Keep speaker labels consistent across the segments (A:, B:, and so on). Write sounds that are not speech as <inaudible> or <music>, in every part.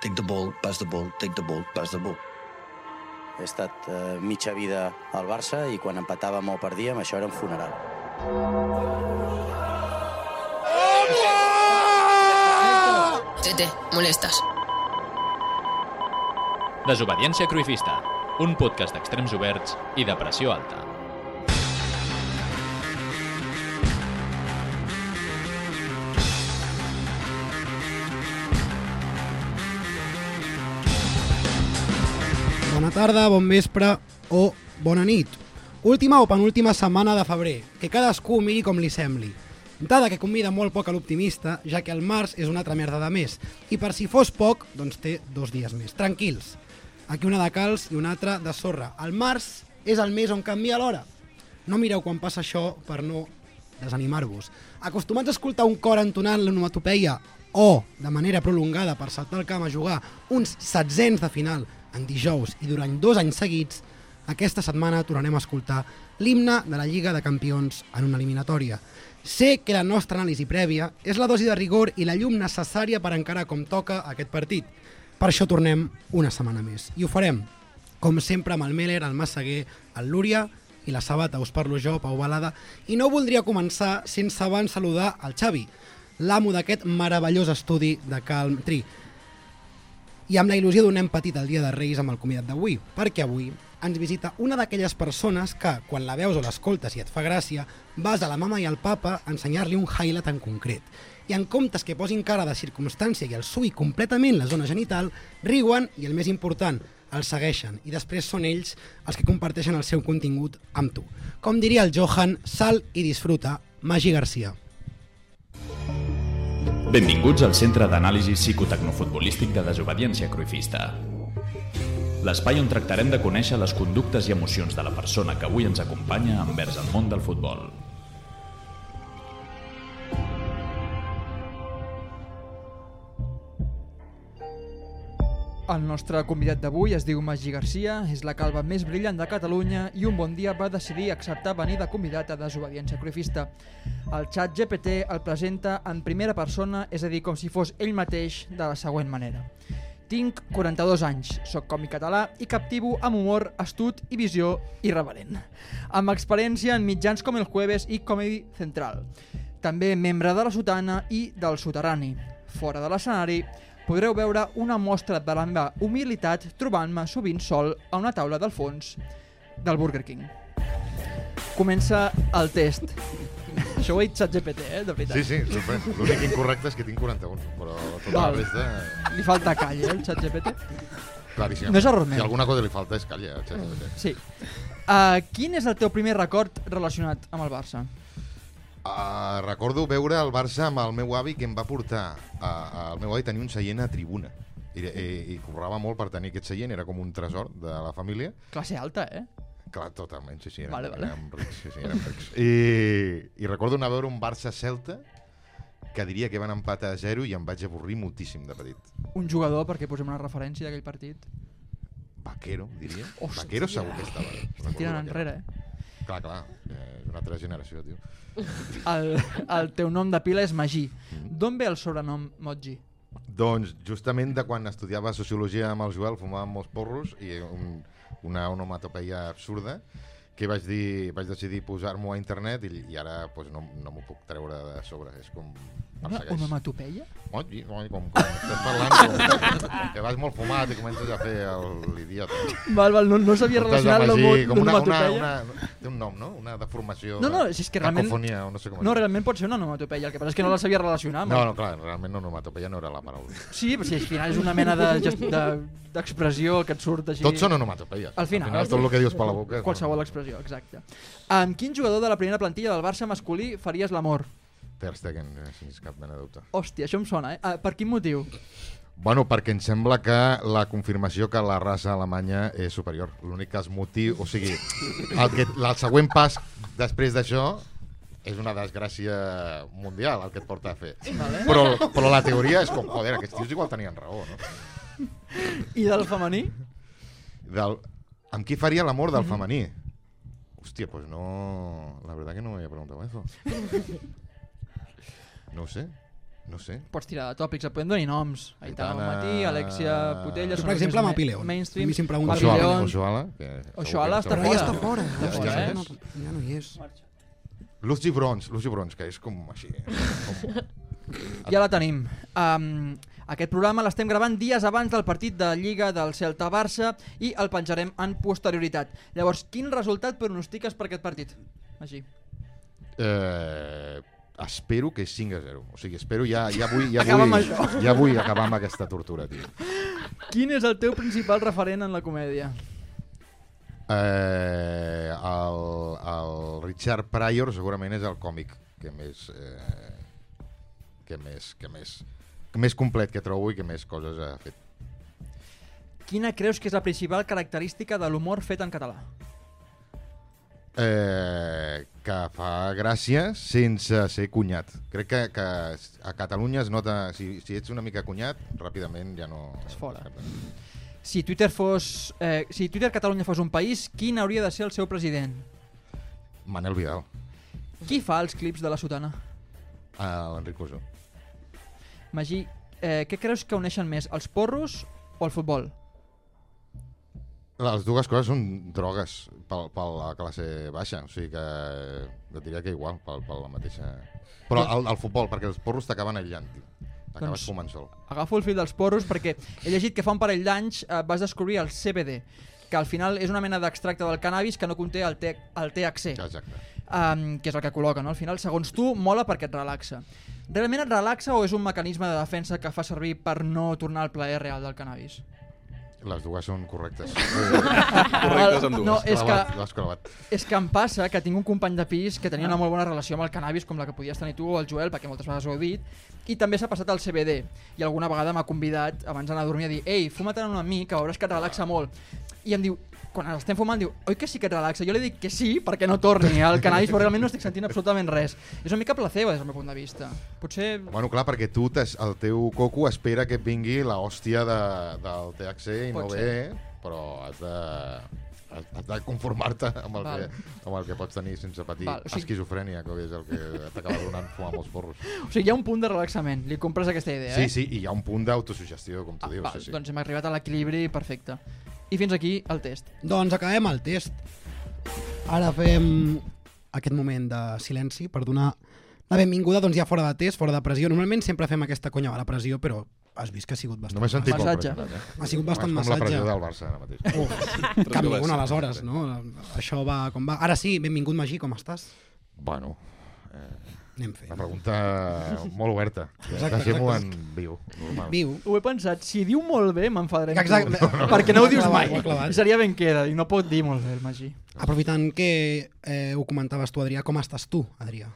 A: Take the ball, pass the ball, take the ball, pass the ball.
B: He estat eh, mitja vida al Barça i quan empatàvem o perdíem, això era un funeral.
C: Tete, molestas.
D: Desobediència Cruifista, un podcast d'extrems oberts i de pressió alta.
E: Bona tarda, bon vespre o bona nit. Última o penúltima setmana de febrer, que cadascú ho miri com li sembli. Dada que convida molt poc a l'optimista, ja que el març és una altra merda de més, i per si fos poc, doncs té dos dies més. Tranquils. Aquí una de calç i una altra de sorra. El març és el mes on canvia l'hora. No mireu quan passa això per no desanimar-vos. Acostumats a escoltar un cor entonant l'onomatopeia o, de manera prolongada per saltar al camp a jugar uns setzents de final en dijous i durant dos anys seguits, aquesta setmana tornarem a escoltar l'himne de la Lliga de Campions en una eliminatòria. Sé que la nostra anàlisi prèvia és la dosi de rigor i la llum necessària per encarar com toca aquest partit. Per això tornem una setmana més. I ho farem com sempre, amb el Meller, el Massaguer, el Lúria i la Sabata. Us parlo jo, Pau Balada. I no voldria començar sense abans saludar el Xavi, l'amo d'aquest meravellós estudi de Calm Tree. I amb la il·lusió d'un nen petit el dia de Reis amb el convidat d'avui, perquè avui ens visita una d'aquelles persones que, quan la veus o l'escoltes i et fa gràcia, vas a la mama i al papa a ensenyar-li un highlight en concret. I en comptes que posin cara de circumstància i el sui completament la zona genital, riuen i, el més important, el segueixen i després són ells els que comparteixen el seu contingut amb tu. Com diria el Johan, sal i disfruta, Magi Garcia.
D: Benvinguts al Centre d'Anàlisi Psicotecnofutbolístic de Desobediència Cruifista. L'espai on tractarem de conèixer les conductes i emocions de la persona que avui ens acompanya envers el món del futbol.
F: El nostre convidat d'avui es diu Magí Garcia, és la calva més brillant de Catalunya i un bon dia va decidir acceptar venir de convidat a Desobediència Cruifista. El xat GPT el presenta en primera persona, és a dir, com si fos ell mateix, de la següent manera. Tinc 42 anys, sóc còmic català i captivo amb humor, astut i visió irreverent. Amb experiència en mitjans com El Jueves i Comedy Central. També membre de la Sotana i del Soterrani. Fora de l'escenari, podreu veure una mostra de la meva humilitat trobant-me sovint sol a una taula del fons del Burger King. Comença el test. Això ho ha dit ChatGPT, eh? De veritat.
G: Sí, sí, sorprèn. L'únic incorrecte és que tinc 41, però tota la
F: Val.
G: resta...
F: Li falta call, eh, el ChatGPT?
G: Claríssim.
F: No és error meu.
G: Si alguna cosa li falta és calla. Uh,
F: Sí. Uh, quin és el teu primer record relacionat amb el Barça?
G: Ah, recordo veure el Barça amb el meu avi que em va portar. Uh, el meu avi tenia un seient a tribuna. I, i, i cobrava molt per tenir aquest seient, era com un tresor de la família.
F: Classe alta, eh?
G: Clar, totalment, sí, sí, érem,
F: Vale, vale.
G: érem rics. Sí, sí, érem
F: <laughs>
G: rics. I, I recordo anar a veure un Barça-Celta que diria que van empatar a zero i em vaig avorrir moltíssim de petit.
F: Un jugador, perquè posem una referència d'aquell partit.
G: Vaquero, diria.
F: Hòstia.
G: Vaquero segur que estava.
F: Tirant
G: Recordo Vaquero.
F: enrere, eh?
G: Clar, clar, eh, és una altra generació, tio.
F: El, el teu nom de pila és Magí. D'on ve el sobrenom Moji?
G: Doncs justament de quan estudiava Sociologia amb el Joel fumàvem molts porros i un, una onomatopeia absurda que vaig, dir, vaig decidir posar-m'ho a internet i, i ara pues, no, no m'ho puc treure de sobre. És com...
F: Una
G: persegueix.
F: onomatopeia?
G: Oi, oi, com, com estàs parlant, com, que vas molt fumat i comences a fer el- l'idiota.
F: Val, val, no, no s'havia
G: Comptes de
F: relacionat la
G: magí,
F: mot
G: com una, una,
F: onomatopeia.
G: una, té un nom, no? Una deformació.
F: No, no, si és que realment-
G: Cacofonia, o no sé com es
F: No,
G: diu.
F: realment pot ser una onomatopeia, el que passa és que no la sabia relacionar.
G: No, no, clar, realment no, onomatopeia no era la paraula.
F: Sí, però si al final és una mena de gest- de- d'expressió de, que et surt així.
G: Tots són onomatopeies.
F: Al final. eh?
G: tot el que dius per la boca... és
F: Qualsevol
G: onomatopeia.
F: expressió, exacte. Amb quin jugador de la primera plantilla del Barça masculí faries l'amor?
G: Ter Stegen, eh, sense cap mena de dubte.
F: Hòstia, això em sona, eh? Ah, per quin motiu?
G: Bueno, perquè em sembla que la confirmació que la raça alemanya és superior. L'únic que es motiu... O sigui, el, que, el següent pas després d'això és una desgràcia mundial el que et porta a fer.
F: Vale.
G: Però, però la teoria és com, joder, aquests tios igual tenien raó, no?
F: I del femení?
G: Del, amb qui faria l'amor del femení? Hòstia, pues no... La verdad que no me había preguntado eso. No ho sé. No sé.
F: Pots tirar de tòpics, et podem donar noms. Aitana
G: Aitana-
F: Bonmatí, Alexia Putella...
E: Jo,
F: són
E: per
F: els
E: exemple,
F: més
E: amb
F: ma-
E: Apileon.
F: Mainstream.
E: A mi si em pregunten-
G: Oshoala,
F: Apileon.
G: Oshoala, que segur
F: Oshoala
G: que-
F: està
E: Però ja està fora. eh?
G: Ja, ja, ja,
E: no,
G: és.
E: ja no hi és.
G: Luz Gibrons, Luz Gibrons, que és com així. eh, Com...
F: Ja la tenim. Um, aquest programa l'estem gravant dies abans del partit de Lliga del Celta-Barça i el penjarem en posterioritat. Llavors, quin resultat pronostiques per aquest partit? Així.
G: Eh, espero que és 5 a 0. O sigui, espero ja, ja vull... Ja
F: Acaba amb
G: vull,
F: això.
G: ja vull acabar amb aquesta tortura, tio.
F: Quin és el teu principal referent en la comèdia?
G: Eh, el, el Richard Pryor segurament és el còmic que més... Eh, que més, que més, que més complet que trobo i que més coses ha fet.
F: Quina creus que és la principal característica de l'humor fet en català?
G: Eh, que fa gràcia sense ser cunyat. Crec que, que a Catalunya es nota... Si, si ets una mica cunyat, ràpidament ja no...
F: És fora. Si Twitter fos... Eh, si Twitter Catalunya fos un país, quin hauria de ser el seu president?
G: Manel Vidal,
F: Qui fa els clips de la sotana?
G: a l'Enric Cusó.
F: Magí, eh, què creus que uneixen més, els porros o el futbol?
G: Les dues coses són drogues pel, per la classe baixa, o sigui que jo diria que igual, per, per la mateixa... Però el, el futbol, perquè els porros t'acaben aïllant, tio. T'acabes
F: Doncs-
G: doncs... fumant sol.
F: Agafo el fil dels porros perquè he llegit que fa un parell d'anys eh, vas descobrir el CBD, que al final és una mena d'extracte del cannabis que no conté el, T el THC.
G: Exacte.
F: um, que és el que col·loca, no? Al final, segons tu, mola perquè et relaxa. Realment et relaxa o és un mecanisme de defensa que fa servir per no tornar al plaer real del cannabis?
G: Les dues són correctes.
H: Correctes amb dues.
F: No, <laughs> és que,
G: L'has clavat.
F: és que em passa que tinc un company de pis que tenia una molt bona relació amb el cannabis com la que podies tenir tu o el Joel, perquè moltes vegades ho heu dit i també s'ha passat al CBD i alguna vegada m'ha convidat abans d'anar a dormir a dir ei, fuma-te'n una mica, veuràs que et relaxa molt i em diu, quan ens estem fumant diu, oi que sí que et relaxa? Jo li dic que sí perquè no torni al cannabis, però realment no estic sentint absolutament res és una mica placebo des del meu punt de vista potser...
G: Bueno, clar, perquè tu, t'es- el teu coco espera que et vingui la hòstia de, del THC i
F: Pot
G: no
F: ser.
G: ve, però has de, has, has de conformar-te amb, el
F: Val.
G: que, amb el que pots tenir sense patir
F: Val, o sigui-
G: esquizofrènia, que és el que t'acaba donant fumar molts porros.
F: o sigui, hi ha un punt de relaxament, li compres aquesta idea
G: Sí,
F: eh?
G: sí, i hi ha un punt d'autosugestió, com tu
F: Ah,
G: dius.
F: val,
G: sí, sí.
F: doncs hem arribat a l'equilibri perfecte i fins aquí el test
E: Doncs acabem el test. Ara fem aquest moment de silenci per donar la benvinguda doncs ja fora de test, fora de pressió. Normalment sempre fem aquesta conya a la pressió, però has vist que ha sigut bastant...
G: No m'he sentit molt
F: Massatge.
G: pressionat, eh?
E: Ha sigut bastant
G: És com la
E: massatge. Oh.
G: pressió del Barça ara mateix. <laughs>
E: Uf, cap ningú aleshores, no? Això va com va. Ara sí, benvingut Magí, com estàs?
G: Bueno,
E: Anem
G: una
E: fent.
G: pregunta molt oberta.
E: <laughs> Exacte,
G: Deixem-ho en
E: exacte.
G: viu. Normal.
E: Viu.
F: Ho he pensat, si diu molt bé m'enfadaré.
E: Exacte.
F: amb tu,
E: <laughs>
F: Perquè no ho
E: Ho ha
F: dius
E: clavat,
F: mai.
E: ho ha clavat.
F: Seria ben queda, i no pot dir molt bé el Magí.
E: Aprofitant que eh, ho comentaves tu, Adrià, com estàs tu, Adrià?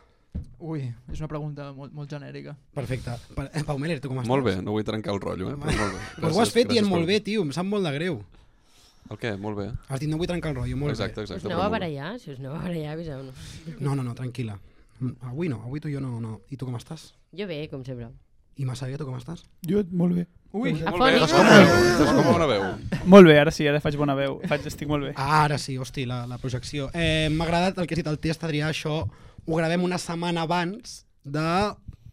F: Ui, és una pregunta molt, molt genèrica.
E: Perfecte. Pa- eh, Pau Meller, tu com estàs?
H: Molt bé, no vull trencar el rotllo, eh? Però molt bé.
E: Però ho has fet dient
H: gràcies
E: molt bé,
H: per-
E: tio, em sap molt de greu.
H: El què? Molt bé.
E: Has dit no vull trencar el rotllo, molt
H: exacte,
I: Si us
H: exacte.
I: aneu a
H: però molt bé.
I: barallar, si us aneu a barallar, aviseu-nos.
E: bé. No, no, no, tranquil·la. Mm, Avui no, avui tu i jo no, no. I tu com estàs?
I: Jo bé, com sempre.
E: I Massaguer, tu com estàs?
J: Jo, molt bé.
F: Ui,
H: Molt bé,
I: Afònic.
H: estàs com veu. Estàs com bona veu.
J: Molt bé, ara sí, ara faig bona veu. Faig, estic molt bé.
E: Ah, Ara sí, hosti, la, la projecció. Eh, M'ha agradat el que has dit el test, Adrià, això ho gravem una setmana abans de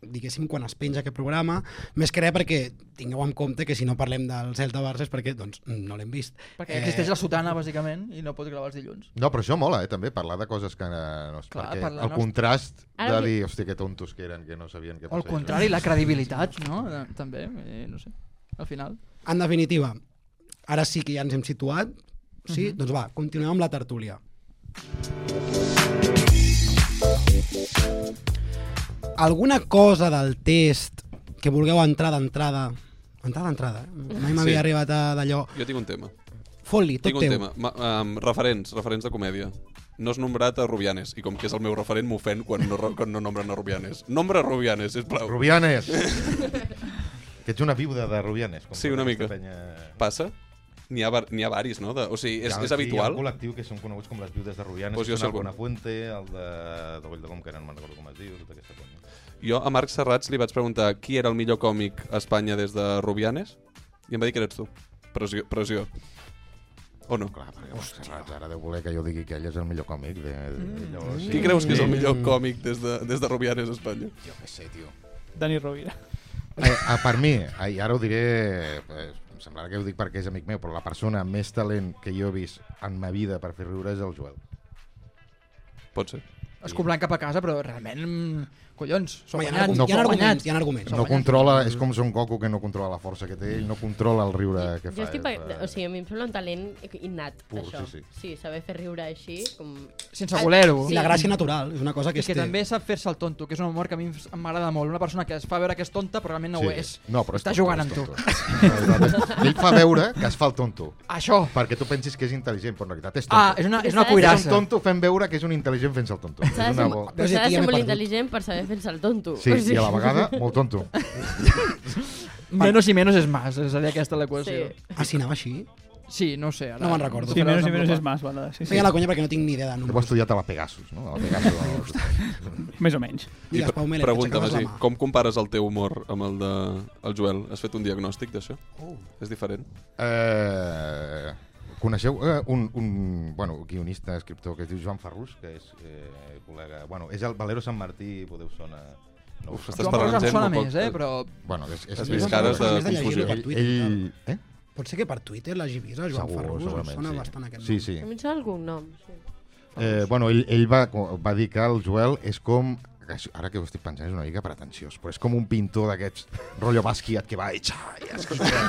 E: diguéssim, quan es penja aquest programa, més que res perquè tingueu en compte que si no parlem del Celta Barça és perquè doncs, no l'hem vist.
F: perquè existeix la sotana, bàsicament, i no pots gravar els dilluns.
G: No, però això mola, eh, també, parlar de coses que eh, no...
F: Clar,
G: Clar, perquè
F: parlar
G: el
F: nostre-
G: contrast
I: Ara
G: de
I: vi-
G: dir, hòstia, que tontos que eren, que no sabien què
F: O al
G: passava.
F: contrari, la credibilitat, no? Eh, També, eh, no sé, al final.
E: En definitiva, ara sí que ja ens hem situat, sí? Doncs va, continuem amb la tertúlia. Alguna cosa del test que vulgueu entrar d'entrada... Entrada d'entrada, eh? Mai m'havia
H: Sí.
E: arribat a d'allò.
H: Jo tinc un tema.
E: Fot-li, tot
H: Tinc un
E: teu.
H: tema. Ma, um, referents, referents de comèdia. No has nombrat a Rubianes, i com que és el meu referent, m'ofèn quan, no, quan no nombren a Rubianes. Nombra a Rubianes, sisplau.
F: <laughs>
H: Rubi...
G: Rubianes! que ets una viuda de Rubianes. Com
H: Sí, una
G: aquesta
H: mica.
G: Penya...
H: Passa? N'hi ha, var- n'hi ha varis, no? De, o sigui, és,
G: Hi ha-
H: és
G: sí, Hi ha
H: habitual?
G: un col·lectiu que són coneguts com les viudes de Rubianes,
H: Pues
G: pues que
H: jo sé
G: són el
H: algun.
G: Bonafuente, el de, de Vall de Gom, que ara no me'n recordo com es diu, tota aquesta conya.
H: Jo a Marc Serrats li vaig preguntar qui era el millor còmic a Espanya des de Rubianes, i em va dir que eres tu. Pressió. pressió. O no?
G: Clar, perquè Montserrat ara deu voler que jo digui que ell és el millor còmic. De, Eh, de,
F: Mm.
G: de, llavors,
H: Qui creus que és el millor còmic des de, des de Rubianes a Espanya?
G: Jo què sé, tio.
J: Dani Rovira.
G: Eh, eh, per mi, eh, i ara ho diré, eh, em semblarà que ho dic perquè és amic meu, però la persona amb més talent que jo he vist en ma vida per fer riure és el Joel.
H: Pot ser.
F: Escoblant cap a casa, però realment... mm, Collons, s'ho ha
E: Home, hi ha
F: guanyat.
E: arguments,
G: No,
E: hi ha arguments,
F: guanyat.
E: hi ha arguments.
G: No controla,
F: Mm.
G: és com Son Goku que no controla la força que té, ell no controla el riure que fa.
I: Jo estic...
G: és,
I: pe-
G: eh,
I: O sigui, a mi em sembla un talent innat,
G: Pur,
I: això.
G: sí, sí.
I: sí, saber fer riure així, com...
F: Sense voler-ho.
E: I la gràcia natural, és una cosa que,
F: I
E: es
F: que
E: té.
F: també sap fer-se el tonto, que és un humor que a mi em- m'agrada molt. Una persona que es fa veure que és tonta, però realment no ho és.
G: No, però és
F: Està
G: tonto,
F: jugant
G: és
F: amb tu.
G: tonto. Ell fa veure que es fa el tonto,
F: Això.
G: perquè tu pensis que és intel·ligent, però en realitat és tonto.
F: Ah, és una, és
I: S'ha de ser
F: una
G: És un
F: cuirassa.
G: tonto fent veure que és un intel·ligent fent-se el tonto.
I: S'ha
G: És
I: de
G: una
I: ser,
G: bo...
I: però
E: Ja
I: s'ha de
E: m'he
I: ser molt
E: perdut.
I: intel·ligent per saber fer-se el tonto.
G: Sí, i a la vegada, molt tonto.
F: Menos i menos és más, és a dir, aquesta l'equació.
I: Sí.
E: Ah, sí, anava així?
F: Sí. no ho sé. Ara,
E: No me'n recordo.
J: Sí, menos i menos és
F: més.
J: más, vale. Sí, sí.
E: Feia la conya perquè no tinc ni idea de
G: Ho ha
E: números.
G: estudiat a la Pegasus, no? A la
E: <laughs>
G: Pegasus.
J: Més o menys.
E: Digues, Pau Mele,
H: Pregunta'm així,
E: Com...
H: com compares el teu humor amb el de el Joel? Has fet un diagnòstic d'això? Oh. És diferent?
G: eh, coneixeu eh, un, un bueno, guionista, escriptor, que es diu Joan Ferrús, que és eh, col·lega... Bueno, és el Valero Sant Martí, podeu sonar... No us
H: Uf,
G: sona.
H: estàs
F: Joan Parles em
H: gent
F: sona
H: molt poc-
F: més, eh, però...
G: Bueno, és, és,
H: Has
G: és
H: vist cares de
E: Has de llegir-ho
H: confusió.
E: per
G: Ell,
E: Twitter.
G: ell...
E: Ell...
G: Eh?
E: Potser que per Twitter l'hagi vist, el Joan
G: Segur,
E: Ferrus, em
G: segurament,
E: sona
G: sí.
E: bastant aquest
G: Sí,
E: nom.
G: sí.
I: A mi <laughs> em sona algun nom. Sí.
G: Eh, bueno, ell, ell va, va dir que el Joel és com ara que ho estic pensant és una mica pretensiós, però és com un pintor d'aquests rotllo basquiat que va i xa, i esquitxa,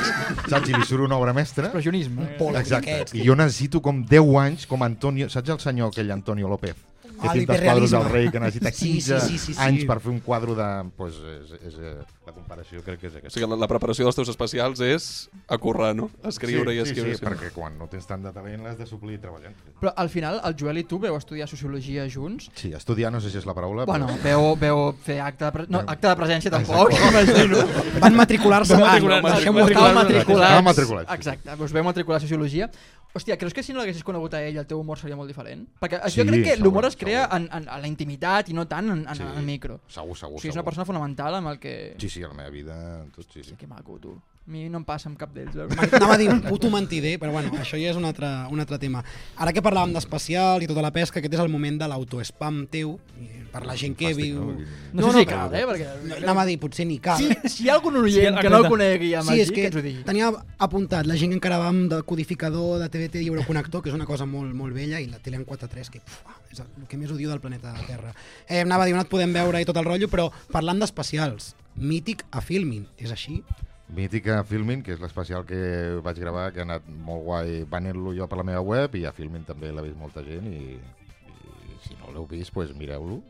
G: saps? I li surt una obra mestra.
F: Expressionisme.
E: Polo,
G: Exacte.
E: Exacte.
G: I jo necessito com 10 anys com Antonio, saps el senyor aquell Antonio López? Que
E: Ah,
G: pinta els quadres
E: l'hiperrealisme.
G: del rei, que necessita
E: Sí, sí,
G: 15
E: sí, sí, sí.
G: anys per fer un quadre de... Pues, és, és, eh, la comparació crec que és
H: O
G: aquesta.
H: sigui, la, la preparació dels teus especials és acurrar, no? Escriure i escriure.
G: Sí, sí, perquè quan no tens tant de talent l'has de suplir treballant.
F: Però al final, el Joel i tu veu estudiar Sociologia junts?
G: Sí, estudiar no sé si és la paraula,
F: Bueno,
G: però...
F: veu, veu fer acte de, pre... no, acte de presència
G: Ah,
F: tampoc, imagino.
E: Van
J: <laughs>
E: matricular-se abans.
J: matricular-se.
E: Deixem-ho
J: Van
F: Estava
J: matricular-se.
E: estar.
F: matriculat.
G: Estava matriculats, sí, sí.
F: Exacte, us veu matricular a Sociologia. Hòstia, creus que si no l'haguessis conegut a ell el teu humor seria molt diferent? Perquè
G: Sí,
F: jo crec que l'humor
G: segur,
F: es crea
G: segur.
F: en, en, a la intimitat i no tant en, en,
G: Sí.
F: en el micro.
G: Segur, segur,
F: O sigui, és una
G: segur.
F: persona fonamental amb el que...
G: Sí, sí, a la meva vida, en tot, sí, sí.
F: Que maco, tu. A mi no em passa amb cap d'ells. la veritat.
E: Anava a dir un puto mentider, però bueno, això ja és un altre, un altre tema. Ara que parlàvem d'especial i tota la pesca, aquest és el moment de l'autoespam teu, i per la gent que
G: Fantàstic,
E: viu...
G: no?
F: No, no, sé si cal, eh? Perquè...
E: Anava a dir, potser ni cal.
F: Si, si hi ha algun oient que
J: Sí,
F: no el
J: exacte.
F: conegui amb
E: Sí,
F: Magí,
E: és
F: que
E: que
F: ens ho digui.
E: tenia apuntat la gent que encara va amb decodificador de TVT i Euroconnector, que és una cosa molt, molt vella, i la tele en 4.3, que puf, és el que més odio del planeta de la Terra. Eh, anava a dir, on et podem veure i tot el rotllo, però parlant d'especials, mític a Filmin, és així?
G: Mítica Filmin, que és l'especial que vaig gravar, que ha anat molt guai venent-lo jo per la meva web i a Filmin també l'ha vist molta gent i, i si no l'heu vist, doncs mireu-lo.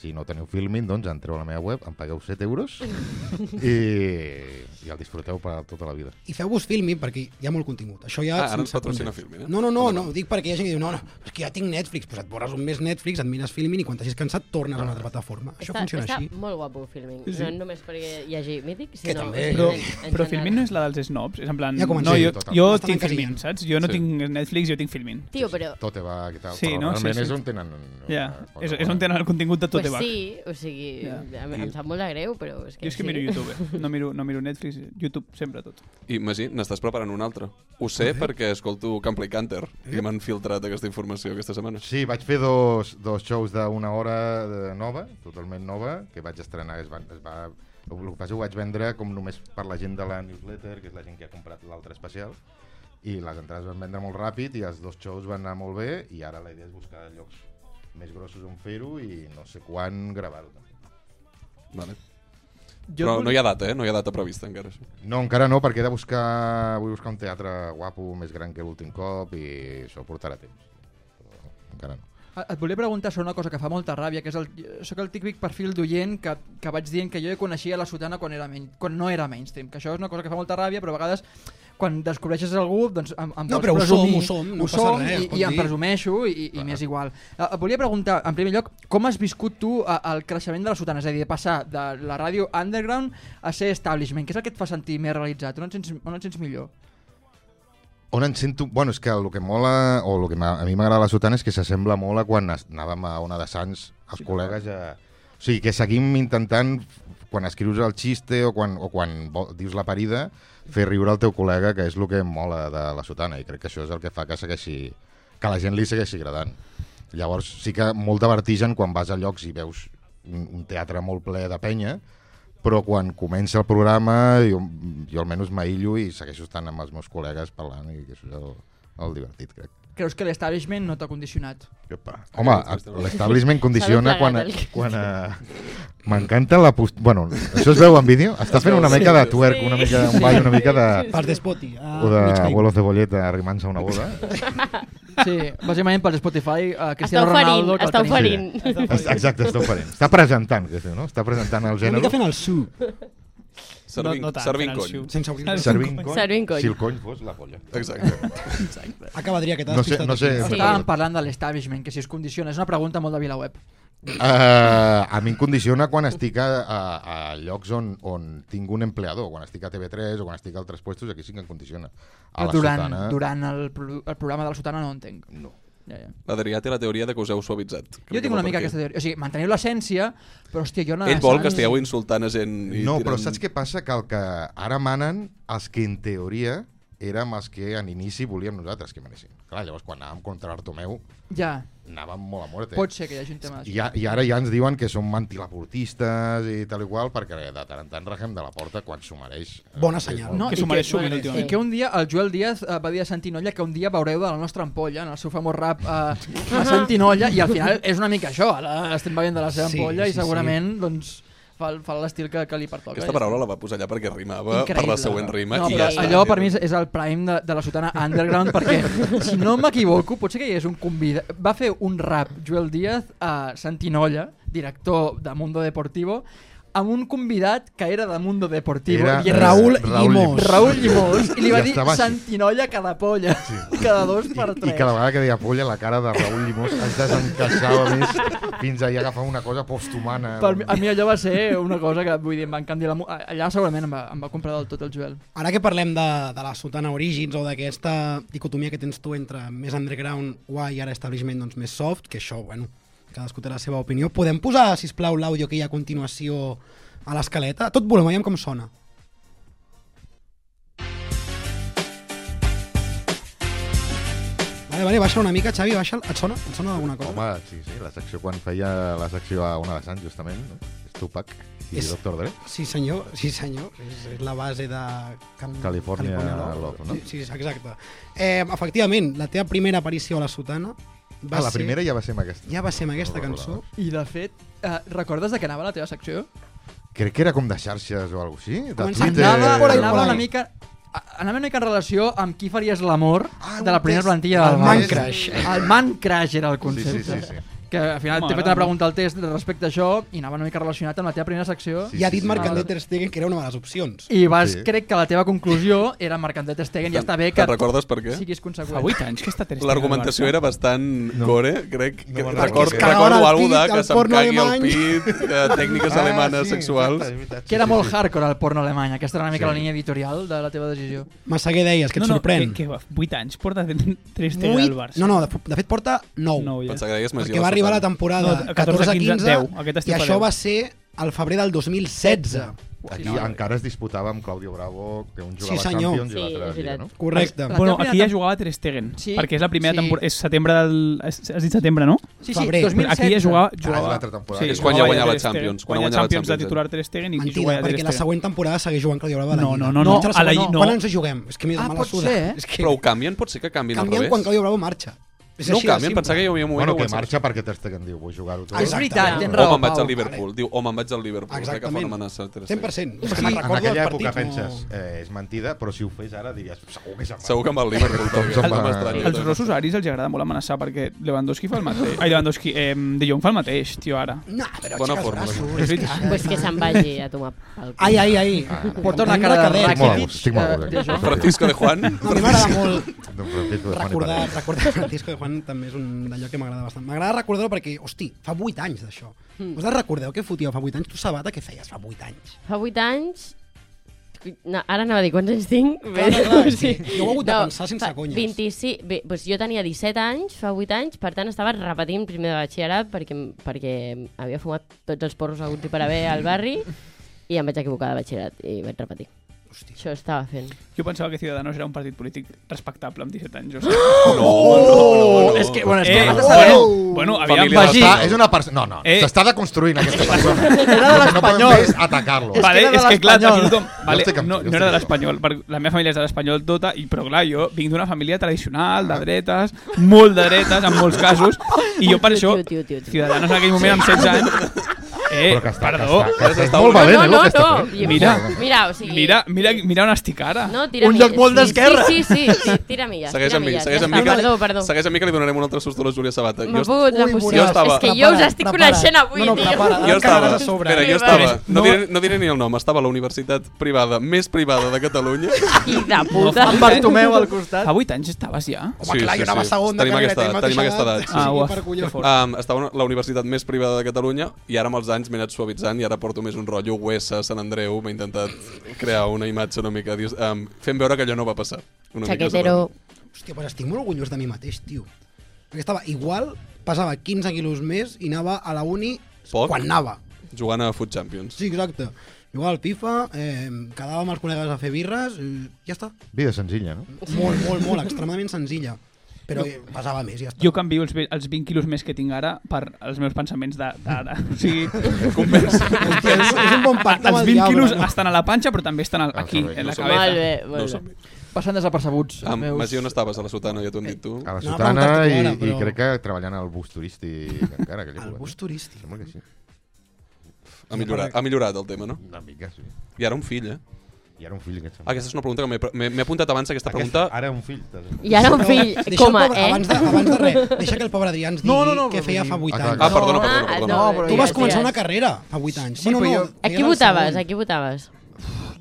G: Si no teniu Filmin, doncs entreu a la meva web, em pagueu 7 euros <laughs> i, i el disfruteu per tota la vida.
E: I feu-vos Filmin, perquè hi ha molt contingut. Això ja...
H: Ah, ara ens
E: sense
H: patrocina
E: context.
H: Filmin, eh?
E: No, no, no, no, ho dic perquè hi ha gent que diu, no, no, és que ja tinc Netflix, doncs et borres un mes Netflix, et mires Filmin i quan t'hagis cansat tornes a una altra plataforma. Això
I: Ah. està,
E: funciona
I: està
E: així.
I: molt guapo el filming.
J: Sí, sí.
I: No només perquè hi hagi mític,
E: Que
I: sinó...
E: també,
I: en
E: però-
I: general.
J: Però Filmin no és la dels snobs? És en plan...
E: Ja
J: no,
E: comencem.
J: jo,
G: Sí, total.
J: jo
E: M'estan
J: tinc Filmin,
E: encasillant.
J: saps? Jo no
H: Sí.
J: tinc Netflix, jo tinc Filmin.
I: Tio, però...
G: Tot va, què tal?
J: Sí,
G: Però
J: no? Sí,
G: realment
J: sí.
G: és on tenen...
J: Ja, és, és on tenen el contingut de tot
I: Pues
J: pues sí.
I: sí, o sigui,
J: Ja.
I: yeah. em, em sap molt de greu, però és que,
J: Jo és que
I: sí.
J: miro YouTube, eh? no miro, no miro Netflix, YouTube, sempre tot.
H: I, Magí, n'estàs preparant un altre. Ho sé perquè escolto Campley Canter i m'han filtrat aquesta informació aquesta setmana.
G: Sí, vaig fer dos, dos shows d'una hora de nova, totalment nova, que vaig estrenar, es va, es va, el que passa ho vaig vendre com només per la gent de la newsletter, que és la gent que ha comprat l'altre especial, i les entrades van vendre molt ràpid i els dos shows van anar molt bé i ara la idea és buscar llocs més grossos on fer-ho i no sé quan gravar-ho. també.
H: Vale.
F: Jo
H: Però no hi ha data, eh? No hi ha data prevista encara. Això.
G: No, encara no, perquè he de buscar, vull buscar un teatre guapo, més gran que l'últim cop i això portarà temps. Però encara no.
F: Ah, Et volia preguntar sobre una cosa que fa molta ràbia, que és el, sóc el típic perfil d'oient que, que vaig dient que jo ja coneixia la sotana quan, era main, quan no era mainstream, que això és una cosa que fa molta ràbia, però a vegades quan descobreixes algú, doncs em, em
E: No,
F: vols
E: però ho som,
F: presumir,
E: ho som, no
F: ho
E: passa
F: som
E: res, es pot
F: i, i em
E: dir.
F: presumeixo i, i m'és igual. Eh, Et volia preguntar, en primer lloc, com has viscut tu eh, el creixement de la sotana? És a dir, de passar de la ràdio underground a ser establishment, que és el que et fa sentir més realitzat, on et sents, on et sents millor?
G: On em sento... Bueno, és que el que mola, o el que m'a- a mi m'agrada la sotana és que s'assembla molt a quan es- anàvem a Ona de Sants, els sí, col·legues a... O sigui, que seguim intentant, quan escrius el xiste o quan, o quan vo- dius la parida, fer riure al teu col·lega, que és el que em mola de la sotana, i crec que això és el que fa que segueixi... que la gent li segueixi agradant. Llavors, sí que molt de vertigen quan vas a llocs i veus un, un teatre molt ple de penya, però quan comença el programa jo, jo almenys m'aïllo i segueixo estant amb els meus col·legues parlant i això és el, el divertit, crec.
F: Creus que l'establishment no t'ha
I: <laughs>
F: condicionat?
G: Home, l'establishment condiciona
F: S'ha
G: quan...
F: doblegat el-
G: quan eh, M'encanta la post... Bueno, això es veu en vídeo? Està fent una mica de twerk, una mica un ball, una mica de...
E: Per Despoti, ah,
G: o de
E: mig caigut.
G: Abuelo Cebolleta arrimant-se a una boda.
F: Sí, bàsicament per Spotify, uh, Cristiano
I: Està oferint,
F: Ronaldo... que el
I: està
F: tenim.
I: oferint.
G: Sí. Està- Exacte, està oferint. Està presentant, que es diu, no? Està presentant el
E: Una
G: gènere.
E: mica fent el su.
H: Servin,
J: no tant,
H: servin
J: fent el
H: cony.
J: xiu.
E: Sense obrir
G: Servint cony.
I: Servint cony.
G: Si el cony fos la polla.
H: Exacte.
E: Acaba de dir que t'has
G: No sé-
E: pistat
G: no sé-
E: aquí.
I: Sí.
F: Estàvem parlant de l'establishment, que si es condiciona. És una pregunta molt de Vilaweb.
G: Uh, a mi em condiciona quan estic a, a, a llocs on, on tinc un empleador, quan estic a TV3 o quan estic a altres puestos, aquí sí que em condiciona. A la
F: durant
G: sotana...
F: durant el, pro- el programa de la Sotana no ho entenc. No. Ja, ja.
H: L'Adrià té la teoria de que us heu suavitzat. Crec
F: Jo
H: que
F: tinc
H: va
F: una
H: per
F: mica
H: aquí.
F: aquesta teoria. O sigui, manteniu l'essència, però hòstia, jo...
H: Ell vol que estigueu insultant a gent. I
G: No, però saps què passa? Que el que ara manen, els que en teoria érem els que en inici volíem nosaltres que manessin. Clar, llavors quan anàvem contra Bartomeu
F: Ja,
G: anàvem molt a muerte.
F: pot ser que hi hagi un tema
G: I,
F: d'això.
G: ja, I ara ja ens diuen que som mantilaportistes i tal i qual, perquè de tant en tant regem de la porta quan s'ho mereix. eh,
E: Bona senyal.
F: No,
J: Que
F: i,
J: s'ho mereix sovint,
I: bueno,
F: I
J: últimament.
F: que un dia el Joel Díaz eh, va dir a Santinolla que un dia veureu de la nostra ampolla, en el seu famós rap eh, a Santinolla, i al final és una mica això, ara estem veient de la seva
E: Sí,
F: ampolla
E: sí,
F: i segurament doncs, fa, fa l'estil que, que li pertoca.
H: Aquesta
F: Ja està.
H: paraula la va posar allà perquè rimava per
F: Increïble.
H: la següent rima.
F: No,
H: i
F: però
H: ja està.
F: allò per mi és, és el prime de, de la sotana underground perquè,
H: <laughs>
F: si no m'equivoco, potser que hi és un convida. Va fer un rap Joel Díaz a Santinolla, director de Mundo Deportivo, amb un convidat que era de Mundo Deportivo.
G: Era,
F: i
G: eh,
E: Raül
G: Raül
E: Llimós.
F: Raül Llimós. I li va
G: I
F: dir
G: estava així.
F: Santinolla cada polla. <laughs> Cada dos per
G: I,
F: tres.
G: I cada vegada que deia polla, la cara de Raül Llimós es desencaixava més fins a agafar una cosa posthumana.
F: Per mi, a mi allò va ser una cosa que, vull dir, em va encantar. la mu- Allà segurament em va, em va comprar del tot el Joel.
E: Ara que parlem de, de la sotana Origins o d'aquesta dicotomia que tens tu entre més underground, guai, i ara establishment doncs, més soft, que això, bueno, cadascú té la seva opinió, podem posar, si plau l'àudio que hi ha a continuació a l'escaleta? A Tot volem, veiem com sona. Vale, vale, baixa una mica, Xavi, baixa. Et sona? Et sona d'alguna cosa?
G: Home, sí, sí, la secció quan feia la secció a una de Sant, justament, no? És Tupac i
E: És-
G: Doctor Dre.
E: Sí senyor, sí senyor, és, és la base de... Cam...
G: California Love, no?
E: Sí, sí, exacte. Eh, efectivament, la teva primera aparició a la sotana va
G: ah, la
E: ser...
G: primera ja va ser amb aquesta.
E: Ja va ser amb aquesta
G: No
E: cançó.
G: recordava.
F: I, de fet, eh, recordes de què anava la teva secció?
G: Crec que era com de xarxes o alguna cosa així. De
E: Començava-
G: Twitter.
F: anava,
E: Por ahí, por
F: anava
E: ahí.
F: una mica a- anava una mica en relació amb qui faries l'amor
G: Ah,
F: de la
G: un
F: primera
G: test.
F: plantilla del
E: El
F: Barça.
E: man crush.
F: El man crash era el
G: Sí, sí,
F: concepte.
G: sí, sí.
F: Que al final t'he fet
J: M'agrada.
F: una pregunta al test respecte a això i anava una mica relacionat amb la teva primera secció
G: Sí,
E: I ha dit
G: sí,
J: Ah,
E: Marc
F: sí.
E: André Ter Stegen que era una de les opcions.
F: i vas,
G: Sí.
F: crec que la teva conclusió era Marc-André Ter Stegen i ja està bé que
H: Te'n recordes per què?
F: siguis conseqüent.
J: Fa 8 anys que està trist.
H: L'argumentació era bastant
G: No.
H: gore, crec.
G: No
H: que-
G: me'n
H: record,
G: recordo.
E: Que es cagava
H: recordo
E: al
H: alguna
E: pit,
H: cosa de
E: al
H: que se'm
E: porno
H: cagui
E: alemany.
H: al pit, de tècniques alemanes sexuals.
G: Ah, exacte, és veritat,
F: Que era
G: sí,
F: molt
G: sí.
F: hardcore el porno alemany. Aquesta era una mica
G: Sí.
F: la línia editorial de la teva decisió.
E: Massaguer deies, que et
J: no, no,
E: sorprèn.
J: Que, que 8 anys porta trist
E: Vuit-
J: al Barça.
E: No, no, de, f- de fet porta 9.
J: No, ja.
H: Pensava que deies Masia
E: perquè va arribar
H: del
E: la
H: Satan.
E: temporada
J: No,
E: 14-15
J: 10, aquest
E: i
J: estiu fa
E: això
J: 10.
E: va ser al febrer del 2016.
G: Aquí encara es disputava amb Claudio Bravo, que un jugava
E: Sí,
G: sí,
E: senyor.
G: Champions i
I: Sí,
G: l'altre
I: és
G: sí, Lliga,
I: veritat.
G: no?
E: Correcte.
F: La
J: Bueno,
F: teva
J: aquí ja
F: primera
J: jugava Ter Stegen,
F: Sí.
J: perquè és la primera
F: Sí.
J: temporada... És setembre del... Has has dit setembre, no? Doncs
F: Sí, sí,
E: Febrer.
F: 2016.
J: Aquí ja jugava...
G: Ah, és
J: jugava
G: l'altra temporada.
H: És quan ja
J: jugava
H: guanyava
J: Ter Stegen.
H: Champions, quan
J: Guanyava
H: guanyava
J: Champions de
H: Champions,
J: titular Ter Stegen i
E: Mentida,
J: jugava ja Ter
E: perquè la
J: Stegen.
E: següent temporada segueix jugant Claudio Bravo a la
J: No,
E: Lliga.
J: no, no, no.
E: a la, no. Quan ens hi juguem? És que mira,
F: Ah,
E: me la
F: pot
E: suda.
F: ser, eh?
E: És que
H: Però ho canvien? Pot ser que canvien al
E: canviem
H: revés?
E: quan Claudio Bravo marxa. És
H: No ho
E: així de
H: canvien,
E: simple.
H: pensava que hi havia un moment...
G: Bueno,
H: on
G: que
H: ho
G: marxa perquè Ter Stegen diu, vull jugar-ho tot.
E: Ah,
F: És veritat,
E: Exacte.
F: tens
H: O
F: raó,
H: me'n vaig
F: Pau.
H: al Liverpool. Diu, o me'n vaig al Liverpool. Exactament. Que fa una amenaça. al Ter Stegen.
E: 100%. És
G: En,
E: que me'n
G: en
E: recordo del
G: aquella època
E: partit
G: penses,
E: No...
G: eh, és mentida, però si ho fes ara diries, segur que se'n va.
H: Segur que amb el Liverpool. perquè
G: Tothom
H: no
G: va-
H: m'estranya.
J: Els rossos aris els agrada molt amenaçar perquè Lewandowski fa el mateix. Ai, Lewandowski, eh, De Jong fa el mateix, tio, ara.
E: No, però aixeca
H: Bona
E: els
H: fórmula.
E: braços,
J: És
E: és que-
J: veritat.
I: Pues que se'n vagi a tomar pel cul.
E: Ai, ai, ai.
F: Porta una
E: Em
F: cara de
E: recadet.
G: Estic molt a
F: Rakitic,
G: gust, estic molt a
F: eh,
G: gust.
F: de Jong.
H: Francisco de Juan.
E: No, a mi m'agrada molt
G: Don Francisco de Juan i
E: recordar,
G: Panera.
E: recordar Francisco de Juan també és un d'allò que m'agrada bastant. M'agrada recordar-ho perquè, hosti, fa 8 anys d'això.
F: Hmm.
E: Vosaltres recordeu què fotíeu fa 8 anys? Tu, Sabata, què feies fa 8 anys?
I: Fa 8 anys... No, ara anava a dir quants anys tinc.
E: Clar, clar,
I: <laughs>
E: clar, sí. Jo ho he hagut de
I: No,
E: pensar sense
I: fa
E: conyes.
I: 25, bé, doncs jo tenia 17 anys, fa 8 anys, per tant estava repetint primer de batxillerat perquè, perquè havia fumat tots els porros hagut i per haver al barri i em vaig equivocar de batxillerat i vaig repetir. Això estava fent.
J: Jo pensava que Ciudadanos era un partit polític respectable amb 17 anys.
H: No, no, no, no.
J: És que, bueno,
F: és
J: eh,
F: que
J: bueno,
F: vas a saber.
J: bueno, aviam,
H: Família
G: S'està-
F: Vagi.
G: És una persona... No, no,
J: Eh.
G: s'està deconstruint aquesta persona.
F: Era de
G: El que no podem
F: l'Espanyol.
G: fer és atacar-lo.
F: És que
J: Vale,
F: era de
J: és que clar,
F: l'Espanyol.
J: aquí tothom... Vale,
G: estic amb-
J: no,
G: jo
J: no
G: estic
J: era de
G: amb-
J: l'Espanyol, perquè la meva família és de l'Espanyol tota, i però clar, jo vinc d'una família tradicional,
G: Ah.
J: de dretes, molt de dretes en molts casos, i jo per això,
I: Tio, tio, tio, tio.
J: Ciudadanos en aquell moment amb 16 anys... Eh,
G: Però que està,
J: perdó,
G: que està, que està, és
H: No,
G: molt valent,
I: no,
G: eh, el
I: no,
G: que està
I: no.
G: fent.
J: Mira.
I: Mira, o sigui...
J: mira, mira, mira on estic ara.
I: No, tira
F: Un
I: milles.
F: lloc molt d'esquerra.
I: Sí, sí, sí, sí, tira milles.
H: Segueix
I: tira
H: amb mi,
I: milles,
H: segueix
I: ja
H: amb mi.
I: està,
H: que-
I: Perdó, perdó.
H: Segueix amb mi, que li donarem un altre sust de la Júlia Sabata.
I: M'ha
H: Jo,
I: pogut l'emoció.
H: estava-
I: És que jo
E: Prepara,
I: us estic
E: prepara.
I: coneixent avui,
E: No, no,
I: tio.
E: prepara.
H: jo
E: Ara
H: estava,
E: encara vas a sobre.
H: espera, jo
I: Arriba.
H: estava, no,
J: No.
H: diré, no diré ni el nom, estava a la universitat privada més privada de Catalunya.
I: Fill de puta.
F: Amb Bartomeu al costat.
J: A 8 anys estaves ja?
E: Home, clar, jo anava a segona
H: Tenim
E: carrera,
H: aquesta,
E: tenim
H: tenim
E: mateixa
H: aquesta
E: edat.
H: edat. sí.
E: Ah,
J: uah,
E: per collons.
J: que fort.
H: Um, estava a la universitat més privada de Catalunya i ara amb els anys m'he anat suavitzant i ara porto més un rotllo US a Sant Andreu, m'he intentat crear una imatge una mica, dis- um, fent veure que allò no va passar. Una mica,
I: Chaquetero.
E: Hòstia, però estic molt orgullós de mi mateix, tio. Perquè estava igual, pesava 15 quilos més i anava a la uni
H: Poc.
E: quan anava.
H: segurament. Jugant a Foot Champions.
E: Sí, exacte. Jugava al FIFA, eh, quedava amb els col·legues a fer birres, eh, ja està.
G: Vida senzilla, no?
E: Molt, molt, molt, extremadament senzilla. Però eh, pesava més, ja està.
J: Jo canvio els, ve- els 20 quilos més que tinc ara per els meus pensaments de- d'ara. O
F: <laughs>
J: sigui,
E: Hòstia, és, és un bon pacte amb
J: els
E: el
J: 20 quilos
E: diable. eh?
J: estan a la panxa, però també estan al,
G: Al
J: aquí,
G: cervell,
J: en
G: no
J: la
G: sé.
J: cabeza.
I: Molt bé,
H: No
I: molt
H: som...
I: bé.
F: Passant desapercebuts.
H: Um,
F: meus.
H: Magí, on estaves? A la sotana, ja t'ho hem dit tu.
G: A la
E: No,
G: sotana
E: ha preguntat
G: i,
E: ara,
G: i
E: però-
G: crec que treballant al bus turístic encara. que li
E: El
G: volen.
E: bus turístic.
G: Sembla que sí.
H: Ha millorat, ha millorat el tema, no?
G: Una mica, sí.
H: I ara un fill, eh?
G: I ara un fill aquest sembla.
H: Aquesta és una pregunta que m'he- m'he m'he apuntat abans aquesta
G: Aquest-
H: pregunta.
G: Ara un fill. t'has-
I: I ara un fill,
E: Deixa el
I: coma,
E: pobre,
I: eh?
E: Abans de, abans de res, deixa que el pobre Adrià ens digui
F: No, no, no,
E: què
F: però
E: feia fa 8
G: Ah,
E: anys.
H: Ah, perdona, perdona,
I: Ah,
H: perdona.
F: No, però
E: tu
F: ja,
E: vas començar
I: ja.
E: una carrera fa 8 anys.
F: Sí, però jo-
I: A
E: feies
I: qui
E: el
I: votaves?
E: segon.
I: A qui votaves?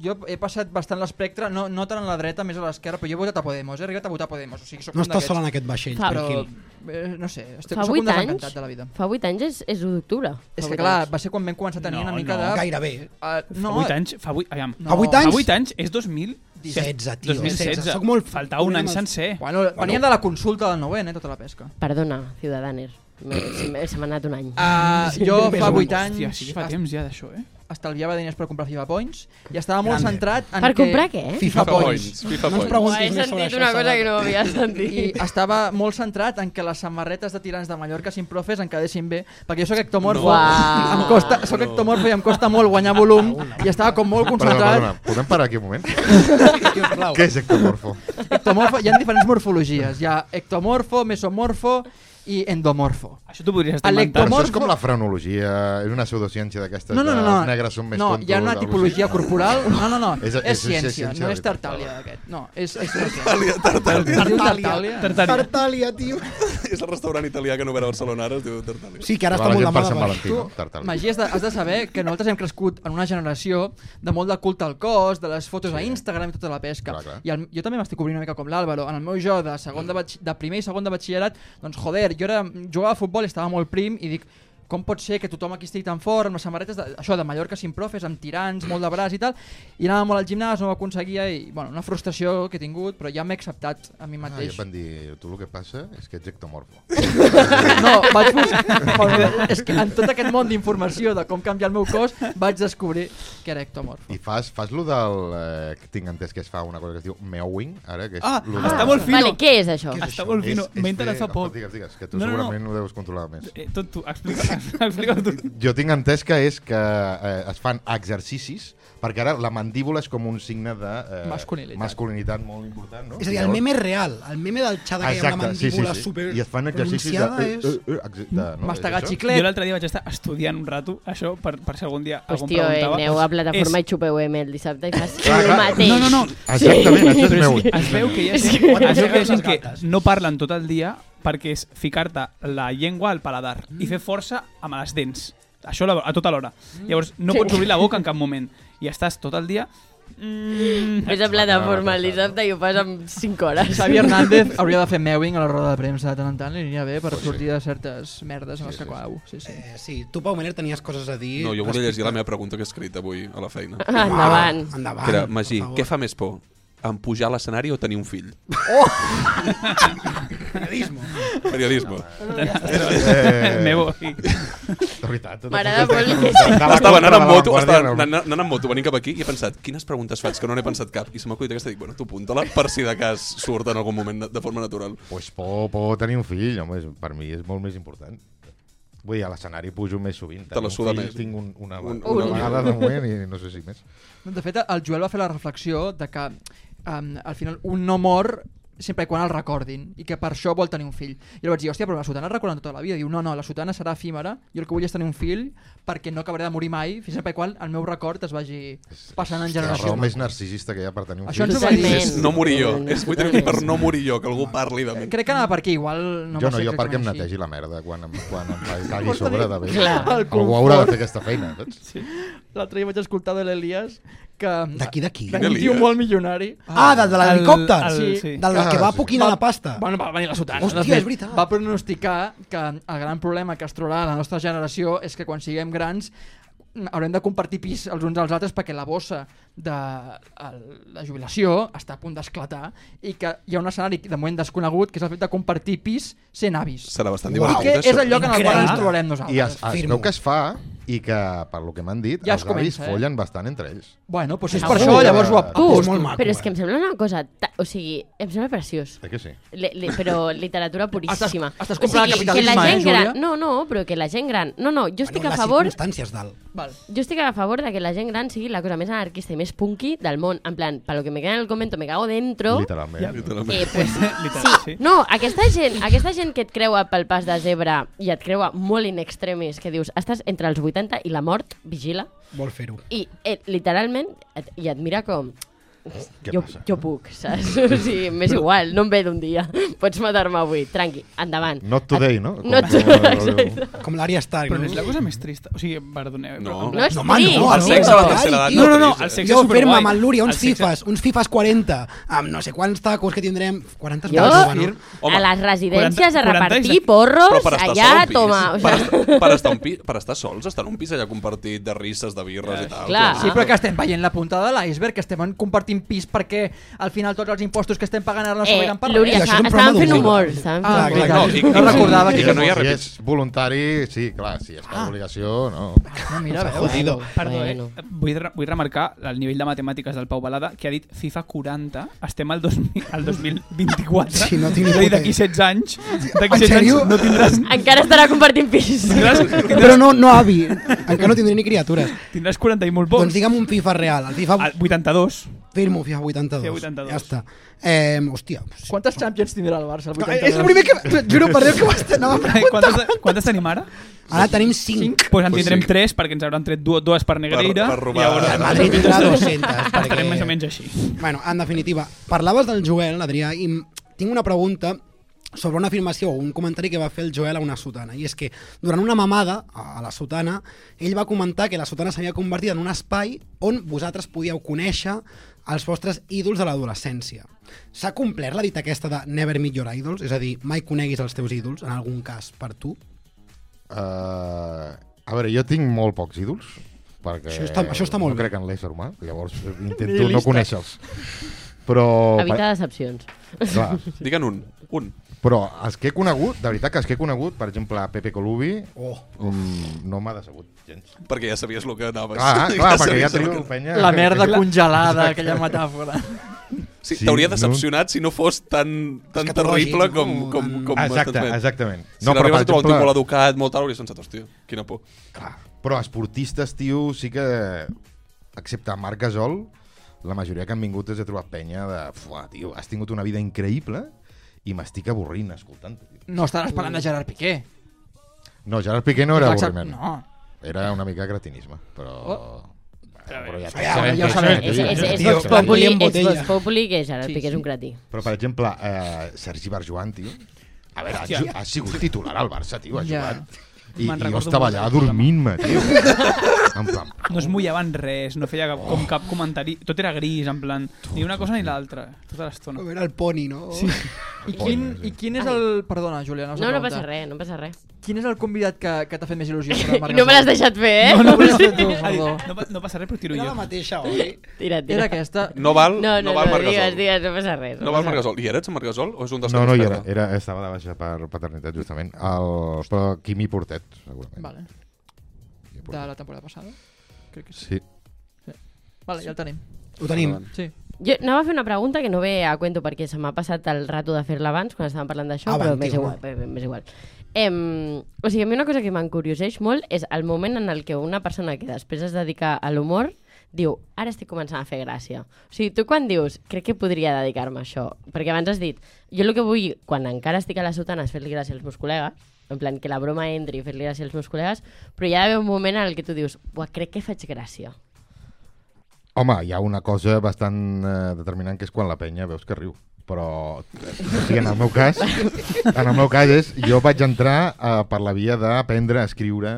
F: Jo he passat bastant l'espectre, no, no tant a la dreta, més a l'esquerra, però jo he votat a Podemos, he arribat a votar a Podemos. O sigui, soc
E: No
F: un
E: estàs
F: d'aquests.
E: sola en aquest vaixell,
I: Fa-
F: Però,
E: tranquil.
F: eh, no sé, estic,
I: Fa
F: soc un
I: 8
F: desencantat
I: anys?
F: de la vida.
I: Fa 8 anys és, és 1 d'octubre.
F: És
I: Fa
F: que
I: vuit
F: clar,
I: anys.
F: va ser quan vam començar a tenir
J: No,
F: una mica
J: no.
F: de...
E: Gairebé.
F: Uh,
J: No,
F: no,
J: 8 anys, fa 8, aviam.
F: No.
E: A 8
J: A
E: anys?
J: 8 anys és 2000...
E: 16, tio.
J: 2016.
E: 16. Soc molt...
J: Faltava un any sencer.
F: Bueno, veníem de la consulta del 9 eh, tota la pesca.
I: Perdona, Ciudadaner. M'he- Se m'he- se m'ha anat un any.
F: Uh, jo
E: més
F: fa
E: o
F: 8 anys
J: Hòstia, sí que fa
F: es-
J: temps ja d'això, eh?
F: estalviava diners per comprar FIFA Points i estava molt
E: Grande.
F: centrat en
I: Per
F: que...
I: comprar
E: FIFA
I: què?
H: FIFA
E: points.
H: points. FIFA
E: No ens
H: points.
E: preguntis més sobre això. Sabat.
I: no havia
F: I estava molt centrat en que les samarretes de tirants de Mallorca sin profes en quedessin bé, perquè jo sóc ectomorfo,
I: No.
F: em costa, sóc ectomorfo i em costa molt guanyar volum i estava com molt
G: Ah, Perdona, perdona,
F: concentrat.
G: podem parar aquí un moment?
E: Sisplau.
G: Què és ectomorfo?
F: Ectomorfo, hi ha diferents morfologies, hi ha ectomorfo, mesomorfo i endomorfo.
J: Això t'ho podries estar
G: Però
J: inventant.
F: Ectomorfo-
G: això és com la frenologia, és una pseudociència d'aquestes,
F: No, no, no, no.
G: els negres són més
F: no,
G: tontos.
F: hi ha una
G: alguna cosa
F: tipologia
G: així.
F: corporal. No, no, no. És,
G: És- és- és
F: ciència,
G: ciència
F: no
G: de
F: és
G: veritat.
F: Tartàlia aquest. No, és, és Tartàlia. Tartàlia. Tartàlia. Tartàlia.
J: Tartària.
E: Tartàlia, tio.
H: És el restaurant italià que no ve a Barcelona ara, es diu Tartàlia.
E: Sí, que ara
G: Ara
E: està
G: la
E: molt de
G: gent per Sant
E: moda.
G: Valentí, no? Tartàlia.
F: Magí, has de, has de saber que nosaltres hem crescut en una generació de molt de culte al cos, de les fotos sí. a Instagram i tota la pesca.
G: Clar, clar.
F: I el, jo també m'estic obrint una mica com l'Àlvaro. En el meu jo de, segon de, batx- de primer i segon de batxillerat, doncs joder, jo era, jugava a futbol i estava molt prim i dic com pot ser que tothom aquí estigui tan fort amb les samarretes de, això de Mallorca sin profes, amb tirants, molt de braç i tal, i anava molt al gimnàs, no ho aconseguia i, bueno, una frustració que he tingut, però ja m'he acceptat a mi
G: Ah, i
F: mateix.
G: et van dir, tu el que passa és que ets ectomorfo.
F: No, vaig buscar... és que en tot aquest món d'informació de com canviar el meu cos vaig descobrir que era ectomorfo.
G: I fas, fas lo del... Eh, que tinc entès que es fa una cosa que es diu meowing, ara, que és...
J: Ah,
G: lo
J: està
G: de-
J: molt fino.
I: Vale, què és això?
J: Què és Està molt fino.
G: és
J: M'he enterat
G: fer-
J: fa poc.
G: Digues, digues, que tu
J: No, no, no.
G: segurament ho deus controlar més.
J: Eh, tot tu, <laughs> explica, explica tu.
G: Jo tinc entès que és que eh, es fan exercicis, perquè ara la mandíbula és com un signe de... Eh,
F: Masculinitat.
G: masculinitat molt important, no?
E: És a dir, el
G: Llavors-
E: meme és real. El meme del xada que hi ha amb la
G: Exacte, sí, sí,
E: mandíbula
G: sí.
E: super
G: I es fan exercicis de...
E: pronunciada és...
G: eh, eh, exacte, no?
F: Mastegar
G: És això?
J: Jo
F: xiclet.
J: l'altre dia vaig estar estudiant un rato això per, per si algun dia
I: Pues
J: algú em
I: tio, eh,
J: preguntava.
I: aneu a plataforma
J: és...
I: i xupeu M el dissabte i fas
G: Clar,
I: el
G: clar.
I: mateix.
J: No, no, no.
G: Exactament, això és
J: Però
G: meu.
J: és que es veu que hi ha gent, es veu que, hi ha gent que no parlen tot el dia perquè és ficar-te la llengua al paladar i fer força amb les dents. Això a la- a tota l'hora. Llavors, no pots obrir la boca en cap moment. I estàs tot el dia... Mm,
I: Ves a plataforma el dissabte i ho fas en 5 hores.
F: Xavi Hernández hauria de fer mewing a la roda de premsa de tant en tant, li aniria bé per sortir de certes merdes en les que cau. Sí, sí.
E: Eh, sí, tu, Pau Mener, tenies coses a dir...
H: No, jo volia
E: respecte-
H: llegir la meva pregunta que he escrit avui a la feina.
I: Ah, Endavant.
E: Endavant.
H: Era,
E: per
H: Magí,
E: favor.
H: què fa més por? en pujar a l'escenari o tenir un fill.
E: Periodismo.
H: Periodisme.
G: Eh.
J: <laughs> Me voy.
G: De veritat. tot
I: M'agrada
G: això és
I: molt.
G: de- de- de la
H: Estava anant
G: contra
H: amb
G: de la
H: moto,
G: Vanguardia,
H: estava
G: no.
H: anant, anant amb moto, venint cap aquí i he pensat, quines preguntes faig, que no n'he pensat cap. I se m'ha acudit aquesta, dic, bueno, tu apunta-la per si de cas surt en algun moment de- de forma natural.
G: pues por, por tenir un fill, home, és, per mi és molt més important. Vull dir, a l'escenari pujo més sovint.
H: Te la
G: Tenir un
H: suda
G: fill,
H: més.
G: Tinc un, una,
H: Un-
G: una
I: un.
G: vegada de moment i no sé si més.
F: No, De fet, el Joel va fer la reflexió de que um, al final un no mor sempre i quan el recordin i que per això vol tenir un fill. I llavors vaig dir, hòstia, però la sotana et recorden tota la vida. Diu, no, no, la sotana serà efímera i el que vull és tenir un fill perquè no acabaré de morir mai fins sempre i quan el meu record es vagi passant en
G: És la
F: generació.
G: raó més narcisista que hi ha per tenir un
F: Això ens
G: fill.
F: ho va dir.
I: Totalment.
H: És no morir jo. És vull tenir un fill per no morir jo, que algú parli de mi.
F: Crec que anava per aquí, igual... No
G: jo
F: va
G: no,
F: ser
G: jo perquè em
F: exactament així.
G: netegi la merda quan em, quan em cagui sobre de bé.
I: Clar.
F: El
G: Algú haurà de
F: confort.
G: fer aquesta feina, saps?
F: L'altre dia vaig escoltar de l'Elias que...
E: D'aquí, d'aquí.
F: D'un tio
H: Elias.
F: molt milionari.
E: Ah, del de l'helicòpter.
J: El- el-
F: Sí.
J: sí.
E: Del que va
G: Ah, sí.
E: poquinar la pasta.
F: Bueno, va venir la sotana.
E: Hòstia,
F: De fet,
E: és veritat.
F: Va pronosticar que el gran problema que es trobarà la nostra generació és que quan siguem grans mm, haurem de compartir pis els uns als altres perquè la bossa de el- la jubilació està a punt d'esclatar i que hi ha un escenari de moment desconegut que és el fet de compartir pis sent avis.
H: Serà bastant
E: Uau.
H: divertit,
F: I que és
H: això.
F: el lloc en el qual
E: Increïble.
F: ens trobarem
G: I es,
F: nosaltres.
G: es
E: Firmo.
G: veu que es fa i que, per lo que m'han dit,
F: Ja es
G: els avis
F: comença, eh?
G: follen bastant entre ells.
F: Bueno, doncs si és
I: Ah,
F: per
I: sí.
F: això, llavors ho
G: Tu,
E: és molt
F: aposto.
E: maco,
I: Però és
E: eh?
I: que em sembla una cosa... ta- O sigui, em sembla preciós.
G: Eh que sí?
I: Le, le, però literatura puríssima.
F: Estàs- estàs comprant el capitalisme,
I: que la gent
F: eh, Ah, Júlia?
I: gran, No, no, però que la gent gran... No, no, jo estic
E: Bueno,
I: a
E: les
I: favor...
E: circumstàncies dalt.
F: Val.
I: Jo estic a favor de que la gent gran sigui la cosa més anarquista i més punky del món. En plan, pa lo que me queda en el convento me cago dentro.
G: Literalment.
I: Eh, pues,
J: <laughs> Literal, sí.
I: no, aquesta gent, aquesta gent que et creua pel pas de zebra i et creua molt in extremis, que dius, estàs entre els 80 i la mort, vigila,
E: Vol fer-ho.
I: i eh, literalment, et, i et mira com...
G: Què
I: jo,
G: passa?
I: jo puc, saps? <laughs> O sigui, m'és igual, no em ve d'un dia. <laughs> Pots matar-me avui, tranqui, endavant.
G: Not today, no?
I: Not
G: Com-
I: today,
G: com-
E: Com l'àrea Stark.
J: Però no és la cosa més trista. O sigui, perdoneu. eh,
H: No.
J: però com-
I: No és
E: No, home,
I: trist.
E: no,
H: El sexe a la tercera edat
J: No, no, no,
H: trist,
J: el
H: eh?
J: sexe
E: jo
J: és
E: firma
J: superguai.
E: amb el Luri
J: El
E: uns
J: sexe-
E: fifes, uns fifes 40, amb no sé quants tacos que tindrem. 40
I: Jo,
E: tacos, no?
H: Home,
I: a les residències,
J: 40
I: a repartir
J: 40
H: Però
I: porros,
H: per estar
I: allà,
H: sol
I: toma...
H: al
I: O
H: pis, per,
I: sigui,
H: estar, per, estar un pi, per estar sols, estar en un pis allà compartit de risses, de birres i tal.
I: Clar.
H: com-
F: Sí, però que estem veient la puntada de l'iceberg, que estem compartint pis perquè al final tots els impostos que estem pagant ara no
I: eh,
F: serviran per
I: Lúria,
E: Això és un
I: estàvem
E: programa
I: fent
E: d'humor.
I: humor,
E: Clar,
I: estàvem
F: Ah,
E: clar,
F: clar,
E: clar.
F: no, no recordava
H: I
F: que...
H: que no hi ha
G: si
H: repits.
G: és voluntari, sí, clar, si és per obligació, no.
F: No, mira, veus?
E: Jodido.
J: Perdó, eh?
I: Bueno.
J: Vull, re vull remarcar el nivell de matemàtiques del Pau Balada, que ha dit FIFA 40, estem al, 2000, al 2024.
E: Sí, no tinc ni
J: És a dir,
E: puta
J: d'aquí 16 anys,
E: En
J: d'aquí 16
E: sèrio?
J: anys no
E: <laughs>
J: tindràs,
I: Encara estarà compartint pis. <laughs>
J: tindràs,
E: Però no, no avi, encara no tindré ni criatures.
J: tindràs 40 i molt Ah, pocs.
E: Doncs digue'm un FIFA real, el FIFA...
J: Al 82.
E: Firmo FIFA 82.
J: FIFA 82.
E: Ja està. Eh, hòstia. pues-
F: Quantes Champions tindrà el Barça? El
E: No, eh, és el primer que... Juro per Déu que ho estic... Anava a preguntar.
J: Quantes, quantes tenim ara?
E: Ara tenim 5.
J: Doncs pues en
H: Pues
J: tindrem
H: sí.
J: 3 perquè ens hauran tret dues, dues per Negreira.
H: Per- per robar.
J: Llavors,
E: El Madrid tindrà 200.
J: estarem més o menys així.
E: Bueno, en definitiva, parlaves del Joel, Adrià, i m- tinc una pregunta sobre una afirmació o un comentari que va fer el Joel a una sotana. I és que durant una mamada a a la sotana, ell va comentar que la sotana s'havia convertit en un espai on vosaltres podíeu conèixer els vostres ídols de l'adolescència. S'ha complert la dita aquesta de never meet your idols? És a dir, mai coneguis els teus ídols, en algun cas, per tu?
G: Uh, a veure, jo tinc molt pocs ídols, perquè
E: Això està- això està molt
G: no
E: bé.
G: crec en l'ésser humà, llavors intento no conèixer-los. Però,
I: Evita decepcions.
G: clar,
H: Digue'n un. Un.
G: però els que he conegut, de veritat que els que he conegut, per exemple, Pepe Colubi,
E: Oh,
G: mm, no m'ha decebut gens.
H: Perquè ja sabies el que anaves.
G: Clar,
H: <laughs>
G: clar, perquè ja
H: sabies el
G: teniu penya...
F: La merda congelada, aquella metàfora.
H: Sí,
G: Sí,
H: T'hauria
G: no?
H: decepcionat si no fos tan, tan
E: Escatològic,
H: terrible
E: no?
H: com... com, com
G: Exacte,
H: transmet.
G: exactament.
H: Si no, l'arribes a trobar un tio molt educat, molt tal, hauries pensat, hòstia, quina por.
G: Clar. Però esportistes, tio, sí que... Excepte Marc Gasol, la majoria que han vingut és de trobar penya de... Fuà, tio, has tingut una vida increïble i m'estic avorrint escoltant-te. tio."
F: No estaràs parlant de Gerard Piqué.
G: No, Gerard Piqué no era
F: Exacte-
G: avorriment.
F: No.
G: Era una mica cretinisme, però... Bueno, però ja,
E: ja, ja
G: sabem que-
E: ho sabem.
I: És, és, és,
E: Tio,
I: Vox Populi,
E: Guillem
I: és
E: Botella.
I: Vox Populi, que Gerard
F: Sí,
I: Piqué és
F: sí.
I: un cretí.
G: Però, per exemple, eh, Sergi Barjuan, tio, a veure, ha,
J: Hòstia.
G: ju- ha sigut titular al Barça, tio, ha
F: Ja.
G: jugat. I,
J: Me'n
G: i jo
J: recordo
G: estava
J: molt
G: allà
J: del
G: dormint-me, tio.
J: <laughs>
G: en plan,
J: No es mullaven res, no feia cap, com cap comentari, tot era gris, en plan, ni una cosa ni l'altra, tota l'estona.
E: com era el poni, no? Sí.
F: I quin, i quin és el... Perdona, Juliana,
I: No, no passa res, no passa res.
F: Quin és el convidat que, que t'ha fet més
I: <laughs>
F: il·lusió? sobre el Marc
I: No me l'has
F: Gasol?
I: deixat fer, eh?
F: No,
I: <laughs>
F: no me l'has fet tu,
J: Ha dit,
F: perdó.
J: no, pa- no passa res, però tiro
E: Era
J: jo.
E: la mateixa, oi?
I: Tira, tira.
F: Era aquesta.
H: No val,
I: No, no, no,
H: val
I: no
H: Marc
I: digues,
H: Gasol.
I: digues, no passa res.
H: No val Marc Gasol. I eres en Marc Gasol o és un dels
G: No,
H: que
G: no hi
H: es
G: era,
H: perda?
G: era, estava de baixa per paternitat, justament. El, però Quimi Portet, segurament.
F: Vale,
G: Quimi
F: de
G: Portet.
F: la temporada passada. Crec que sí.
G: Sí.
F: Vale, ja el tenim.
E: Ho tenim.
F: Sí.
I: Jo anava a fer una pregunta que no ve a cuento perquè se m'ha passat el rato de fer-la abans quan estàvem parlant d'això,
E: Avant,
I: però m'és
E: tio,
I: igual. bé, bé, M'és igual. Em, o sigui, a mi una cosa que m'encurioseix molt és el moment en el que una persona que després es dedica a l'humor diu, ara estic començant a fer gràcia. O sigui, tu quan dius, crec que podria dedicar-me a això, perquè abans has dit, jo el que vull, quan encara estic a la sotana, és fer-li gràcia als meus col·legues, en plan, que la broma entri i fer-li gràcia als meus col·legues, però hi ha d'haver un moment en el que tu dius, buah, crec que faig gràcia.
G: Home, hi ha una cosa bastant eh, determinant que és quan la penya veus que riu però o sigui, en el meu cas en el meu cas és, jo vaig entrar eh, per la via d'aprendre a escriure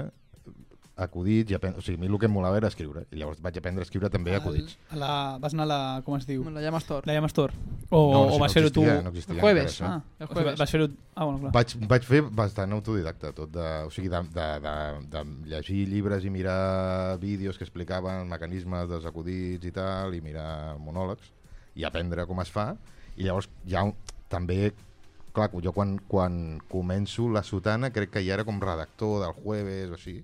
G: acudits, i aprendre, o sigui, a mi el que em molava era escriure, i llavors vaig aprendre a escriure
J: Ah.
G: també acudits.
J: A La, vas anar a la... Com es diu?
F: Me la llames Thor.
J: La llames Tor. O, o vas fer-ho tu...
G: existia, No existia,
F: El jueves,
G: encara, això.
J: Ah,
F: El jueves.
J: vas fer-ho... Ah, bueno, clar.
G: Vaig, vaig fer bastant autodidacta tot, de, o sigui, de, de, de, de llegir llibres i mirar vídeos que explicaven mecanismes dels acudits i tal, i mirar monòlegs, i aprendre com es fa, i llavors ja un- també, clar, jo quan, quan començo la sotana crec que ja era com redactor del jueves o així,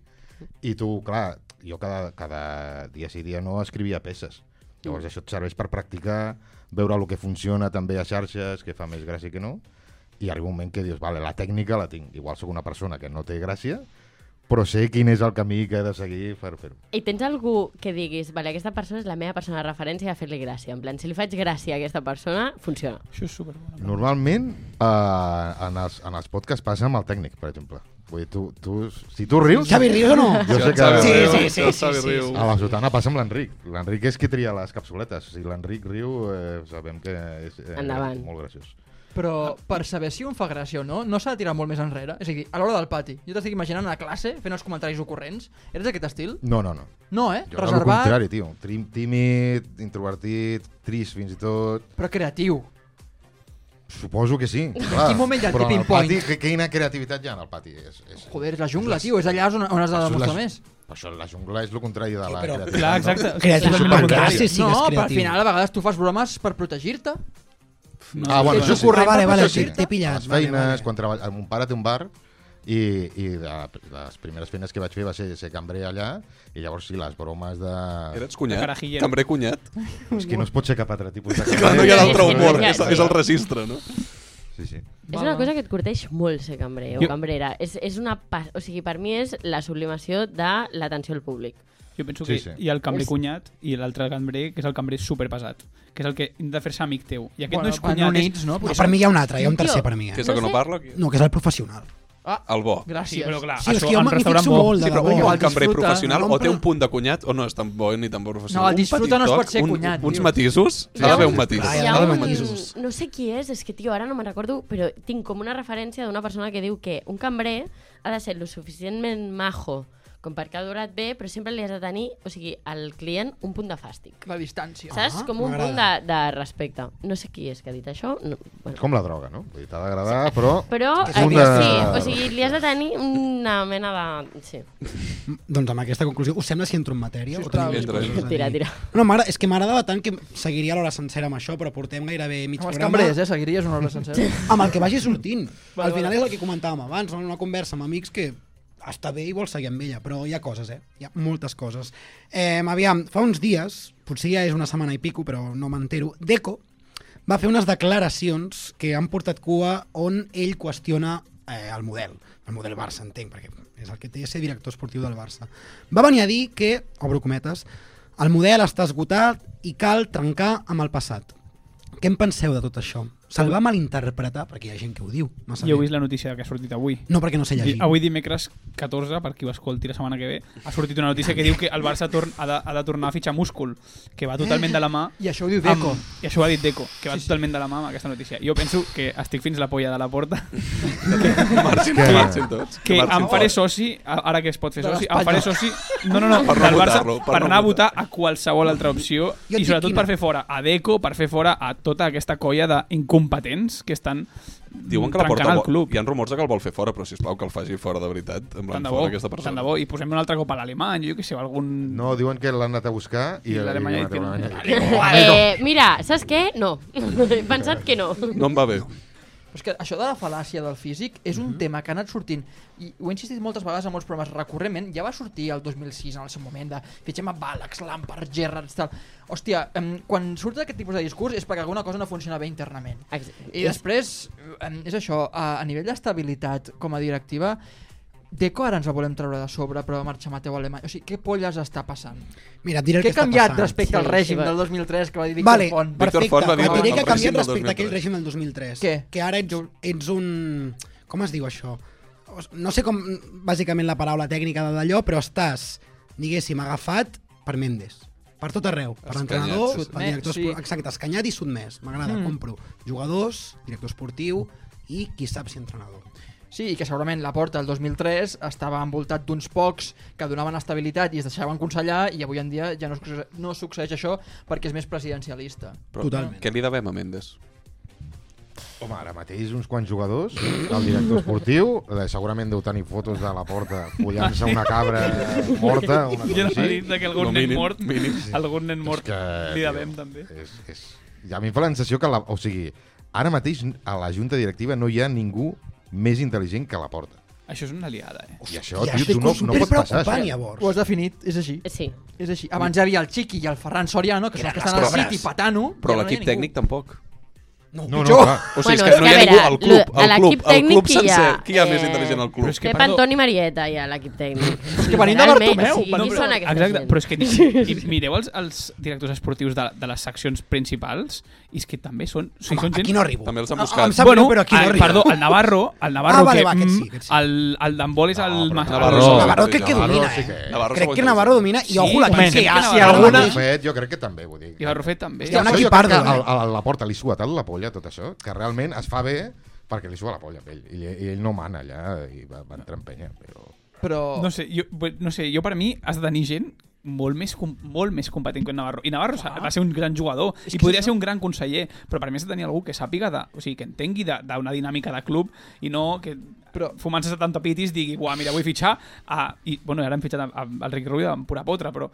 G: i tu, clar, jo cada, cada dia sí dia no escrivia peces. Llavors això et serveix per practicar, veure el que funciona també a xarxes, que fa més gràcia que no, i arriba un moment que dius, vale, la tècnica la tinc. Igual sóc una persona que no té gràcia, però sé quin és el camí que he de seguir per fer-ho.
I: I tens algú que diguis, vale, aquesta persona és la meva persona de referència a fer-li gràcia. En plan, si li faig gràcia a aquesta persona, funciona.
J: Això és superbona.
G: Normalment, eh, en, els, en els podcasts passa amb el tècnic, per exemple. Vull dir, tu, tu, si tu rius...
E: Xavi, rius o no?
G: Jo sé que...
E: Sí, sí, sí,
H: sí,
E: sí,
H: sí,
E: sí, sí.
G: A la sotana passa amb l'Enric. L'Enric és qui tria les capsuletes. O sigui, l'Enric riu, eh, sabem que és eh,
I: Endavant.
G: molt graciós.
F: Però per saber si un fa gràcia o no, no s'ha de tirar molt més enrere. És a dir, a l'hora del pati. Jo t'estic imaginant a classe fent els comentaris ocorrents. Eres d'aquest estil?
G: No, no, no.
F: No, eh?
G: Jo era el
F: Reservat,
G: contrari, tio. Trim- Tímid, introvertit, trist fins i tot.
F: però creatiu.
G: Suposo que sí.
F: quin moment hi ha el
G: Però en
F: tipping
G: el pati,
F: point?
G: que- quina creativitat hi ha en el pati? És, és,
F: Joder, és la jungla, tio. És allà on, on has de
G: Això és
F: demostrar
G: la-
F: més.
G: Per això la jungla és el contrari de la
E: però-
G: creativitat.
J: Clar, exacte. O sigui,
E: Creatiu
J: totalment
G: és
J: el contrari.
E: supergràcies. Sí,
F: no,
E: és
F: però al
E: creatiu.
F: final a vegades tu fas bromes per protegir-te.
G: No? Ah, bueno,
F: Això
G: això
F: és
G: sí.
E: correcte, Ah, vale, vale,
G: Això sí.
E: t'he- t'he pillat,
G: A Les
E: vale,
G: feines,
E: vale.
G: quan treballa... Mon pare té un bar i, i de, les primeres feines que vaig fer va ser ser cambrer allà i llavors sí, les bromes de...
H: Eres cunyat?
J: carajillero.
H: Cambrer cunyat?
G: És que no es pot ser cap altre tipus de
H: Clar, no hi ha
I: Sí,
H: l'altre
I: sí,
H: humor,
I: sí,
H: és,
I: sí.
H: és el registre, no?
G: Sí, sí.
I: És una cosa que et curteix molt ser cambrer o
J: Jo-
I: cambrera. És, és una pa- o sigui, per mi és la sublimació de l'atenció al públic.
J: Jo penso
G: Sí,
J: que
G: sí.
J: hi ha el cambrer
I: És-
J: cunyat i l'altre cambrer, que és el cambrer superpesat, que és el que intenta fer-se amic teu. I aquest
F: Bueno,
J: no és
F: van
J: cunyat,
F: units,
J: és...
F: no?
E: No,
F: Perquè
E: per mi eh? Ah, hi ha un altre, hi ha un
I: Tio.
E: tercer per mi.
H: Que
E: Eh?
H: és el que
I: No
H: no
I: sé.
H: parla? aquí?
E: No, que és el professional.
H: El bo.
J: Sí,
F: Gràcies.
J: però clar,
E: Sí, és
J: això,
E: que jo
J: en
E: m'hi
J: restaurant
E: fixo
J: bo...
E: molt,
H: Sí,
E: de
H: però
E: debò.
H: un
F: bo.
H: bon cambrer
F: Disfruta,
H: professional
F: no
H: o té
F: compra-
H: un punt de cunyat o no és tan bo ni tan bo professional.
F: No, el
H: Un
F: disfruta
H: petit
F: no es pot
H: toc,
F: ser
H: un-
F: cunyat,
H: Uns
F: tio.
H: matisos? Ha d'haver un matís.
E: Ah,
I: Hi
E: ja.
I: ha
E: de
I: un,
E: matisos.
I: no sé qui és, és que, tio, ara no me'n recordo, però tinc com una referència d'una persona que diu que un cambrer ha de ser lo suficientment majo com perquè ha durat bé, però sempre li has de tenir, o sigui, al client un punt de fàstic.
F: La distància.
I: Saps?
E: Ah,
I: Com un punt de,
E: m'agrada.
I: de respecte. No sé qui és que ha dit això. No, bueno.
G: És com la droga, no? Vull dir, t'ha d'agradar, però...
I: Però,
G: És
I: eh,
G: una-
I: sí, o sigui, li has de tenir una mena de... Sí.
E: Doncs amb aquesta conclusió, us sembla si entro en matèria? o tenim més
H: Entra,
E: coses a dir?
I: Tira, tira.
E: No, m'agra- és que m'agradava tant que seguiria l'hora sencera amb això, però portem gairebé mig
F: Amb els
E: programa
F: cambrers, eh? Seguiries una
E: <laughs>
F: hora sencera.
E: amb el que vagi sortint.
F: Vale,
E: Al final
F: vale.
E: és el que comentàvem abans, no? una conversa amb amics que està bé i vols seguir amb ella, però hi ha coses, eh? Hi ha moltes coses. Eh, aviam, fa uns dies, potser ja és una setmana i pico, però no m'entero, Deco va fer unes declaracions que han portat cua on ell qüestiona eh, el model, el model Barça, entenc, perquè és el que té ser director esportiu del Barça. Va venir a dir que, obro cometes, el model està esgotat i cal trencar amb el passat. Què en penseu de tot això? Se'l va malinterpretar, perquè hi ha gent que ho diu. massa
J: Jo he
E: bé.
J: vist la notícia que ha sortit avui.
E: No, perquè no sé
J: Di-
E: llegir.
J: Avui dimecres 14, per qui ho escolti la setmana que ve, ha sortit una notícia que diu que el Barça torn, ha, de, ha de tornar a fitxar múscul, que va totalment de la mà...
F: I això ho diu Deco.
J: Amb, I això ho ha dit Deco, que va totalment de la mà amb aquesta notícia. Jo penso que estic fins la polla de la porta,
H: <laughs> Marxin,
G: Que-
H: marxin tots.
J: que
H: marxin
J: em faré
H: tots.
J: soci, a- ara que es pot fer
F: De
J: soci,
F: l'Espanya.
J: em faré soci no, no, no,
H: <laughs> Per no
J: del Barça,
H: votar-lo, per
J: per
H: no
J: anar a
H: votar.
J: votar a qualsevol altra opció
E: Jo et
J: i
E: dic
J: sobretot
E: quina.
J: per fer fora a Deco, per fer fora a tota aquesta colla d'incompetents incompetents que estan
H: Diuen que la porta...
J: trencant el
H: vol-
J: club.
H: Hi ha rumors de que el vol fer fora, però si plau que el faci fora de veritat. En
J: Tant
H: plan,
J: de
H: fora
J: bo,
H: aquesta persona.
J: tant de bo. I posem un altre cop a l'alemany, jo què sé, algun...
G: No, diuen que l'han anat a buscar i,
J: I
G: i
J: l'Alemanya ha dit que no.
G: l'Alemanya-
I: Eh, mira, saps què? No. <laughs> He pensat que no.
H: No em va bé.
F: Però és que això de la fal·làcia del físic és
E: Mhm.
F: un tema que ha anat sortint i ho he insistit moltes vegades a molts programes recurrentment, ja va sortir el 2006 en el seu moment de fitxem a Balax, Lampard, Gerrard, tal. Hòstia, em, quan surt aquest tipus de discurs és perquè alguna cosa no funciona bé internament.
I: Ex-
F: I després, em, és això, a, a nivell d'estabilitat com a directiva, Deco ara ens la volem treure de sobre, però marxa Mateu Alemany. O sigui, què polles està passant?
E: Mira, et diré el que
F: Què ha
E: està
F: canviat
E: passant.
F: respecte al
I: Sí, sí,
F: règim
I: va.
F: del 2003 que va dir Víctor
E: Vale,
F: Font?
H: Víctor
E: perfecte.
H: Font va dir
E: Et diré
H: el
E: que ha
H: règim
E: canviat
H: del
E: respecte a aquell
H: 2003.
E: règim del 2003.
F: Què?
E: Que ara ets, ets un... Com es diu això? O s- No sé com, bàsicament, la paraula tècnica de d'allò, però estàs, diguéssim, agafat per Mendes. Per tot arreu. Per
H: Escanyat,
E: l'entrenador,
H: sí, sí.
E: per directors...
F: Sí.
E: Sí. Exacte, escanyat i sotmès. M'agrada, mm. compro jugadors, director esportiu i qui sap si entrenador.
F: Sí, i que segurament la porta el 2003 estava envoltat d'uns pocs que donaven estabilitat i es deixaven consellar i avui en dia ja no, succe- no succeeix això perquè és més presidencialista.
H: Però
E: Totalment.
H: Què li devem a Mendes?
G: Home, ara mateix uns quants jugadors, el director esportiu, eh, segurament deu tenir fotos de la porta follant-se una cabra morta, una
J: <laughs>
G: cosa
J: Jo no m'ha
G: així.
J: dit que
H: No,
J: algun nen
H: mínim,
J: mort,
H: mínim.
J: algun nen mort
G: que,
J: li
G: tio,
J: devem també.
G: És, és... I a mi em fa la sensació que, la, o sigui, ara mateix a la junta directiva no hi ha ningú més intel·ligent que la porta.
J: Això és una liada, eh?
G: I això,
E: Ja
G: tio,
E: estic
G: tu no, no pot passar.
E: superpreocupant,
G: Això.
E: llavors.
F: Ho has definit, és així.
I: Sí.
F: És així. Abans hi havia el Chiqui i el Ferran Soriano, que són els que estan
H: les
F: al
H: cabres.
F: City patano. i
H: Però
F: ara no hi ha
H: l'equip
F: ningú.
H: tècnic tampoc.
G: No, no, clar.
H: O sigui,
I: Bueno,
H: és que no hi ha
I: a
H: ningú
I: veure,
H: al club.
I: a
H: Al
I: l'equip
H: club, al
I: tècnic
H: club
I: qui hi ha?
H: sencer. Qui hi ha més
I: Eh,
H: intel·ligent al
J: però
H: club?
J: és que
I: Pep
J: perdó.
I: Antoni Marieta, ja, l'equip tècnic.
F: que venim de Bartomeu,
I: O sigui,
F: per
I: qui
F: Déu.
I: són aquesta
J: Exacte,
I: gent?
J: però és que
I: <laughs>
J: i mireu els, els directors esportius de, de les seccions principals i és que també són... O sigui,
E: Home,
J: són gent...
E: aquí no arribo.
H: També els han
E: Ah, em
H: buscat.
E: sap greu, però aquí no
J: el,
E: arribo.
J: perdó, el Navarro, el Navarro
E: Ah, vale,
J: que,
E: va, aquest sí,
J: mm,
E: aquest sí.
J: el, el d'handbol és el... mas-
H: Navarro,
J: el-
H: Navarro,
E: Navarro
H: sí,
E: crec que
H: Navarro
E: domina,
G: sí
E: eh?
G: que-
H: Navarro
E: crec
H: segon
E: que Navarro
H: tercer.
E: domina i
J: Sí,
E: algú la ah,
J: home,
E: que
J: crec que
E: si
J: Navarro
E: algú...
G: Alguna...
J: Alguna-
G: Fet, jo crec que també, vull dir.
J: I la Rufet també.
E: Hòstia, un
G: Això jo
E: equip
G: crec que
E: pardo,
G: a,
E: eh?
G: a, a la porta li sua tant la polla, tot això, que realment es fa bé perquè li sua la polla a ell. I, ell- i ell no mana allà i va, va entrar en penya. Però...
F: Però...
J: No sé, jo, bé, no sé, jo per mi has de tenir gent molt més, com, molt més competent que en Navarro. I Navarro ah. va ser un gran jugador i podria ser un gran conseller, però per mi has de tenir algú que sàpiga, de, o sigui, que entengui de- d'una dinàmica de club i no que però fumant-se 70 pitis digui, buah, mira, vull fitxar a... I, bueno, ara hem fitxat a- a- al Ricky Rubio amb pura potra, però,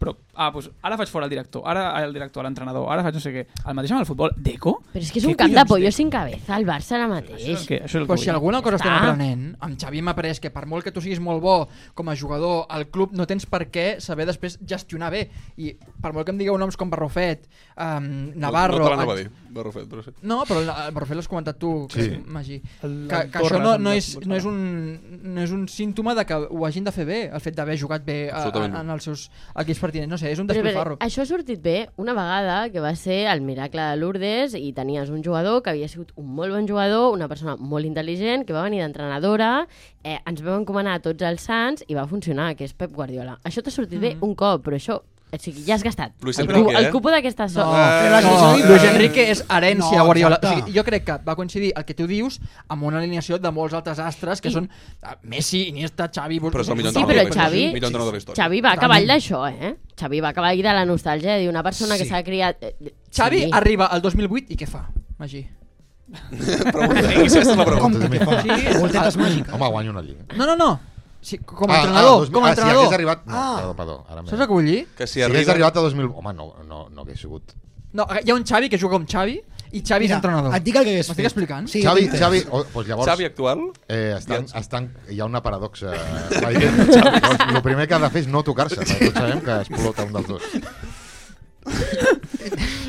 J: però ah, doncs ara faig fora el director, ara el director, l'entrenador, ara faig no sé què. El mateix amb el futbol, Deco?
I: Però és que és
J: Què
I: un camp de
J: collons,
I: pollo
J: Deco?
I: sin cabeza, el Barça ara
J: Això és
I: mateix.
J: el que, això és el
F: Però
J: que
F: si
J: vull.
F: alguna cosa estem
J: Ah.
I: Està.
F: aprenent, amb Xavi hem après que per molt que tu siguis molt bo com a jugador al club, no tens per què saber després gestionar bé. I per molt que em digueu noms com Barrofet, um, Navarro...
H: No, no te l'anava
F: et-
H: a dir, Barrufet, però sí.
F: No, però el el Barrofet l'has comentat tu, que
G: Sí.
F: sí. Magí.
J: El-
F: Que,
J: el
F: que això
J: Torres
F: no,
J: em
F: no,
J: va
F: és, no, és un, no és un símptoma de que ho hagin de fer bé, el fet d'haver jugat bé a, a,
H: Absolutament.
F: en els seus equips pertinents. No sé, és un
I: Però, però,
F: despilfarro.
I: això ha sortit bé una vegada que va ser el miracle de Lourdes i tenies un jugador que havia sigut un molt bon jugador, una persona molt intel·ligent, que va venir d'entrenadora, eh, ens vam encomanar a tots els sants i va funcionar, que és Pep Guardiola. Això t'ha sortit bé un cop, però això... O sigui, ja has gastat.
H: Luis
I: el,
H: Enrique,
I: cupo-
H: eh?
I: el cupo d'aquesta so... Eh,
E: Però
F: No,
E: això és
F: Luis
E: diferent.
F: Enrique és herència
E: No,
F: no, Guardiola. O
E: exacte.
F: sigui, jo crec que va coincidir el que tu dius amb una alineació de molts altres astres que I... són eh, Messi, Iniesta, Xavi...
H: Però és el Eh, millor
I: Sí, però
H: entrenador de la
I: Xavi,
H: història. Millor entrenador de la història.
I: Xavi va a cavall
F: Totalment.
I: d'això, eh? Xavi va a cavall de la nostàlgia, dir una persona que
E: Sí.
I: s'ha criat... eh, eh,
F: Xavi
I: sí.
F: arriba al 2008 i què fa, Magí?
H: Aquesta
G: <laughs>
H: és la pregunta.
E: Com que què fa? Voltetes màgiques.
G: Ah, Home, guanyo una lliga.
F: No, no, no. Sí, com a
G: Ah, ah,
F: entrenador,
G: dos mil-
F: com a
G: ah, Si
F: entrenador.
G: hagués arribat... No,
E: Ah.
G: perdó, perdó. Ara
F: Saps el que vull dir?
H: Que si
G: Si hagués
H: arriba...
G: arribat a 2000... Home, no, no, no hagués sigut.
F: No, hi ha un Xavi que juga amb Xavi i Xavi és entrenador.
E: et dic el que hagués
F: M'estic
E: fet.
F: explicant?
E: Sí,
G: Xavi,
E: jo t'entenc.
G: Xavi, oh, doncs llavors...
H: Xavi actual?
G: Eh, estan,
H: Ja.
G: estan, hi ha una paradoxa. eh, El Doncs, primer que ha de fer és no tocar-se. perquè Tots sabem que explota un dels dos.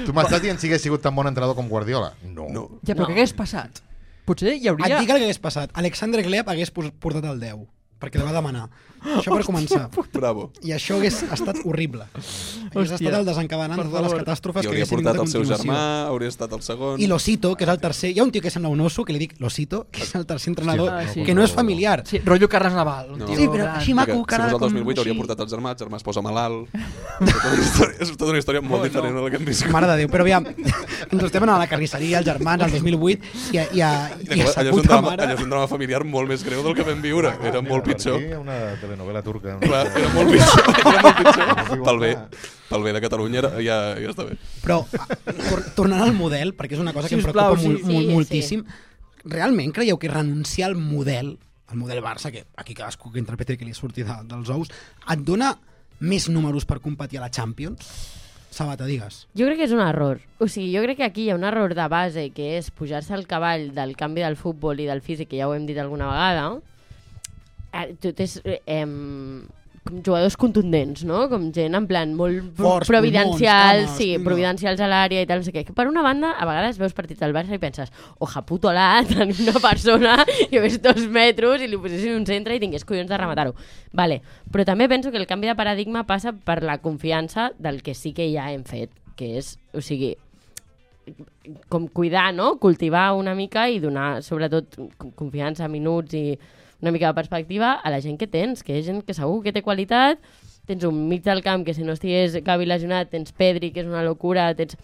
G: Tu m'estàs dient si hagués sigut tan bon entrenador com Guardiola? No.
H: No.
F: Ja, però
I: No.
F: què hagués passat? Potser hi
E: Et
F: hauria...
E: dic el que hagués passat. Alexandre Gleb hagués pos- portat el 10, perquè el va demanar. Això per començar.
H: Bravo.
E: I això hagués estat horrible. Hagués estat el desencadenant de totes les catàstrofes que
H: I hauria
E: haguessin vingut a
H: portat el seu
E: continuació.
H: germà, hauria estat el segon...
E: I l'Osito, que és el tercer... Hi ha un tio que sembla un oso, que li dic l'Osito, que és el tercer entrenador,
F: Ah, sí.
E: que no és familiar.
F: Sí, rotllo Carles Naval. Un
H: No.
F: tio
E: Sí, però
F: gran.
E: així
H: Perquè
E: maco, cara...
H: Si fos el
E: com-
H: 2008 hauria
E: sí.
H: portat el germà, el germà es posa malalt... <laughs> és tota una història, és tota una història molt diferent a la que hem viscut.
E: Mare de Déu, però aviam, <laughs> ens estem anant a la carnisseria, els germans, el 2008, i a, i a, i a,
H: Allò
E: sa
H: allò és, un
E: puta
H: drama,
E: mare...
H: allò és un drama familiar molt més greu del que vam viure. Era molt pitjor.
G: Aquí hi ha una telenovela turca. No?
H: Clar, era molt pitjor. <laughs> Era molt pitjor. Pel bé, pel bé de Catalunya era, ja, ja està bé.
E: Però a- tor tornant al model, perquè és una cosa que em
F: Sisplau,
E: preocupa
F: sí.
E: molt, molt,
I: Sí,
E: moltíssim, realment creieu que renunciar al model, al model Barça, que aquí cadascú que interpreti el que li surti de, dels ous, et dona més números per competir a la Champions? Sabata, digues.
I: Jo crec que és un error. O sigui, jo crec que aquí hi ha un error de base, que és pujar-se al cavall del canvi del futbol i del físic, que ja ho hem dit alguna vegada. Eh, Tot és... Eh, em, com jugadors contundents, no? Com gent en plan molt
E: Forts,
I: providencials,
E: pulmons,
I: sí,
E: homes,
I: providencials a l'àrea i tal, no sé què. Que per una banda, a vegades veus partits del Barça i penses, oja puto <laughs> la, tenir una persona que ves dos metres i li posessin un centre i tingués collons de rematar-ho. Vale. Però també penso que el canvi de paradigma passa per la confiança del que sí que ja hem fet, que és, o sigui, com cuidar, no? Cultivar una mica i donar, sobretot, co- confiança, minuts i una mica de perspectiva a la gent que tens, que és gent que segur que té qualitat, tens un mig del camp que si no estigués Gavi lesionat, tens Pedri, que és una locura, tens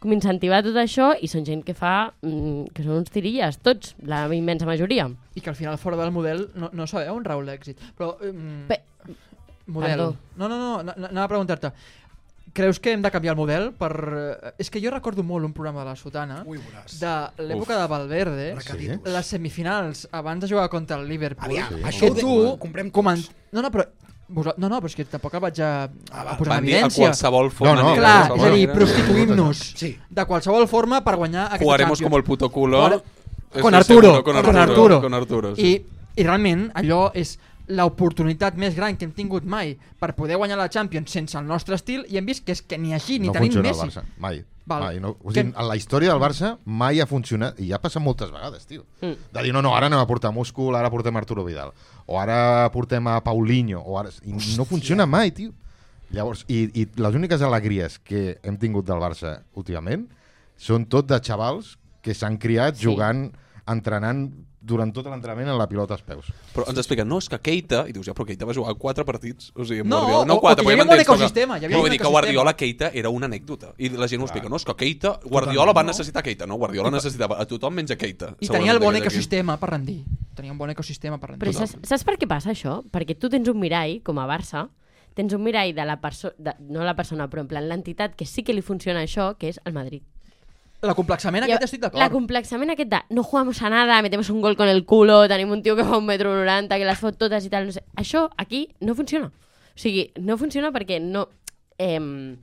I: com incentivar tot això i són gent que fa mm, que són uns tirilles, tots, la immensa majoria.
F: I que al final fora del model no, no sabeu on rau l'èxit. Però... Um,
I: Pe-
F: model.
I: Perdó.
F: No, no, no, no, anava a preguntar-te. Creus que hem de canviar el model per... eh, És que jo recordo molt un programa de la Sotana
E: Ui, veuràs.
F: de l'època de Valverde,
G: eh?
E: Sí?
F: les semifinals, abans de jugar contra el Liverpool.
E: Aviam, sí.
F: que
E: això
F: tu
E: ho comprem
F: comen...
E: tots.
F: No, no, però... vosal- No, no, però és que tampoc el vaig a,
E: Ah,
F: a posar
H: Van
F: en
H: dir a
F: evidència.
H: qualsevol forma.
G: No, no.
H: de
F: Clar, és
H: qualsevol
F: a dir,
H: manera.
F: prostituïm-nos
E: Sí.
F: de qualsevol forma per guanyar aquesta
H: Jugaremos
F: Champions.
H: como el puto culo.
F: Jugar-
H: Eso
F: Con
H: es
F: Arturo,
H: seguro, con
F: con
H: Arturo,
F: Arturo.
H: con Arturo, sí.
F: I, I realment allò és l'oportunitat més gran que hem tingut mai per poder guanyar la Champions sense el nostre estil i hem vist que és que ni així ni
G: no
F: tenim
G: funciona
F: Messi.
G: el Barça, mai.
F: Val.
G: mai no. o sigui,
F: Que-
G: en la història del Barça mai ha funcionat, i ja ha passat moltes vegades, tio. Mm. De dir, no, no, ara anem a portar múscul, ara portem Arturo Vidal, o ara portem a Paulinho, o ara... I no funciona mai, tio. Llavors, i, i les úniques alegries que hem tingut del Barça últimament són tot de xavals que s'han criat sí. jugant, entrenant durant tot l'entrenament en la pilota als peus.
H: Però ens expliquen, no, és que Keita... I dius, ja, però Keita va jugar quatre partits. O sigui, amb
F: No,
H: Guardiola.
F: o- o que hi
H: perquè
F: havia un
H: m'entens,
F: ecosistema,
H: però
F: hi
H: que-
F: havia
H: No,
F: un
H: vull dir que
F: ecosistema.
H: Guardiola Keita era una anècdota. I la gent ho explica, no, és que Keita... Guardiola va necessitar Keita, no? Guardiola necessitava a tothom menys a Keita.
F: I tenia el
H: segurament,
F: bon
H: d'aquest equip.
F: ecosistema per rendir. Tenia un bon ecosistema per
I: Però
F: rendir.
I: saps, saps per què passa això? Perquè tu tens un mirall, com a Barça, tens un mirall de la persona, no la persona, però en plan l'entitat que sí que li funciona això, que és el Madrid.
F: L'acomplexament
I: Jo-
F: aquest estic
I: La
F: d'acord.
I: complexament aquest de no jugamos a nada, metemos un gol con el culo, tenim un tio que fa un metro 90, que les fot totes i tal, no sé. Això aquí no funciona. O sigui, no funciona perquè no... Eh,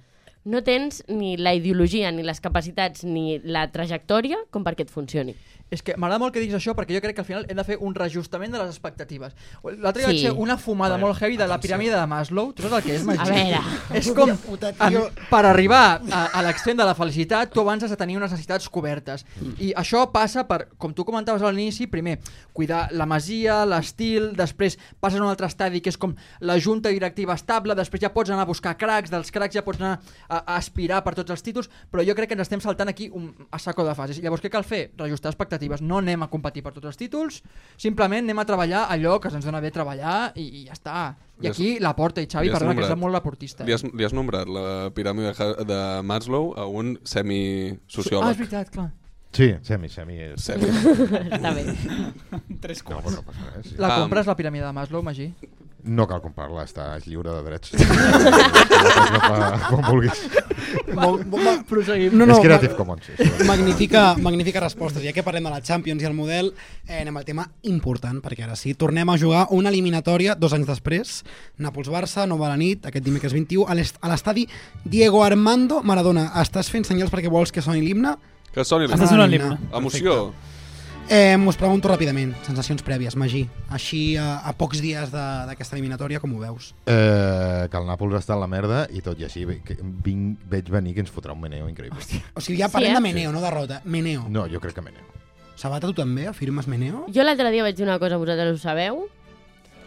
I: no tens ni la ideologia, ni les capacitats, ni la trajectòria com perquè et funcioni. <laughs>
F: És que m'agrada molt que diguis això perquè jo crec que al final hem de fer un reajustament de les expectatives. L'altre dia vaig
I: Sí.
F: fer una fumada molt heavy de la piràmide de Maslow. Tu saps el que és, Magí?
I: A veure.
F: És com,
E: puta,
F: en,
E: tio.
F: per arribar a, a l'extrem de la felicitat, tu abans has de tenir unes necessitats cobertes. I això passa per, com tu comentaves a l'inici, primer, cuidar la masia, l'estil, després passes a un altre estadi que és com la junta directiva estable, després ja pots anar a buscar cracs, dels cracs ja pots anar a, a aspirar per tots els títols, però jo crec que ens estem saltant aquí un, a saco de fases. Llavors, què cal fer? Reajustar expectatives. No anem a competir per tots els títols, simplement anem a treballar allò que ens dona bé treballar i, i ja està. I
H: Ja
F: aquí la porta i Xavi,
H: Ja has
F: perdona, que
H: nombrat.
F: és molt laportista.
H: Li has, li has nombrat la piràmide de Ha- de Maslow a un
F: Ah, és
H: semisociòleg.
F: veritat, clar.
G: Sí, semi, semi és...
H: Semi.
F: <laughs>
I: Està bé.
J: Tres
G: No,
J: quarts.
G: però no passa res. Sí.
F: La
H: Um,
F: compra és la piràmide de Maslow, Magí.
G: No cal comprar-la, estàs lliure de drets. <laughs> no fa, quan vulguis.
F: Proseguim.
E: No,
G: No, no,
E: no,
G: és Creative
E: ma-
G: Commons. això.
E: Magnífica, magnífica resposta. Ja que parlem de la Champions i el model, eh, anem al tema important, perquè ara sí, tornem a jugar una eliminatòria dos anys després. Nàpols-Barça, Nova la nit, aquest dimecres 21, a l'est- a l'estadi Diego Armando Maradona. Estàs fent senyals perquè vols que soni l'himne?
H: Que soni
J: Estàs
H: l'himne.
J: donant
E: Himne.
J: l'himne.
H: Emoció.
E: Eh, us pregunto ràpidament, sensacions prèvies, Magí. Així, a, a pocs dies de- d'aquesta eliminatòria, com ho veus?
G: Eh, que el Nàpols està a la merda i tot i així ve- que vinc, veig venir que ens fotrà un meneo increïble.
E: O sigui, ja
I: Sí,
E: parlem
I: eh?
E: de meneo, no derrota. Meneo.
G: No, jo crec que meneo.
E: Sabata, tu també afirmes meneo?
I: Jo l'altre dia vaig dir una cosa, vosaltres ho sabeu,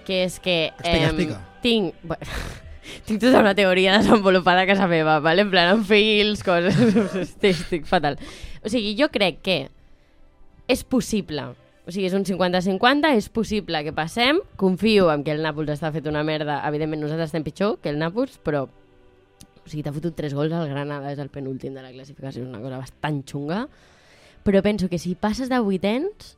I: que és que...
E: Explica, explica.
I: Tinc... Bueno, <laughs> tinc tota una teoria desenvolupada a casa meva, vale? en plan, amb fils, coses... <laughs> estic, estic fatal. O sigui, jo crec que és possible o sigui, és un 50-50, és possible que passem. Confio en que el Nàpols està fet una merda. Evidentment, nosaltres estem pitjor que el Nàpols, però... O sigui, t'ha fotut 3 gols al Granada, és el penúltim de la classificació, és una cosa bastant xunga. Però penso que si passes de vuitens,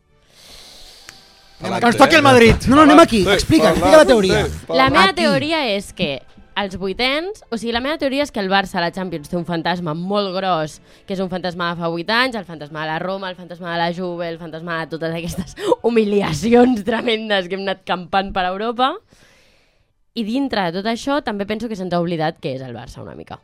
E: Que ens toqui el Madrid. No, no, anem aquí. Explica, explica la teoria.
I: La meva
E: Aquí.
I: teoria és que als vuitens, o sigui, la meva teoria és que el Barça a la Champions té un fantasma molt gros, que és un fantasma de fa vuit anys, el fantasma de la Roma, el fantasma de la Juve, el fantasma de totes aquestes <laughs> humiliacions tremendes que hem anat campant per Europa. I dintre de tot això també penso que se'ns ha oblidat que és el Barça una mica.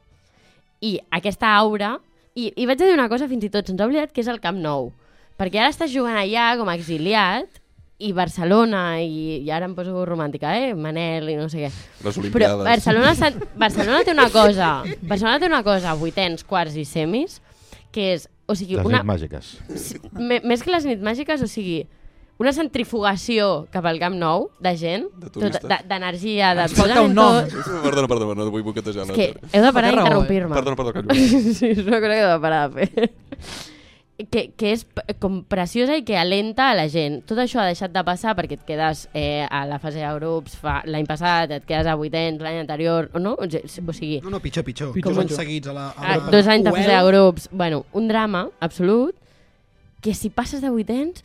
I: I aquesta aura... I, i vaig a dir una cosa fins i tot, se'ns ha oblidat que és el Camp Nou. Perquè ara estàs jugant allà com a exiliat i Barcelona, i, i ara em poso romàntica, eh? Manel i no sé què.
H: Les
I: Però
H: Olimpiades.
I: Barcelona, s'ha- Barcelona té una cosa, Barcelona té una cosa, vuitens, quarts i semis, que és, o sigui,
G: Les
I: una,
G: nits màgiques.
I: Sí, me- més que les nits màgiques, o sigui, una centrifugació cap al Camp Nou de gent,
H: De
I: tot-
H: turistes.
I: de- d'energia, de,
F: Ens falta
I: absolutament
F: un nom.
I: tot.
H: <laughs> Perdona, perdona, no vull boquetejar
I: És
H: la
I: que
H: teoria.
I: heu de parar
F: Té raó, eh?
I: d'interrompir-me.
H: Perdona,
I: <laughs>
H: perdona, callo.
I: Sí, és una cosa que he de parar de fer. Que, que és p- com preciosa i que alenta a la gent. Tot això ha deixat de passar perquè et quedes eh, a la fase de grups fa- l'any passat, et quedes a vuitens l'any anterior, o no? O ge- o sigui,
E: No, no, pitjor, pitjor.
J: Pitjor,
E: Dos anys
J: pitjor.
E: seguits a la... a
I: a,
E: la-
I: Ah, dos anys de
E: Well,
I: fase de grups, bueno, un drama absolut, que si passes de vuitens,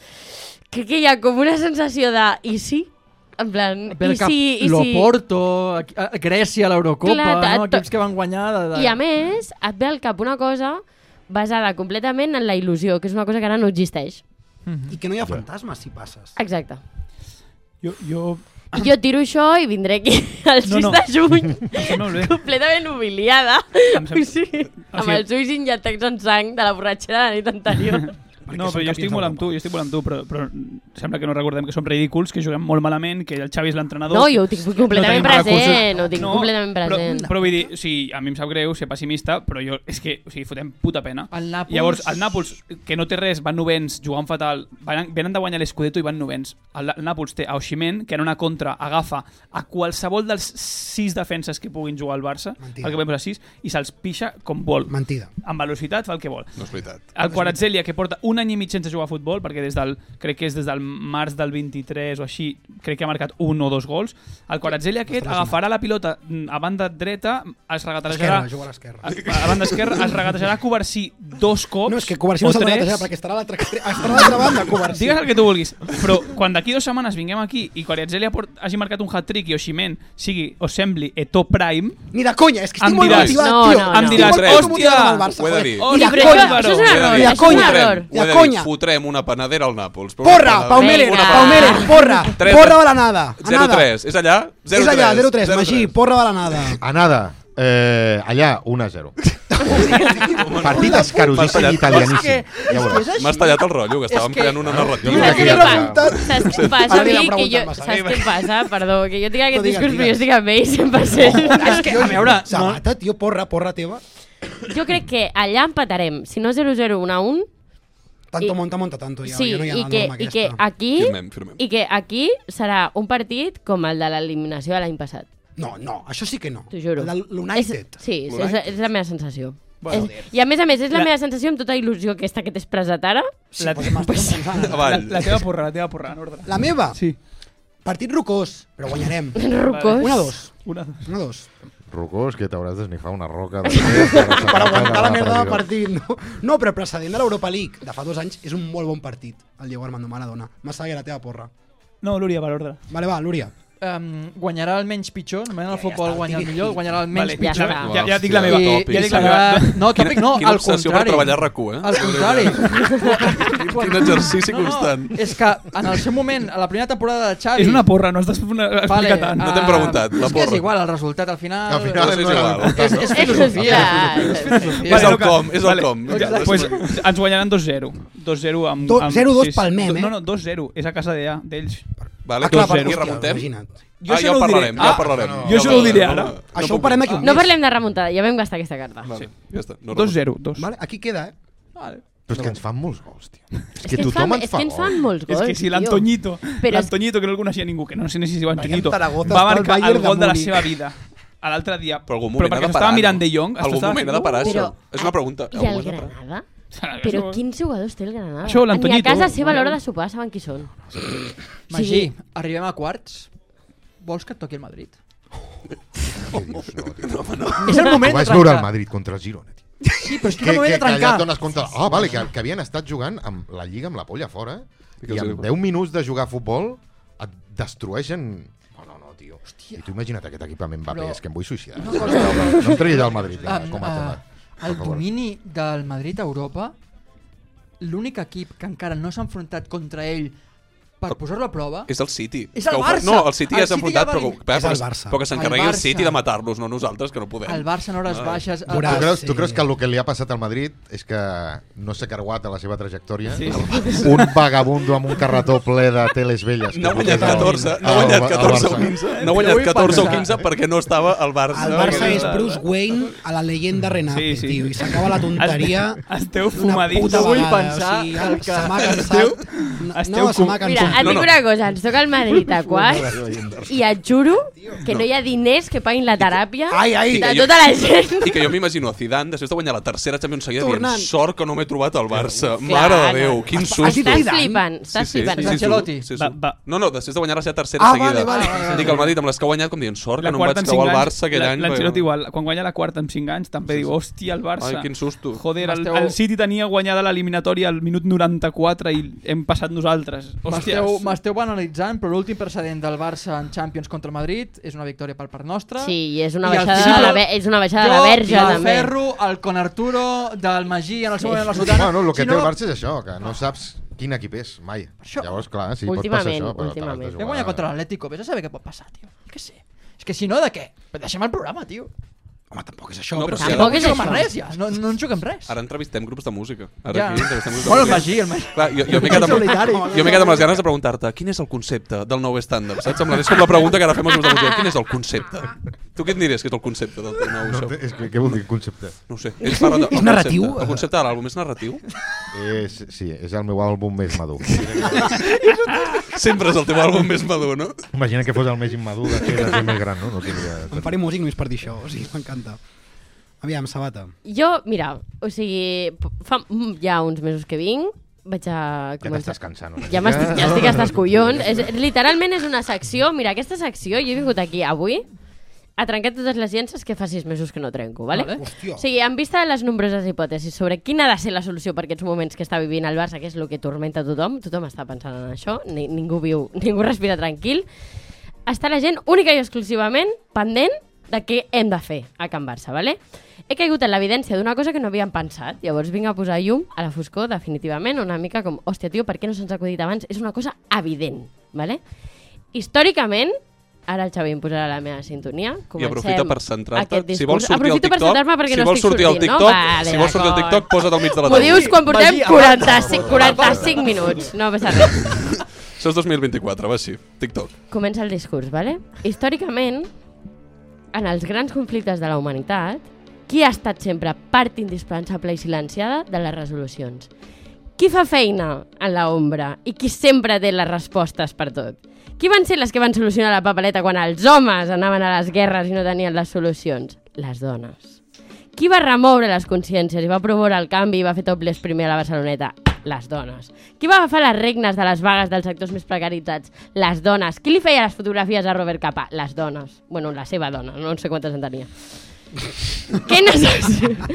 I: crec que hi ha com una sensació de i sí? En plan,
F: Ve el
I: i
F: cap
I: sí, i sí.
F: L'Oporto, aquí- a- a Grècia, l'Eurocopa,
I: Clar, ta-
F: no?
I: to-
F: equips que van guanyar... De, de...
I: I a més, et ve al cap una cosa basada completament en la il·lusió, que és una cosa que ara no existeix.
E: I que no hi ha fantasmes si passes.
I: Exacte.
J: Jo, jo...
I: I jo tiro això i vindré aquí <laughs> el 6
J: No, no.
I: de
J: <laughs>
I: juny
J: Això no ho
I: completament humiliada,
J: Em sembla-
I: o sigui, amb
J: sigui-
I: els ulls injectats en sang de la borratxera de la nit
J: <laughs>
I: anterior.
J: No,
E: són
J: però jo
E: campions
J: estic molt amb
E: d'Europa.
J: tu, jo estic molt amb tu, però, però sembla que no recordem que som ridículs, que juguem molt malament, que el Xavi és l'entrenador...
I: No, jo ho tinc completament
J: No tenim recursos.
I: present, ho tinc completament present.
J: Però, però vull dir, o sigui, a mi em sap greu ser pessimista, però jo, és que, o sigui, fotem puta pena.
F: El Nàpols-
J: Llavors, el Nàpols, que no té res, van novens, jugant fatal, van, venen de guanyar l'Scudetto i van novens. El, el Nàpols té a Oximen, que en una contra agafa a qualsevol dels sis defenses que puguin jugar al Barça,
E: Mentida.
J: perquè podem posar sis, i se'ls pixa com vol.
E: Mentida.
J: Amb velocitat fa el que vol.
H: No és veritat.
E: Doncs
J: El Quaratzelia, que porta un any i mig sense jugar a futbol, perquè des del, crec que és des del març del 23 o així, crec que ha marcat un o dos gols. El Quaratzelia aquest agafarà la pilota mm, a banda dreta, es regatejarà...
E: Esquerra, juga a l'esquerra.
J: A, a banda esquerra es regatejarà Coversí dos cops
E: No, és que Covarsí no
J: o
E: s'ha
J: tres.
E: regatejar perquè estarà a l'altra extre- estarà a l'altra banda, Covarsí.
J: Digues el que tu vulguis, però quan d'aquí dues setmanes vinguem aquí i Quaratzelia port- hagi marcat un hat-trick i Oximen sigui o sembli Eto Prime,
E: Ni de conya, és que estic
J: Em
E: molt
J: diràs-
E: motivat,
I: No,
E: tio.
I: no,
E: Estic
I: no.
J: Em diràs,
E: molt- estic molt
J: "Hòstia,
E: motivat amb el Barça,
H: ho he de
E: joder.
H: dir.
E: Ni de
I: Hòstia, però
E: conya.
I: això- això és un error,
E: Ni de
I: això és un
E: conya.
I: error.
E: De
H: Fotrem, ho he de dir,
E: conya.
H: fotrem una panadera al Nàpols. però una
E: Porra,
H: panadera.
E: Pau Meren,
I: Vinga.
E: Pau Meren, porra,
H: Tres-
E: porra balanada. Anada.
H: 0-3, és allà? 0-3.
E: És allà, 0-3, Magí, porra balanada.
G: Anada, eh, allà, 1-0. Partit escarosíssim
H: Partit-
G: i italianíssim. Ja ho veuràs.
H: M'has tallat el rotllo, que estàvem creant una
G: Jo crec que
H: narrativa.
G: ja
I: Saps
G: està.
I: què passa? Saps què passa?
E: Ara li
I: Vic?
E: l'han
I: Que jo,
E: preguntat massa.
I: saps què passa? Perdó, que jo tinc
E: digues,
I: aquest discurs, però jo
E: digues.
I: estic amb ell <laughs> 100%.
E: És que, a veure... Sabata, tio, porra, porra teva.
I: Jo crec que allà empatarem. Si no 0-0, 1-1,
E: Tanto
I: I-
E: monta, monta tanto. Ja,
I: sí,
E: ja no hi ha
I: i,
E: la
I: que,
E: norma
I: i que
E: aquesta.
I: aquí...
H: Firmem, firmem.
I: I que aquí serà un partit com el de l'eliminació de l'any passat.
E: No, no, això sí que no.
I: T'ho juro.
E: La- L'United.
I: És, sí, és, és, és la meva sensació.
J: Bueno.
I: és, I a més a més, és la,
J: La-
I: meva sensació amb tota il·lusió aquesta que t'he expressat ara.
E: Sí,
J: La-
E: pues m'estic enfonsant.
J: la,
H: Avall.
J: la teva porra, la teva porra, en ordre.
E: La meva,
J: Sí.
E: partit rocós, però guanyarem.
I: Rucós.
E: Una,
I: <laughs>
E: dos.
J: Una,
E: Una, dos.
G: Rocós, que t'hauràs d'esnifar una roca. Per
E: Per aguantar la merda del partit, no? No, però precedent de l'Europa League, de fa dos anys, és un molt bon partit, el Diego Armando Maradona. Massaguer, la teva porra.
J: No, Lúria, per ordre.
E: Vale, va, Lúria.
F: Um, guanyarà el menys pitjor, normalment el futbol
E: està,
F: guanya el
E: tiri-
F: millor, guanyarà el menys
J: Vale,
I: ja
F: pitjor.
I: està.
J: Ja, ja dic la meva.
H: Hòstia,
F: I,
H: tòpic.
F: ja dic la
J: meva.
F: meva. No, tòpic no,
H: Quina
F: al
H: obsessió per
F: contrari.
H: treballar a RAC1, eh?
F: Al contrari.
H: Quin exercici constant.
F: No, és que en el seu moment, a la primera temporada de Xavi...
J: És una porra, no has d'explicar
F: Vale,
J: tant.
H: No t'hem
F: ah,
H: preguntat, la
F: és que
H: porra.
F: és igual, el resultat al final...
G: Al final
H: és
G: no
H: igual.
G: era-
F: És, és filosofia.
I: És
F: És filosofia.
H: Vale, És el
J: Luca,
H: com, és el com.
J: ja,
H: Exacte.
J: pues, ens guanyaran 2-0. 2-0 amb...
E: Do-
J: amb
E: 0-2
J: sis.
E: pel Mem, eh?
J: No, no, 2-0. És a casa d'allà, d'ells.
H: Vale,
E: clar,
H: doncs,
E: per-
H: i remuntem.
E: imagina't.
J: Jo
H: ah,
J: això
H: ja
J: no
H: ho
J: ho diré.
H: parlarem, ja
J: Ah,
H: ho parlarem.
J: no, jo això no ho diré ara.
E: Això ho parem aquí un
I: No
E: mes.
I: parlem de remuntada, ja vam gastar aquesta carta.
H: Vale, ja està. No
J: 2-0. 2.
E: Vale, aquí queda, eh?
G: Però és que ens fan molts gols, tio. És
I: és
G: que tothom
I: fan,
G: ens
I: és
G: fa
I: que ens fan
G: gols.
I: molts
J: És
I: gols,
J: que si
I: tio.
J: l'Antoñito,
I: Però és-
J: l'Antoñito que no el coneixia ningú, que no sé ni si es diu Antoñito,
E: Zaragoza
J: va
E: està al
J: marcar el
E: Bayern de
J: gol de la
E: Múnich.
J: seva vida a l'altre dia,
H: Però algun
J: però
H: moment ha
J: perquè
H: de
J: estava
H: parar.
J: mirant De Jong,
H: Algun
J: estava-
H: moment ha de parar, això.
I: Però-
H: És una pregunta. eh,
I: I
H: Algun
I: el
H: moment ha de parar.
J: <laughs>
I: Granada?
J: Això-
I: Però quins jugadors té el Granada?
J: Això,
I: Ni a
J: l'Antoñito.
I: casa seva a l'hora de sopar saben qui són.
F: Magí, arribem a quarts. Vols que et toqui el Madrid?
G: <laughs> Què dius? No, tio.
F: És el
G: Ho
F: moment de <laughs>
G: vaig veure al
F: trencar.
G: Madrid contra el Girona, tio.
F: Sí, però és que no m'ho he de
G: allà
F: trencar.
G: et dones compte... Ah, vale, que, que havien estat jugant amb la Lliga amb la polla fora
H: que
G: i
H: els hi
G: amb
H: diu.
G: 10 minuts de jugar a futbol et destrueixen... No, no, no, tio. Hòstia. I tu imagina't aquest equipament va
F: Però-
G: bé, és que em vull suïcidar.
F: Una
G: No,
F: cosa-
G: no em treguis del Madrid,
F: Ah,
G: vinga, com a
F: ah,
G: tema. Per
F: el
G: favor.
F: domini del Madrid a Europa, l'únic equip que encara no s'ha enfrontat contra ell per posar-lo a prova...
H: És el City.
F: És el
H: Que ho
F: Barça.
H: No, el City
F: El
H: ja s'ha
F: City
H: enfrontat,
F: ja va
H: però,
F: venir.
H: però,
E: És el
H: que-
E: Barça.
H: però que s'encarregui
F: El
H: el,
F: Barça.
H: City de matar-los, no nosaltres, que no eh. podem.
F: El Barça en hores baixes... el-
E: Veuràs.
G: Tu creus, tu
E: sí.
G: creus que el que li ha passat al Madrid és que no s'ha carguat a la seva trajectòria?
J: Sí.
G: Un vagabundo amb un carretó ple de teles velles.
H: No ha
G: que
H: guanyat
G: portes al-
H: 14, no
E: Ah,
G: al-
H: ha
G: al
H: guanyat 14 o
G: Barça.
H: 15. No ha guanyat
F: Vull
H: 14 o
F: pensar.
H: 15 perquè no estava al Barça.
E: El Barça és Bruce Wayne a la leyenda Renate,
J: Sí, sí.
E: tio, i s'acaba la tonteria
J: Esteu
E: una
J: fumadits.
E: puta
F: No vull
E: vegada.
F: pensar
E: o sigui,
F: el
E: se
F: que-
E: m'ha
F: Esteu-
E: cansat. No,
J: esteu
E: no, se m'ha
I: Mira,
E: cansat.
I: et dic
H: No, no.
I: una cosa, ens toca el Madrid a quarts i et juro que no hi ha diners que paguin la teràpia
E: Ai, ai.
H: I
I: de
H: que jo-
I: tota la gent.
F: <laughs>
H: I que jo m'imagino a Zidane, després de guanyar la tercera Champions seguida,
E: Tornant.
H: dient sort que no m'he trobat al Barça.
I: Clar,
H: Mare de
I: no.
H: Déu, quin
E: Has- has
H: susto.
E: dit
I: Estàs
E: Zidane?
I: flipant, estàs flipant.
F: sí. Ancelotti.
H: sí, sí.
J: Va- va.
H: No, no, després de guanyar la seva tercera
E: Ah,
H: seguida.
E: vale, vale, vale, vale.
H: Dic el Madrid amb les que ha guanyat, com dient, sort que no em vaig
J: en
H: caure al
J: cinc
H: Barça
J: anys,
H: aquell
J: la-
H: any.
J: L'Ancelotti
H: però-
J: igual, quan guanya la quarta amb 5 anys també diu, hòstia, el Barça.
H: Ai, quin susto.
J: Joder, el,
F: M'esteu-
J: el City tenia guanyada l'eliminatòria al minut 94 i hem passat nosaltres.
F: M'esteu
J: Hòstia,
F: m'esteu banalitzant, però l'últim precedent del Barça en Champions contra el Madrid és una victòria per part nostra.
I: Sí, i és una
F: I el
I: baixada,
F: City-
I: de la, ve- és una baixada de la verge,
F: jo, el
I: també.
F: Ferro, el Con Arturo, del Magí, en el seu moment a la Sotana...
G: Bueno, el que
F: Si
G: té
F: no,
G: el Barça és això, que no saps quin equip és mai.
F: Això-
G: Llavors, clar, sí, pot passar
I: Últimament,
G: això, però te l'has
I: últimament.
G: de
F: Vam
G: jugar.
F: guanyar contra l'Atlético, vés a saber què pot passar, tio. Què sé. És que si no, de què? Però deixem el programa, tio.
H: Home, tampoc és això. No, però si
I: Tampoc
H: ara,
I: és
F: no
I: això.
F: juguem a res, ja. No, no en juguem res.
H: ara entrevistem grups de música. Ara
F: Ja.
H: aquí entrevistem grups de
F: Bueno, el
H: música.
F: Magí, el Magí.
H: Clar, jo, jo m'he quedat, amb, jo m'he quedat amb les ganes de preguntar-te quin és el concepte del nou stand-up, saps? Sembla, és com la pregunta que ara fem als grups de música. Quin és el concepte? Tu què et diries que és el concepte del teu nou
G: No,
H: show?
G: és que, què vol dir concepte?
H: No ho sé. Ells parlen de, el
E: narratiu?
H: Concepte, el concepte de l'àlbum és narratiu?
G: És, sí, és el meu àlbum més madur.
H: Sempre és el teu àlbum més madur, no?
G: Imagina que fos el més immadur de fer de ser més gran, no? no tindria...
E: Em faré músic només per dir això, o sigui, m'encanta. Aviam, Sabata.
I: Jo, mira, o sigui, p- fa mm, ja uns mesos que vinc, vaig a
G: Ja
I: començar...
G: t'estàs cansant. una
I: Doncs Ja,
G: mica.
I: m'estic, ja estic hasta els collons. És, literalment és una secció. Mira, aquesta secció, jo he vingut aquí avui a trencar totes les llences que fa sis mesos que no trenco, vale?
F: Vale.
E: Hòstia.
I: O sigui, en vista de les nombroses hipòtesis sobre quina ha de ser la solució per aquests moments que està vivint el Barça, que és el que tormenta tothom, tothom està pensant en això, ni, ningú viu, <laughs> ningú respira tranquil, està la gent única i exclusivament pendent de què hem de fer a Can Barça, vale? He caigut en l'evidència d'una cosa que no havíem pensat. Llavors vinc a posar llum a la foscor, definitivament, una mica com, hòstia, tio, per què no se'ns ha acudit abans? És una cosa evident, vale? Històricament, ara el Xavi em posarà la meva sintonia.
H: I
I: Comencem
H: aprofita per centrar-te.
I: aquest
H: Si
I: discurs.
H: vols sortir al
I: Aprofito per
H: TikTok,
I: centrar-me perquè
H: si
I: no
H: vols
I: estic
H: sortir al
I: sortint,
H: TikTok,
I: no? Vale,
H: si vols sortir al
I: d'acord.
H: TikTok, posa't al mig de la
I: M'ho
H: taula.
I: dius quan portem
F: Magí,
I: 45, 45 minuts. No passa res.
H: Això és 2024, va així. TikTok.
I: Comença el discurs, vale? Històricament, en els grans conflictes de la humanitat, qui ha estat sempre part indispensable i silenciada de les resolucions? Qui fa feina en l'ombra i qui sempre té les respostes per tot? Qui van ser les que van solucionar la papeleta quan els homes anaven a les guerres i no tenien les solucions? Les dones. Qui va remoure les consciències i va promoure el canvi i va fer tobles primer a la Barceloneta? Les dones. Qui va agafar les regnes de les vagues dels sectors més precaritzats? Les dones. Qui li feia les fotografies a Robert Capa? Les dones. Bueno, la seva dona, no sé quantes en tenia. Què, necessita,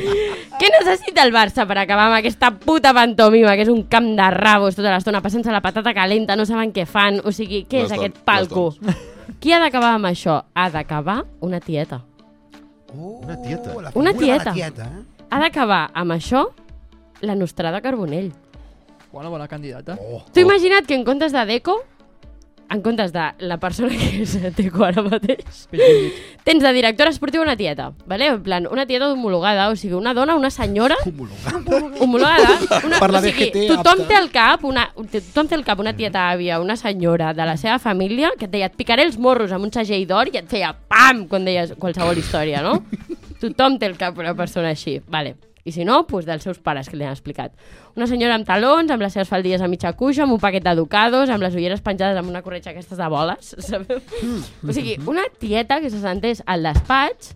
I: què necessita el Barça per acabar amb aquesta puta pantomima que és un camp de rabos tota l'estona passant-se la patata calenta, no saben què fan, o sigui, què és
H: Les dones,
I: aquest palco?
H: les
I: Qui ha d'acabar amb això? Ha d'acabar una tieta.
G: Una tieta.
E: la figura
I: Una
E: de
I: tieta.
E: la tieta eh?
I: Ha d'acabar amb això la Nostrada Carbonell.
F: Bona, bona candidata.
I: T'ho imagina't que en comptes de Deco, en comptes de la persona que és Deco ara mateix, tens de directora esportiva una tieta, vale? en plan, una tieta homologada, o sigui, una dona, una senyora homologada, una,
E: Per la
I: o sigui,
E: DGT
I: tothom
E: apta.
I: té al cap una, tothom té al cap una tieta àvia, una senyora de la seva família que et deia, et picaré els morros amb un segell d'or i et feia pam quan deies qualsevol història, no? tothom té al cap una persona així, vale. I si no, doncs dels seus pares que li han explicat. Una senyora amb talons, amb les seves faldilles a mitja cuixa, amb un paquet d'educados, amb les ulleres penjades amb una corretxa <laughs> aquestes de boles, sabeu? O sigui, una tieta que se sentés al despatx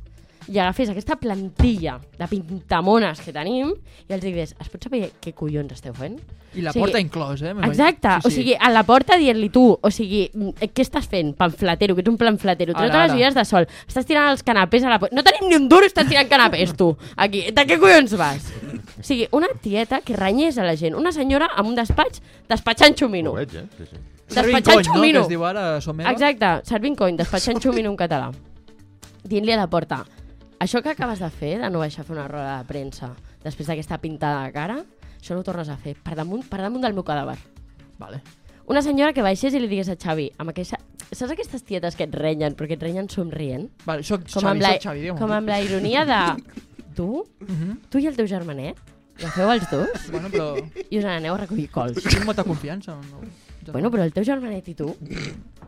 I: i agafés aquesta plantilla de pintamones que tenim i els digués, es pot saber què collons esteu fent?
F: I la porta inclòs, eh, m'imagino.
I: Exacte,
F: Sí,
I: sí, sí. o
F: sí.
I: sigui, a la porta dient-li tu, o sigui, mm, què estàs fent? Panflatero, que ets un planflatero,
F: Ara,
I: treu les
F: ara.
I: ulleres de sol, estàs tirant els canapés a la porta, no tenim ni un duro, estàs tirant canapés, tu, aquí, de què collons vas? O sigui, una tieta que renyés a la gent, una senyora amb un despatx despatxant xumino.
G: Ho veig, eh? Sí, sí.
F: Serving
I: Despatxant
F: cony, no? Que
I: xumino.
F: es diu ara Someva.
I: Exacte, serving coin, despatxant xumino en català. Dient-li a la porta, això que acabes de fer, de no baixar a fer una roda de premsa, després d'aquesta pintada de cara, això no ho tornes a fer, per damunt, per damunt del meu cadàver.
F: Vale.
I: Una senyora que baixés i li digués a Xavi, amb aquesta... saps aquestes tietes que et renyen, però que et renyen somrient?
F: Vale, soc
I: Com,
F: Xavi,
I: amb, la,
F: soc Xavi, Mhm. digue'm.
I: com amb la ironia de... Tu? Tu i el teu germanet? La feu els dos?
F: Bueno, però
I: I us n'aneu a recollir cols.
F: tinc molta confiança. No?
I: Bueno, però el teu germanet i tu,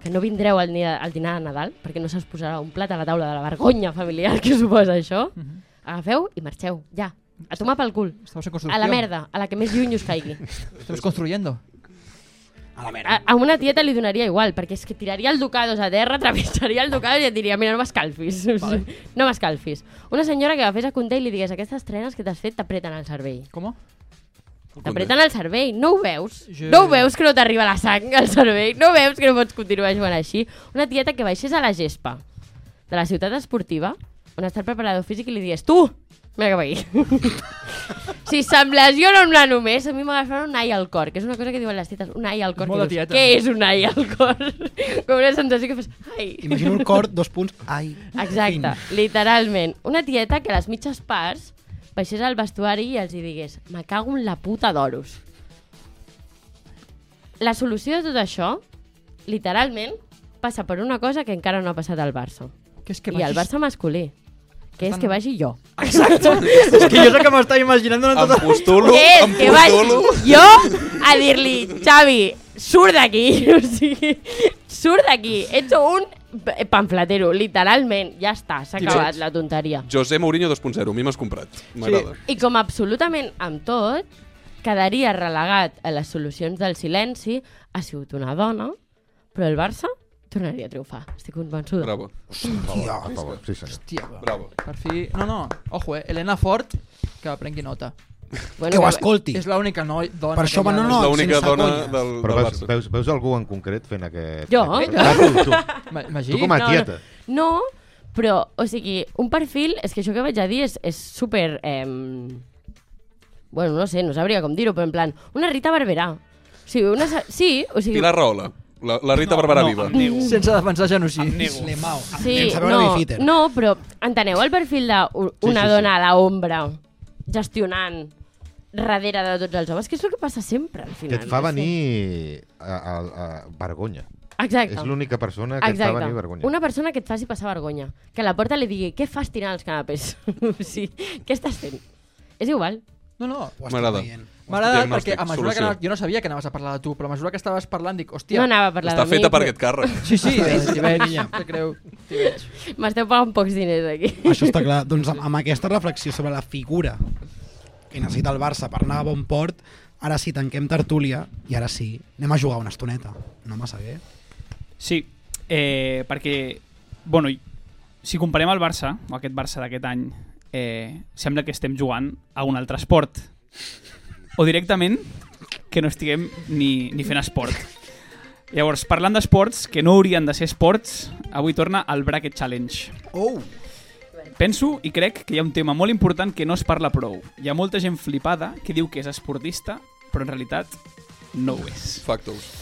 I: que no vindreu al, ni- al dinar de Nadal, perquè no se'ls posarà un plat a la taula de la vergonya familiar que suposa això, agafeu i marxeu, ja, a tomar pel cul.
F: Estamos en construcció.
I: A la merda, a la que més lluny us caigui.
F: Estamos construyendo.
I: A, a una tieta li donaria igual, perquè és que tiraria el ducados a terra, <laughs> travessaria el ducados i et diria, mira, no m'escalfis. Vale. <laughs> No m'escalfis. Una senyora que agafés a compte i li digués, aquestes trenes que t'has fet t'apreten el cervell.
F: ¿Cómo?
I: T'apreten el cervell, no ho veus?
F: Jo-
I: No ho veus que no t'arriba la sang al cervell? No veus que no pots continuar jugant així? Una tieta que baixés a la gespa de la ciutat esportiva, on està el preparador físic i li digués tu, mira cap aquí. <laughs> si se'm lesiona un nano més, a mi m'agafarà un ai al cor, que és una cosa que diuen les tietes, un ai al cor.
F: molt
I: que
F: de
I: dius,
F: tieta.
I: Què és un ai al cor? <laughs> Com una sensació que fas, ai.
E: Imagino el cor, dos punts, ai.
I: Exacte, literalment. Una tieta que a les mitges parts baixés al vestuari i els hi digués me cago en la puta d'oros. La solució de tot això, literalment, passa per una cosa que encara no ha passat al Barça.
F: Que es que
I: I al Barça masculí, que és que vagi jo.
F: Es que yo sé que me estaba imaginando una
H: Em postulo,
I: Que és
H: em
I: que vagi
H: postulo.
I: jo a dir-li Xavi, surt d'aquí. <laughs> O sigui, surt d'aquí. Ets un panfletero, literalment. Ja està, s'ha
H: Tirots.
I: acabat la tonteria.
H: José Mourinho 2.0, a mi m'has comprat. M'agrada.
I: I com absolutament amb tot, quedaria relegat a les solucions del silenci, ha sigut una dona, però el Barça tornaria a triomfar. Estic convençuda.
H: Bravo,
G: Per favor, sí, senyor.
H: bravo.
F: Per fi... No, no, ojo, eh? Helena Ford, que prengui nota.
I: Bueno,
E: Que ho
I: que-
E: escolti.
F: És l'única noi dona
E: Per això
F: que hi ha.
E: va- no,
H: És
E: no.
H: l'única
E: sense
H: dona
E: conya.
H: del,
G: Però
H: del
G: veus,
H: Barça.
G: veus, veus algú en concret fent aquest...
I: Jo?
G: Ah, tu,
I: <laughs>
G: tu.
F: Ma- Magí,
G: tu com a
I: no,
G: tieta.
I: No, però, o sigui, un perfil, és que això que vaig a dir és, és super... Eh, bueno, no sé, no sabria com dir-ho, però en plan, una Rita Barberà. O sigui, una, sa- sí, o sigui...
H: Pilar Rahola, la, la Rita Barberà viva.
J: Em nego.
F: sense defensar genocidi.
J: Nego.
E: Lemao.
I: Sí,
E: Sense veure
I: no,
E: Bifitter.
I: no, però enteneu el perfil d'una sí, sí,
G: sí.
I: dona a l'ombra gestionant darrere de tots els homes, que és el que passa sempre al
G: Que
I: final.
G: et fa venir a, a, a vergonya.
I: Exacte.
G: És l'única persona que et fa
I: Exacte.
G: venir vergonya.
I: Una persona que et faci passar vergonya. Que a la porta li digui, què fas tirant els canapés? <laughs> sí, què estàs fent? És igual.
F: No, no.
E: Ho estic
H: M'agrada.
E: veient.
F: M'ha agradat
H: Diagnòstic,
F: perquè a mesura que
H: solució.
F: anaves, jo no sabia que anaves a parlar de tu, però a mesura que estaves parlant dic, hòstia...
I: No anava a parlar
H: Està
I: de mi.
H: feta per
I: però
H: aquest càrrec.
F: Sí, sí, eh, t'hi veig,
E: Niña.
F: te creu. T'hi veig.
I: M'esteu pagant pocs diners aquí.
E: Això està clar. Doncs amb, amb aquesta reflexió sobre la figura que necessita el Barça per anar a bon port, ara sí, tanquem tertúlia i ara sí, anem a jugar una estoneta. No massa bé.
J: Sí, eh, perquè, bueno, i- si comparem el Barça, o aquest Barça d'aquest any, eh, sembla que estem jugant a un altre esport. O directament que no estiguem ni, ni fent esport. Llavors, parlant d'esports, que no haurien de ser esports, avui torna el Bracket Challenge.
E: Oh!
J: Penso i crec que hi ha un tema molt important que no es parla prou. Hi ha molta gent flipada que diu que és esportista, però en realitat no ho és.
H: Factos.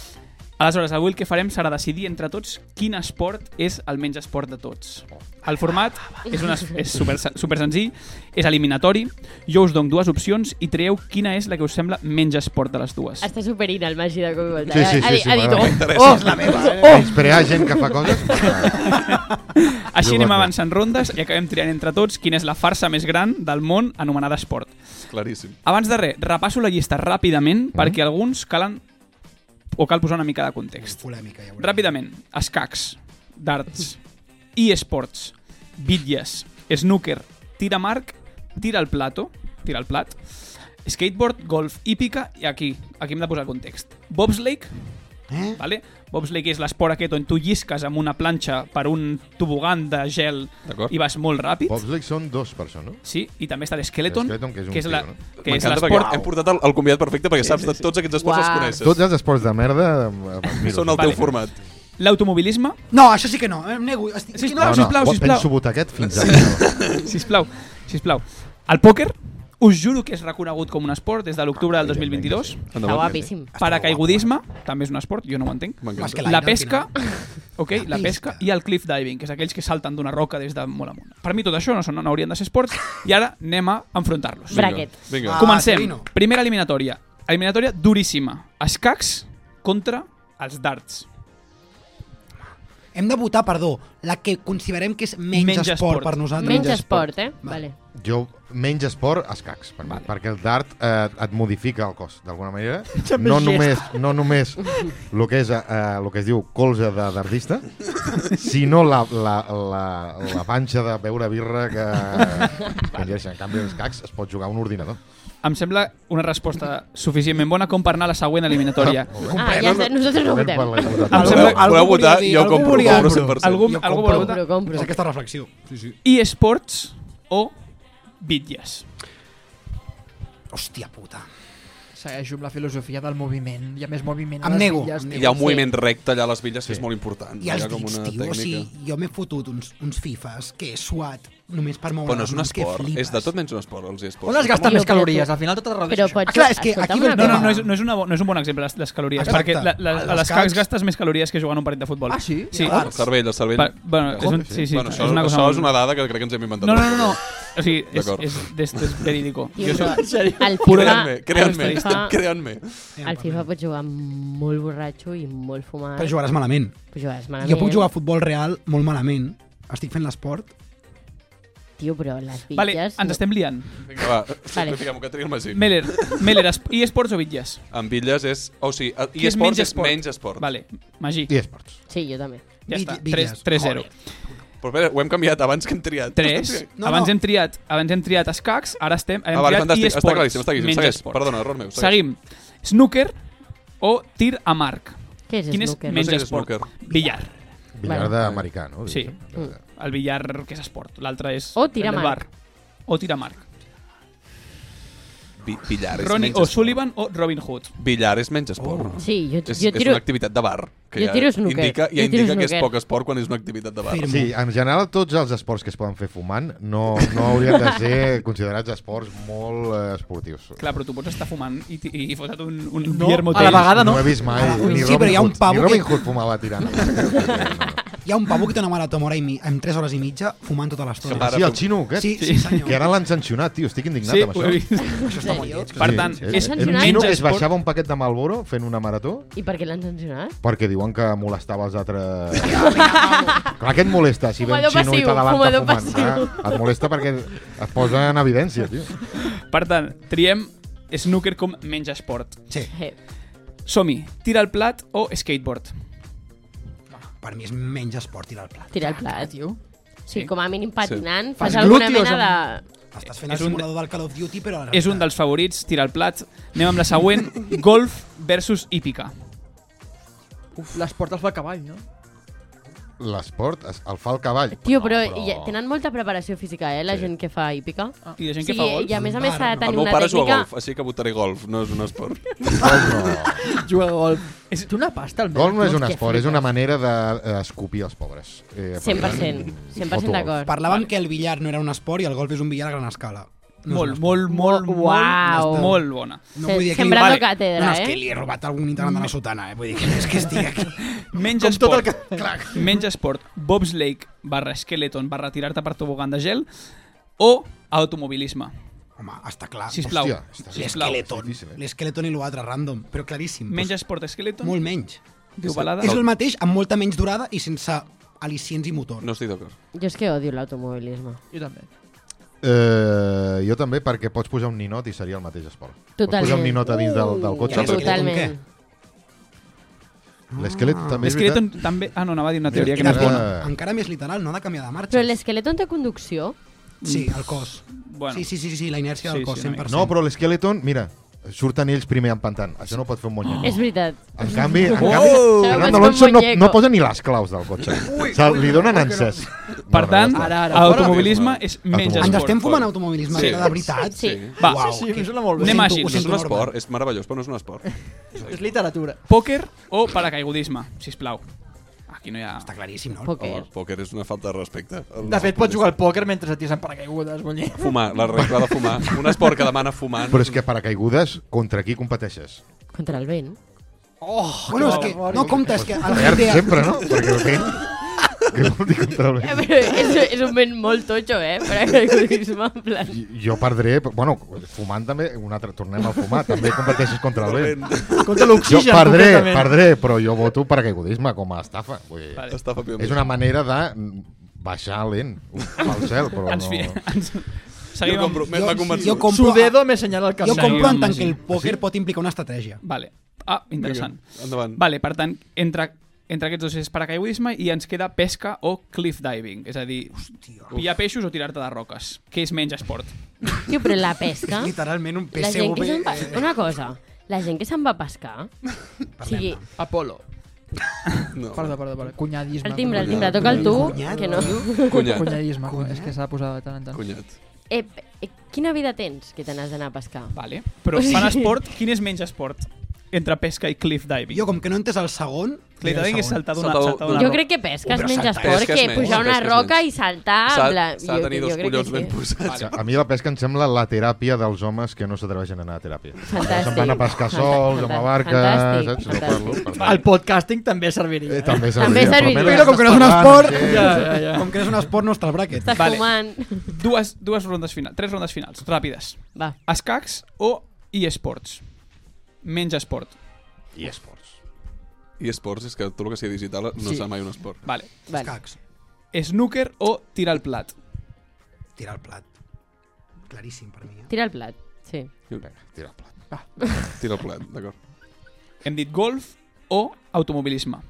J: Aleshores, avui el que farem serà decidir entre tots quin esport és el menys esport de tots. El format és, una, és super, super senzill, és eliminatori, jo us dono dues opcions i trieu quina és la que us sembla menys esport de les dues.
I: Està superint el màgic de cop i volta.
G: Sí,
I: Ha-
G: sí,
I: ha,
G: sí,
I: dit-
G: sí,
I: ha dit,
G: m'agrada.
I: "Oh,
H: M'interessa.
I: la meva.
G: Oh! Menysprear gent que fa coses...
I: <laughs>
J: Així
G: Jo
J: anem
G: guardo.
J: avançant rondes i acabem triant entre tots quina és la farsa més gran del món anomenada esport.
H: Claríssim.
J: Abans de res, repasso la llista ràpidament mm. perquè alguns calen o cal posar una mica de context.
E: Polèmica, ja veurem.
J: Ràpidament, escacs, darts, e-sports, bitlles, snooker, tira marc, tira al plato, tira al plat, skateboard, golf, hípica i aquí, aquí hem de posar context. Bobsleigh,
E: Eh?
J: Vale? Bobsleigh és l'esport aquest on tu llisques amb una planxa per un tobogan de gel
H: D'acord.
J: i vas molt ràpid.
G: Bobsleigh són dos persones, no?
J: Sí, i també està l'Skeleton,
G: L'Skeleton, que és un
J: que és la-
G: tio, no?
J: que és
H: M'encanta perquè
J: l'esport...
H: hem portat el, el convidat perfecte perquè saps de tots aquests esports
I: Uau.
H: els
G: Tots
H: coneixes.
G: els esports de merda... eh, els miro.
H: Són el
J: Vale.
H: teu format.
J: L'automobilisme,
E: No, això sí que no. Em nego. Estic,
J: Sí,
E: estic-
J: no, sisplau,
G: ho
J: sisplau.
G: penso botaquet fins a... Sí.
J: sisplau, sisplau. El pòquer, us juro que és reconegut com un esport des de l'octubre del 2022.
I: Està guapíssim.
J: Paracaigudisme, també és un esport, jo no ho entenc.
E: Més que
H: M'encanta.
E: l'aire,
J: La
E: al
J: pesca,
E: final.
J: ok, la pesca i el cliff diving, que és aquells que salten d'una roca des de molt amunt. Per mi tot això no, són, no haurien de ser esports i ara anem a enfrontar-los.
I: Bra- Bracket.
H: Vinga.
E: Ah.
J: Comencem.
E: Torino.
J: Primera eliminatòria. Eliminatòria duríssima. Escacs contra els darts.
E: Hem de votar, perdó, la que considerem que és menys,
J: Menys
E: esport,
J: esport.
E: per nosaltres.
I: Menys esport, eh? Vale.
G: Jo menys esport, escacs, per mi,
J: Vale.
G: perquè el dart eh, et modifica el cos, d'alguna
J: <laughs>
G: manera. No només, no només el que, és, eh, el que es diu colze de dartista, sinó la, la, la, la panxa de beure birra que... Congereixen. En canvi, els cacs es pot jugar a un ordinador.
J: Em sembla una resposta suficientment bona com per anar a la següent eliminatòria.
G: Oh.
I: Ah, ja està, nosaltres no votem.
J: Em
H: Voleu,
J: sembla-
H: voleu
E: algú
H: votar?
E: volia dir-
H: Jo
E: algú
H: compro,
E: volia
H: compro
E: dir-
H: 100%.
J: Algú,
E: Jo compro.
J: algú vol votar?
I: Compro, compro.
E: Però és aquesta reflexió. Sí, sí.
J: eSports o bitlles?
E: Hòstia puta.
F: Segueixo amb la filosofia del moviment. Hi ha més moviment a
E: Em
F: les
E: nego,
F: villes.
E: em
H: Hi ha un moviment recte allà a les villes que és molt important.
E: I els
H: Hi ha com
E: dits,
H: una
E: tio, o
H: tècnica.
E: sigui, jo m'he fotut uns, uns fifes que he suat només per moure
H: Però no és un
E: les mans, que
H: esport,
E: flipes.
H: és de tot menys un esport, els esports.
F: On es gasten
I: Tio,
F: més
I: però
F: calories?
I: tu-
F: Al final tot es
I: Però
F: redueix.
I: pots...
E: Ah, clar, és que
I: escolta'm
E: aquí ve el
I: una
J: No, no,
I: cosa.
J: no és, no és, una, bo- no és un bon exemple, les, les calories,
E: Exacte.
J: perquè la,
H: Ah,
J: la, a
E: A les
J: les cacs
E: cacs-
J: gastes més calories que jugant un partit de futbol.
F: Ah, sí?
J: Sí.
E: Clar.
H: El cervell, el cervell.
J: Per, bueno, és un, sí, sí,
H: bueno, això,
J: és una cosa
H: això
J: molt-
H: és una dada que crec que ens hem inventat.
J: No, no, no, no. O sigui, és,
H: D'acord.
J: és, és, és verídico.
I: Tio, però el
H: Crean-me,
I: FIFA, el
H: crean-me,
I: FIFA,
H: crean-me.
I: el FIFA pot jugar molt borratxo i molt fumat.
E: Però jugaràs malament.
I: Jugaràs malament.
E: Jo puc jugar a futbol real molt malament. Estic fent l'esport.
I: Tio, però les bitlles...
J: Vale, ens estem liant.
H: Vinga, va,
I: Vale.
H: vale. fiquem que tenim així.
J: Meller, Meller, es- i esports o bitlles?
H: Amb bitlles és... O sigui, a-
J: Qui
H: i
J: és
H: esports
J: menys
H: és
J: esport?
H: menys esport.
J: Vale, Magí,
G: I esports.
I: Sí, jo també.
J: ja està.
E: Bitlles,
J: Tres- 3-0.
H: Però espera, ho hem canviat abans que <laughs> hem triat.
J: 3.
E: No,
J: abans
E: no.
J: hem triat, abans hem triat escacs, ara estem, hem
H: Ah, vale,
J: triat
H: fantàstic.
J: esports.
H: Està claríssim, està claríssim.
J: menys
H: Segueix.
J: esports.
H: Perdona, error meu. Segueix.
J: Seguim. Snooker o tir a marc.
I: Què és
J: Quin és
I: snooker?
H: No
J: menys
H: sé què és
J: esport?
H: snooker.
J: Billar.
G: Billar
I: Vale.
G: d'americà, no?
J: Sí.
I: Mm.
J: Mm.
G: Diguéssim.
J: El billar, que és esport. L'altre és...
I: O tir a
J: el del
I: marc.
J: bar. O tir a marc.
H: Bi- Billar és
J: Ronnie
H: menys esport.
J: O'Sullivan Oh. o Robin Hood.
H: Billar és menys esport.
I: Sí, jo,
H: És,
I: jo
H: és una
I: tiro...
H: activitat de bar. Que
I: Jo
H: ja
I: tiro snooker.
H: Indica,
I: Jo
H: ja
I: tiro
H: indica que és
I: snooker.
H: poc esport quan és una activitat de bar.
E: Firmo.
G: Sí, en general tots els esports que es poden fer fumant no, no haurien de ser considerats esports molt eh, esportius.
J: Clar, però tu pots estar fumant i, i, i fotre't un, un
F: No,
J: beer
F: a la
J: motel.
F: vegada no.
G: No he vist mai.
E: Ah,
G: ni
E: sí,
G: Robin
E: però hi ha un
G: Hood,
E: pavo
G: ni Robin
E: que-
G: Hood fumava tirant.
E: Hi ha un pavo que té una marató amb hora i mi, amb 3 hores i mitja fumant tota l'estona.
H: Separa.
G: sí, el xino aquest.
E: Sí, sí, senyor.
G: Que ara l'han sancionat, tio. Estic indignat
J: Sí,
G: amb
J: ho he
G: això.
I: <laughs>
J: vist.
E: Això està molt lleig.
I: Sèrio?
J: <laughs> Per tant, és
G: és, un
I: sancionat?
G: xino que
J: menys
G: es
J: esport.
G: baixava un paquet de Malboro fent una marató
I: I per què l'han sancionat?
G: perquè diuen que molestava els altres... Clar que et molesta si ve un
I: Fumador
G: xino i
I: passiu,
G: te levanta
I: fumador
G: fumant.
I: passiu.
G: clar. Et molesta perquè et posa en evidència, tio.
J: Per tant, triem snooker com menys esport.
E: Sí,
I: Eh,
J: Som-hi, tira el plat o skateboard.
E: per mi és menys esport tirar el plat.
I: Tira el plat, tio. Sí, com a mínim patinant,
E: Fas
I: fas alguna
E: glúteos
I: mena de...
E: Estàs fent
J: És
E: el
J: un-
E: simulador del Call of Duty, però... a la
J: És un
E: realitat.
J: dels favorits, tira el plat. Anem amb la següent,
I: <laughs>
J: golf versus hípica.
F: Uf, l'esport el fa el cavall, no?
G: L'esport es- el fa el cavall.
I: Tio, però,
G: No,
I: ja, tenen molta preparació física, eh, la gent que fa hípica.
J: I la gent
I: Sí,
J: que fa golf.
I: i a més a més s'ha de
H: El
I: tenir
H: meu
I: una
H: pare juga a
I: tècnica...
H: golf, així que votaré golf, no és un
I: <laughs>
H: esport.
F: <laughs> Juga a golf. És... Té una pasta, el
G: Golf no és un
I: que
G: esport, és una manera de- d'escopir els pobres. Eh, per
I: 100%, 100% d'acord.
E: Parlàvem que el billar no era un esport i el golf és un billar a gran escala. No és un
J: Molt,
E: esport.
J: molt, molt,
I: Uau.
J: molt, molt bona.
E: No
I: Se-
E: vull dir que li-
I: sembrando
E: Vale.
I: càtedra,
E: no, és
I: eh?
E: que li he robat algun integrant de la sotana, eh? Vull dir que no és que estic
J: <laughs>
E: aquí.
J: Menys esport. Menys esport. Bob's Lake barra Skeleton barra tirar-te per tobogan de gel o automobilisme.
E: Home, Ah, està clar.
J: Sisplau.
G: Hòstia, està
J: Sí, sisplau.
E: L'esqueleton.
G: difícil, eh?
E: L'esqueleton i l'altre, random. Però claríssim. doncs,
J: Menys esport Skeleton,
E: Molt menys.
J: diu balada.
E: És el mateix, amb molta menys durada i sense al·licients i motor.
H: No estic d'acord.
I: Jo és que odio l'automobilisme.
F: Jo també.
G: Eh, jo també, perquè pots posar un ninot i seria el mateix esport.
I: Totalment.
G: Pots posar un ninot a dins del, del cotxe.
E: Ja
G: Uh,
E: veus.
I: Totalment.
G: L'esquelet també és
J: Skeleton
G: veritat.
J: també... Ah, no, anava a dir una teoria que no
E: Quina
J: és
G: Mira,
J: bona.
E: pena. Encara més literal, no ha de canviar de marxa.
I: Però l'esqueleton té conducció?
E: Sí, el cos.
J: Bueno,
E: Sí, sí, sí, sí, la inèrcia del
J: Sí, sí,
E: cos,
J: una mica.
E: 100%.
G: No, però l'esqueleton, mira, surten ells primer empantant. Això no ho pot fer un monyaco.
I: És veritat.
G: En canvi, en
H: Wow!
G: canvi
I: Serà un
G: Fernando Alonso no,
I: muñeco.
G: no posa ni les claus del cotxe. Ui, ui, li donen encès.
J: Per tant,
F: Ara, ara,
J: l'automobilisme
H: fora.
J: és menys
G: Automobilisme.
E: Ens
J: esport.
E: estem fumant automobilisme,
H: Sí.
E: de veritat?
I: Sí.
J: Va,
E: Uau,
F: Sí, sí,
E: que-
F: em sona molt bé.
E: ho
J: Anem
E: sento,
J: així,
E: ho
H: No és
E: sento
H: un
E: enorme.
H: esport, és meravellós, però no és
I: <laughs>
H: un esport.
F: És literatura.
J: Pòquer o paracaigudisme, si plau. Aquí no hi ha...
E: Està claríssim, no?
I: Poker.
H: El pòquer és una falta de respecte.
F: De fet, pots jugar al pòquer mentre et tiren paracaigudes, vull dir.
H: Fumar, la regla de fumar. Un esport que demana fumar.
G: Però és que paracaigudes, contra qui competeixes?
I: Contra el vent.
E: Bueno, és que <laughs> no compta, és que el
G: Verd,
E: GTA...
G: sempre, no? Perquè el vent... Què vol dir contra el
I: <laughs> Eh,
G: vent?
I: però és, és un vent molt totxo, eh? Paracaigudisme, en plan...
G: Jo- Jo perdré, però, bueno, fumant també, un altre, tornem al fumar, també competeixes contra el vent.
F: Contra
G: Jo
F: l'oxigen,
G: perdré,
F: concretament.
G: perdré, però jo voto paracaigudisme com a estafa. Vull dir,
J: Vale.
H: <laughs> Està papiant.
G: és una manera de baixar lent pel cel, però
J: Ens, fi...
G: no...
J: <laughs> ens...
H: Jo
J: Seguim
H: compro,
J: amb...
H: m'ha convençut.
E: Jo compro,
F: Su dedo me senyala el
E: jo
F: camí.
E: compro en tant
J: Sí.
E: que el pòquer pot implicar una estratègia.
J: Vale. Ah, interessant.
H: Endavant.
J: Vale, per tant, entre, entre aquests dos és paracaigudisme i ens queda pesca o cliff diving, és a dir, pillar peixos o tirar-te de roques, que és menys esport.
I: Tio, però la pesca...
E: Literalment un
I: Ah? La gent
E: PSV...
I: que se'n va... Una cosa, la gent que se'n va a pescar... O sigui,
F: Apolo.
H: No.
F: Perdó, perdó, perdó. Cunyadisme.
I: el timbre, el timbre, toca el tu, que no...
H: Cunyat.
F: Cunyadisme. És que s'ha de posar de tant en tant.
H: Cunyat.
I: <laughs> Eh, eh, quina vida tens que te n'has d'anar a pescar?
J: Vale. Però
I: O sigui-
J: fan esport, quin és menys esport? Entre pesca i cliff diving.
E: Jo, com que no he entès el segon...
J: cliff
E: diré el
J: diving és
E: segon.
J: saltar d'una
H: Saltar-
J: saltar d'una
I: Jo
J: roca.
I: crec que pesca és
H: Però
I: menys
H: saltar-
I: esport
H: pesca és
I: que
H: menys,
I: pujar una
H: pesca és
I: roca i
H: menys.
I: saltar... en
H: S'ha
I: plan-
H: s'ha de
I: Ah, jo- jo
H: tenir dos
I: crec que
H: collons
I: sí.
H: ben posats.
G: A mi la pesca em sembla la teràpia dels homes que no s'atreveixen a anar a teràpia.
I: Fantàstic.
G: Se'n van a pescar
I: Fantàstic,
G: sols,
I: fantàstic,
G: amb la barca,
I: fantàstic,
G: saps? No
I: fantàstic.
G: parlo. per tant.
F: El podcasting també serviria.
G: Eh,
F: eh?
G: també
I: També
G: serviria.
I: serviria.
G: almenys eh,
E: Però com que no és un
G: estàs
E: esport...
G: parlant, sí.
F: Ja, ja, ja.
E: Com que no és un esport, no està al bràquet.
I: Estàs
J: Vale.
I: fumant...
J: Dues, dues rondes finals, tres rondes finals, ràpides.
I: Va.
J: Escacs o e-sports? Menys esport.
G: I esports.
H: I esports, és que tot el que sigui digital no
F: Sí.
H: serà mai un esport.
J: Vale.
I: Vale.
E: Cacs.
J: Snooker o tirar el plat?
E: Tirar el plat. Claríssim per mi. eh?
I: Tira el plat, sí.
G: Tira el plat.
H: Tira el plat, d'acord.
J: Hem dit golf o automobilisme.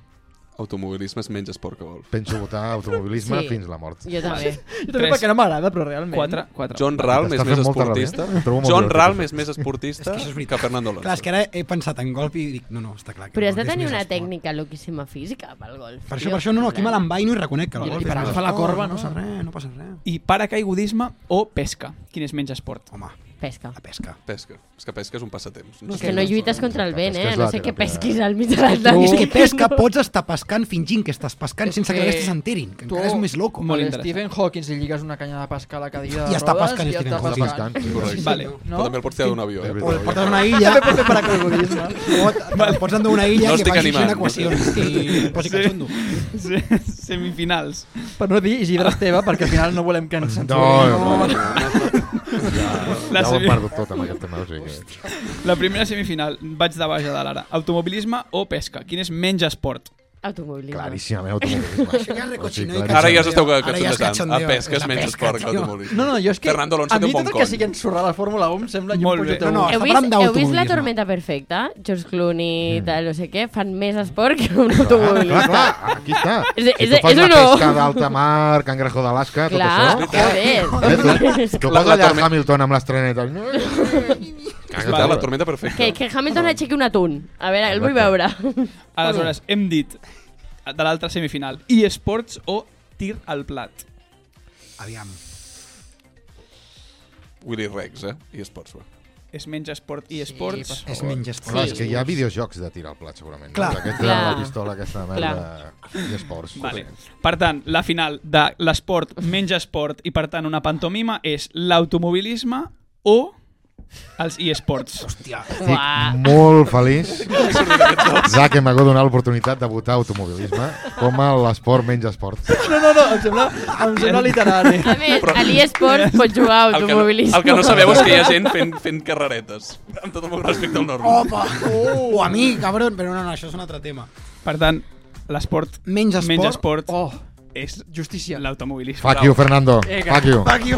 H: Automobilisme és menys esport que golf.
G: Penso votar automobilisme
I: Sí.
G: fins la mort.
I: Jo també.
F: Jo també perquè no m'agrada, però realment.
J: Quatre, quatre.
H: John Ralm és
G: T'està
H: més
G: fent molta
H: esportista.
G: ràbia. Trobo molt
H: John
G: divertit,
H: Ralm
G: això.
H: és més esportista
E: És que això és veritat.
H: que Fernando
E: Clar, és que
H: Alonso.
E: ara he pensat en golf i dic, no, no, està clar. Que
I: Però
E: el
I: has de
E: golf és
I: tenir
E: més
I: una
E: esport.
I: tècnica loquíssima física pel golf.
E: Per això, per això, no, no, aquí me l'envaino i reconec que el
F: I-
E: golf
F: i per
E: és més
F: agafar la
E: esport,
F: corba, no?
E: No passa res, no passa res.
J: I paracaigudisme o pesca? Quin és menys esport?
E: Home,
I: Pesca.
E: la pesca.
H: Pesca. És que pesca és un passatemps.
I: És que no lluites contra el vent,
G: És que
I: eh?
G: és
I: No
G: la
I: sé què
G: teràpia.
I: pesquis al mig de l'Atlàntic.
E: Tu... És que pesca, pots estar pescant fingint que estàs pescant sense que
F: que
E: aquests s'enterin, que
F: tu-
E: encara és més loco.
J: Molt
F: Molt
J: interessant.
F: Stephen Hawking li lligues una canya de pescar a la cadira de
E: I està
F: rodes
E: pescant
F: i
E: Stephen
F: està
G: Hawking.
F: pescant.
G: Està
H: Correcte.
J: Vale.
H: Però també el pots tirar d'un avió, eh?
E: O el portes a una illa...
F: També pot fer paracaigudisme.
E: O et- te'l pots endur a una illa
H: No
E: que
H: estic
E: vagi fent
H: animant.
E: equacions i posi que xondo.
J: Sí, Semifinals.
F: Per no dir Isidre Esteve, perquè al final no volem que ens
G: No,
F: censurin.
G: no, no.
J: La,
G: Ja ho he
J: semi...
G: perdut tot amb aquest tema. O sigui que...
J: la primera semifinal. Vaig de baix a dalt ara. Automobilisme o pesca? Quin és menys esport?
I: <laughs> Automobilisme.
G: Claríssimament
H: <laughs>
G: automobilisme.
E: Això ja és recochineo i
G: clar,
H: Ara ja
E: cachondeo.
H: s'esteu
E: Ara ja és
H: cachondejant. A
E: cachondeo.
H: pesca
E: És
H: és
E: la
H: menys
E: pesca,
H: esport que
E: tio.
H: automobilisme.
F: No, no, jo és que
H: Fernando Alonso
F: a mi
H: té un
F: tot
H: bon
F: el que
H: cony.
F: sigui ensorrar la Fórmula 1 em sembla
J: Molt
F: un
J: bé.
F: projecte
E: No, no,
F: únic.
I: Heu
E: Està
I: vist,
E: parlant
I: heu vist la
E: d'automobilisme.
I: tormenta perfecta? George Clooney, i tal, no sé què, fan més esport que un
G: Clar, clar,
I: automobilista.
G: clar, aquí està.
I: És-
G: Si
I: és-
G: tu fas
I: és
G: la
I: un no.
G: pesca d'alta mar, cangrejo d'Alaska, tot això... Eh,
I: joder. <laughs>
G: tu- Tu
H: La-
G: poses
H: la
G: allà
H: tormenta-
G: Hamilton amb l'estreneta.
H: Caga, la tormenta perfecta.
I: Que, que Hamilton aixequi un atún. A veure, el vull veure.
J: Aleshores, hem dit de l'altra semifinal. E-sports o tir al plat?
E: Aviam.
H: Willy Rex, eh? I esports, va.
J: És menys esport i esports?
F: per
E: És menys esport.
G: Clar, és que hi ha videojocs de tirar al plat, segurament.
E: Clar.
G: No? Aquesta,
I: Clar.
G: la pistola, aquesta merda i esports.
J: Vale. Per tant, la final de l'esport menys esport i per tant una pantomima és l'automobilisme o els e-sports.
E: Hòstia.
I: Uah.
G: Estic molt
H: <laughs>
G: feliç ja que m'ha donat l'oportunitat de votar automobilisme com a l'esport menys esport.
F: No, no, no, em sembla, em sembla literari.
E: <laughs>
I: A més, a l'eSports pots jugar a
H: El que, no,
I: automobilisme.
H: el que no sabeu és que hi
F: <laughs>
H: ha gent fent, fent carreretes. Amb tot el meu respecte al norma.
E: Opa! O a mi, cabron! Però no, no, això és un altre tema.
J: Per tant, l'esport
E: Menys esport.
J: menys esport
F: Oh,
J: és
F: justícia.
J: l'automobilisme.
G: Fuck you, Fernando.
F: Vinga.
G: Fuck you.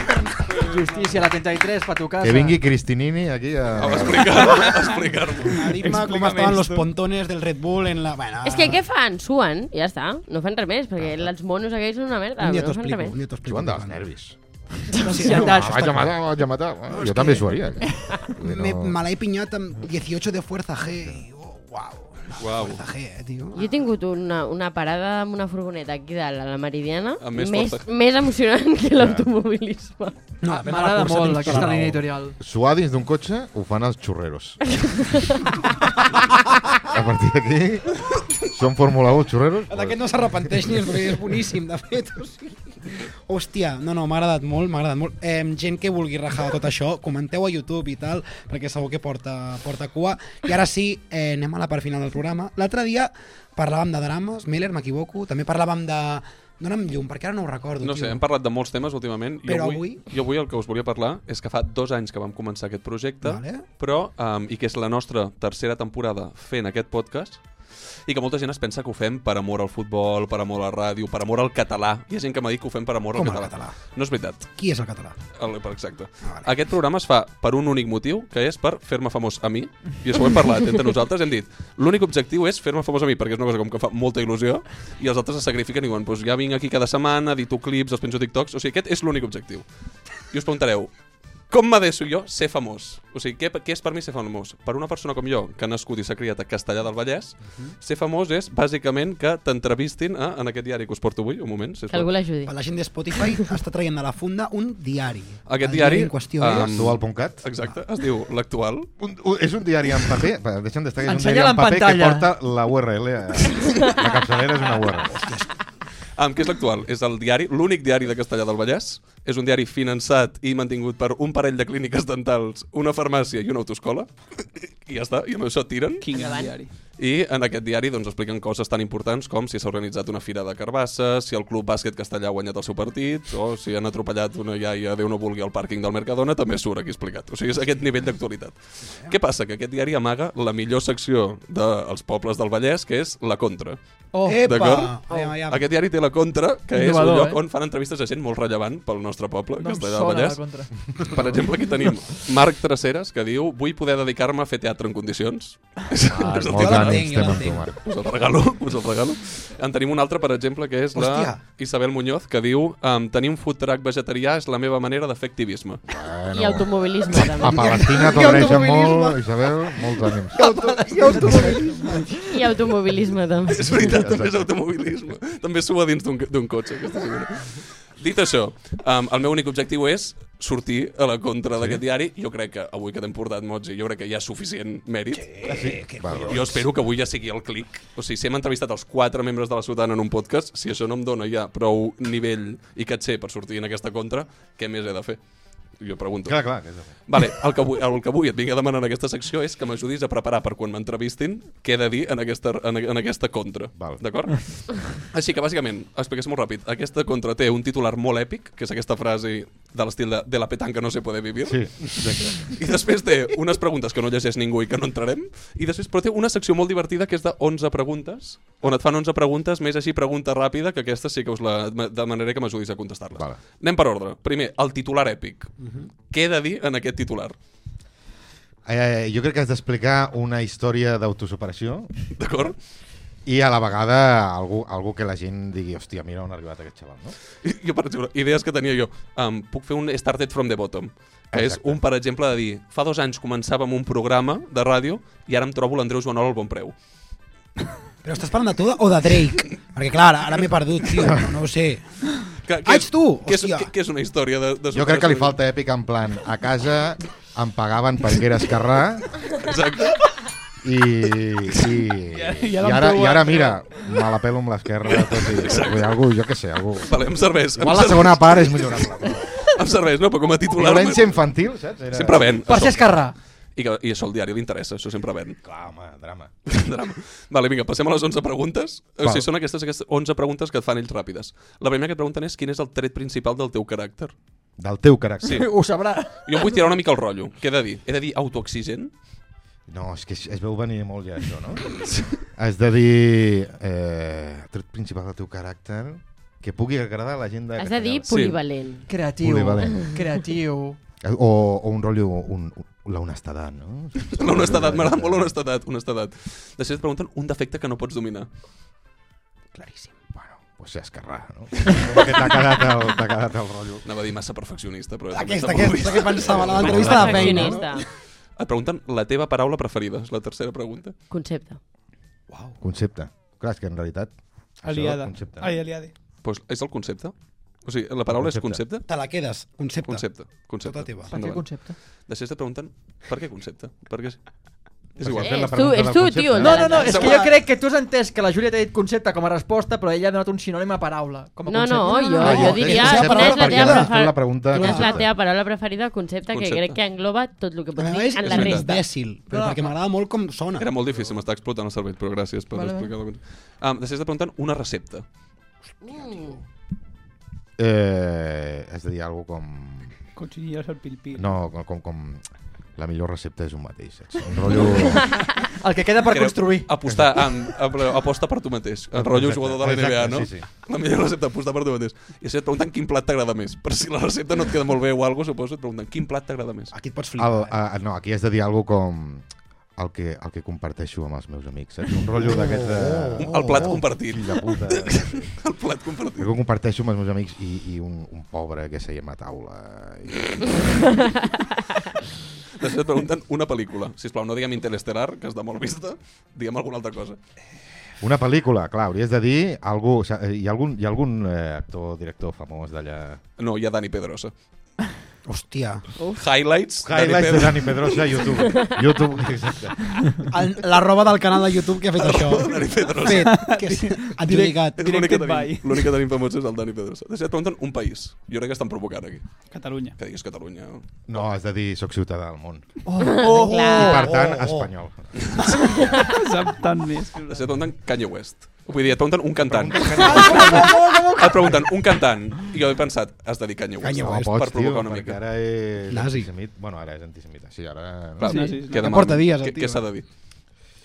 F: Justícia, la 33, pa tu casa.
G: Que vingui Cristinini aquí
H: Au,
G: a...
H: explicar-ho, explicar-ho.
E: Arima com
J: Explícame
E: estaven los
J: esto.
E: pontones del Red Bull en la... Bueno,
I: És que què fan? Suen, ja està. No fan res més, perquè els monos aquells són una merda.
E: Un dia
I: no
E: t'ho
I: fan res
E: explico,
I: més.
E: un dia t'ho explico.
G: Joan dels nervis.
F: <laughs>
E: Ah,
F: societat.
G: Ah, vaig a matar, vaig a matar. eh? Bueno, jo també s'ho haria. eh? Vull dir,
E: Me,
G: no-
E: me la he piñado amb 18 de fuerza G. Y, oh, wow.
H: Uau.
E: Fuerza G, eh, tio.
I: Jo he tingut una, una parada amb una furgoneta aquí dalt, a la Meridiana,
H: Amb més
I: més, més,
H: força.
I: emocionant que l'automobilisme.
E: No, depèn de la
F: M'agrada
E: Ah, cursa,
F: molt
E: tens
F: aquesta
E: tota la
F: línia
E: raó.
F: editorial.
G: Suar dins d'un cotxe ho fan els xurreros. a partir d'aquí són Fórmula 1 xurreros.
E: D'aquest no s'arrepenteix ni és, és boníssim, de fet. O sigui. Hòstia, no, no, m'ha agradat molt, m'ha agradat molt. Eh, gent que vulgui rajar de tot això, comenteu a YouTube i tal, perquè segur que porta, porta cua. I ara sí, eh, anem a la part final del programa. L'altre dia parlàvem de drames, Miller, m'equivoco, també parlàvem de... Dóna'm llum, perquè ara no ho recordo.
H: No
E: tio.
H: sé, hem parlat de molts temes últimament.
E: Però
H: jo avui, Jo avui el que us volia parlar és que fa dos anys que vam començar aquest projecte,
E: Vale.
H: però, um, i que és la nostra tercera temporada fent aquest podcast, i que molta gent es pensa que ho fem per amor al futbol, per amor a la ràdio, per amor al català. Hi ha gent que m'ha dit que ho fem per amor
E: Com
H: al
E: el
H: català.
E: català?
H: No és veritat.
E: Qui és el català?
H: El, per exacte.
E: Vale.
H: Aquest programa es fa per un únic motiu, que és per fer-me famós a mi, i això ho hem parlat entre nosaltres, hem dit, l'únic objectiu és fer-me famós a mi, perquè és una cosa com que fa molta il·lusió, i els altres es sacrifiquen i diuen, doncs ja vinc aquí cada setmana, edito clips, els penjo a TikToks, o sigui, aquest és l'únic objectiu. I us preguntareu, com m'adeço jo ser famós? O sigui, què, què és per mi ser famós? Per una persona com jo, que ha nascut i s'ha criat a Castellà del Vallès, ser famós és, bàsicament, que t'entrevistin a- en aquest diari que us porto avui, un moment,
I: Que
H: sisplau.
I: algú l'ajudi.
E: Per la gent de Spotify està traient de la funda un diari.
H: Aquest
E: El
H: diari,
E: en qüestió eh?
H: ah,
E: és...
G: Actual.cat.
H: Exacte, es diu l'actual.
G: Un, un, és un diari en paper, va, deixa'm destacar, és un diari
F: Ensenya-la
G: en
F: en
G: paper
F: pantalla.
G: que porta la URL. a- La capçalera és una URL.
H: Amb què és l'actual? És el diari, l'únic diari de Castellà del Vallès. És un diari finançat i mantingut per un parell de clíniques dentals, una farmàcia i una autoscola. I ja està, i amb això tiren.
J: Quin gran diari.
H: I en aquest diari doncs, expliquen coses tan importants com si s'ha organitzat una fira de carbassa, si el club bàsquet castellà ha guanyat el seu partit, o si han atropellat una iaia, Déu no vulgui, al pàrquing del Mercadona, també surt aquí explicat. O sigui, és aquest nivell d'actualitat. Què passa? Que aquest diari amaga la millor secció dels pobles del Vallès, que és la contra.
F: Oh,
E: Epa!
H: D'acord?
E: Aviam, aviam.
H: Aquest diari té la contra, que és un
F: Innovador,
H: lloc
F: eh?
H: on fan entrevistes a gent molt rellevant pel nostre poble,
F: no em
H: Castellà del
F: sona la
H: Vallès.
F: contra.
H: Per exemple, aquí
F: <laughs>
H: tenim Marc Traceres, que diu «Vull poder dedicar-me a fer teatre en condicions». Ah,
G: Molts
E: jo l'entenc,
G: ànims
E: jo
G: estem amb
E: l'entenc.
G: tu, Marc.
H: us el regalo, <laughs> us el regalo. En tenim un altre, per exemple, que és la
E: Hòstia.
H: Isabel Muñoz, que diu um, «Tenir un food truck vegetarià és la meva manera de fer activisme».
I: I automobilisme,
G: A
I: també.
G: Palestina t'agraeixen molt, Isabel, molts ànims.
I: I automobilisme, també.
H: <laughs> És veritat, també és automobilisme. També sua dins d'un d'un cotxe, aquesta senyora. Dit això, um, el meu únic objectiu és sortir a la contra d'aquest diari. Jo crec que avui que t'hem portat, Mozi, jo crec que hi ha suficient mèrit.
G: Val,
H: Jo espero que avui ja sigui el clic. O sigui, si hem entrevistat els quatre membres de la Ciutadana en un podcast, si això no em dona ja prou nivell i catxer per sortir en aquesta contra, què més he de fer? Jo pregunto.
G: Clar, clar. que és-
H: Vale, el que, avui, el que avui et vinc a demanar en aquesta secció és que m'ajudis a preparar per quan m'entrevistin què he de dir en aquesta, en, en aquesta contra.
G: Val.
H: D'acord? Així que, bàsicament, expliques molt ràpid. Aquesta contra té un titular molt èpic, que és aquesta frase de l'estil de, de la petanca no se puede vivir.
G: Sí, exacte.
H: I després té unes preguntes que no llegeix ningú i que no entrarem. I després, però té una secció molt divertida que és de 11 preguntes, on et fan 11 preguntes, més així pregunta ràpida, que aquesta sí que us la demanaré que m'ajudis a contestar-les.
G: Vale. Mhm.
H: Anem per ordre. Primer, el titular èpic. Què he de dir en aquest titular?
G: Eh, jo crec que has d'explicar una història d'autosuperació
H: D'acord?
G: i a la vegada algú, algú que la gent digui hòstia, mira on ha arribat aquest xaval, no?
H: I- Jo, per exemple, idees que tenia jo. Um, puc fer un Started from the Bottom, que és
G: Exacte.
H: un, per exemple, de dir fa dos anys començava amb un programa de ràdio i ara em trobo l'Andreu Joanol al bon preu.
E: Però estàs parlant de tu o de Drake? Perquè clar, ara, ara m'he perdut, tio, no, no ho sé.
H: Que,
G: Ah,
E: Ai,
H: és-
E: tu!
H: Que és,
E: Hòstia.
H: que, que és una història de... de
G: Jo crec que li
H: superació.
G: falta èpic en plan, a casa em pagaven perquè era esquerrà
H: Exacte.
G: i, i,
J: Ja- ja
G: i,
J: l'han
G: ara, i ara
J: provat,
G: mira, me la pelo amb l'esquerra tot i, vull dir, algú, jo què sé, algú.
H: Vale, em serveix. em
G: Igual la
H: serveix.
G: segona part és millorable.
H: Em serveix, no? Però com a titular...
G: Violència infantil, saps? Era...
H: Sempre ven.
F: Per ser
H: Això.
F: esquerrà.
H: I, que, I això al diari li interessa, això sempre ven. <laughs>
G: Clar, home, drama.
H: Drama. Vale, vinga, passem a les 11 preguntes. O
G: Val.
H: sigui, són aquestes, aquestes 11 preguntes que et fan ells ràpides. La primera que et pregunten és quin és el tret principal del teu caràcter.
G: Del teu caràcter.
H: Sí.
F: Ho sabrà.
H: Jo em vull tirar una mica el rotllo. Què he de dir? He de dir autoexigent? <laughs>
G: No, és que es, es veu venir molt ja això, no? <laughs> Has de dir... Eh, el tret principal del teu caràcter que pugui agradar a la gent de...
I: Has de dir
G: Castelldans.
I: polivalent.
F: Creatiu.
G: Polivalent.
F: Creatiu.
G: Eh, O, o un rotllo... Un, un, la honestedat, no?
H: <laughs> L'honestedat, m'agrada molt l'honestedat. Honestedat. Després et pregunten un defecte que no pots dominar.
G: Claríssim. Bueno, pues ser esquerrà, no? Com que t'ha quedat, el- t'ha quedat el rotllo.
H: Anava a dir massa perfeccionista, però... també
E: Aquesta,
H: està molt
E: aquesta que pensava, la d'entrevista de feina. No?
I: Perfeccionista.
H: vist. Et pregunten la teva paraula preferida, és la tercera pregunta.
I: Concepte.
G: Concepte. Clar, és que en realitat... això,
J: Aliada.
G: Concepte.
J: Ai, aliade.
H: Pues, Doncs és el concepte? O sigui, la paraula
G: Concepte.
H: és
E: Te la quedes, concepte.
H: concepte? Concepte. Concepte.
E: Tota teva.
F: Per què
H: Endavant.
F: concepte?
H: Després te pregunten per què concepte? Per què... És
G: Perquè
H: igual.
G: fem
I: Eh,
G: la
I: és tu-
G: pregunta
I: és
G: del
I: tu,
G: concepte. Eh,
I: tio,
F: No, no, no, és que jo
I: Ah.
F: crec que tu has entès que la Júlia t'ha dit concepte com a resposta, però ella ha donat un sinònim a paraula. Com a
I: No,
F: concepte.
I: no, jo,
G: Ah,
I: jo diria...
G: és que
I: Quina és la
G: perquè
I: teva,
G: has fet la
I: prefer...
G: pregunta
I: quina és la
G: concepte.
I: teva paraula preferida? Concepte, que
H: Concepte.
I: crec que engloba tot el que
E: A
I: pots
E: mi
I: dir
E: és,
I: en
E: és
I: la
E: més
I: resta.
E: dècil, però perquè m'agrada molt com sona.
H: Era molt difícil, m'està explotant el cervell, però gràcies per
F: Vale,
H: explicar-ho. Um, després te pregunten una recepta.
G: Eh, has de dir alguna com...
J: Cotxinillos al pil-pil.
G: No, com, com, com... La millor recepta és un mateix, saps? Un rotllo...
F: El que queda per
H: Creu-
F: construir.
H: Apostar, amb, amb, aposta per tu mateix. El rotllo
G: Exacte,
H: jugador de la NBA,
G: exacte,
H: no?
G: sí, sí.
H: La millor recepta, apostar per tu mateix. I si et pregunten quin plat t'agrada més. Per si la recepta no et queda molt bé o alguna cosa, suposo, et pregunten quin plat t'agrada més.
E: Aquí et pots
G: El,
E: flipar.
G: eh, no, aquí has de dir alguna com... El que, el que comparteixo amb els meus amics, saps? Un rotllo d'aquest de...
H: Un- el
G: oh.
H: plat compartit.
G: Fill de puta. El
H: El plat compartit.
G: que comparteixo amb els meus amics i, i un, un pobre que seiem a taula. I...
H: Després et pregunten una pel·lícula. Si plau, no diguem Interestelar, que està molt vista, diguem alguna altra cosa.
G: Una pel·lícula, clar, hauries de dir algú... o sigui, Hi ha algun, hi ha algun eh, actor, director famós d'allà...
H: No, hi ha Dani Pedrosa. Ah.
E: Hòstia.
H: Highlights,
G: Highlights de
H: Dani
G: Dani Pedrosa a YouTube. YouTube, exacte.
E: El, la roba del canal de YouTube que ha
H: <laughs>
E: fet això.
H: Pedrosa. Dani Pedrosa.
E: Fet, que és adjudicat.
H: És l'únic que
J: Directed
H: tenim.
J: by.
H: L'únic que tenim famós és el Dani Pedrosa. Després et pregunten un país. Jo crec que estan provocant aquí.
J: Catalunya. <laughs>
H: Que diguis Catalunya.
G: No, has de dir soc ciutadà del món.
I: Oh,
G: I
I: clar.
G: per tant, espanyol.
J: Sap tant més.
H: Després et pregunten Kanye West. Vull dir, et pregunten un cantant. Et pregunten un cantant. I jo he pensat, has de dir Kanye West. Ah,
E: Kanye
G: No,
E: West,
H: per
G: pots, tio,
H: provocar una
G: perquè
H: mica.
G: ara és
E: Nazi.
G: antisemita. Bueno, ara és antisemita. Sí, ara...
H: Clar,
J: Sí, sí, sí.
H: queda
E: Que
H: mal.
E: porta dies, el
H: Què-
E: tio,
H: Què s'ha
E: eh?
H: de dir?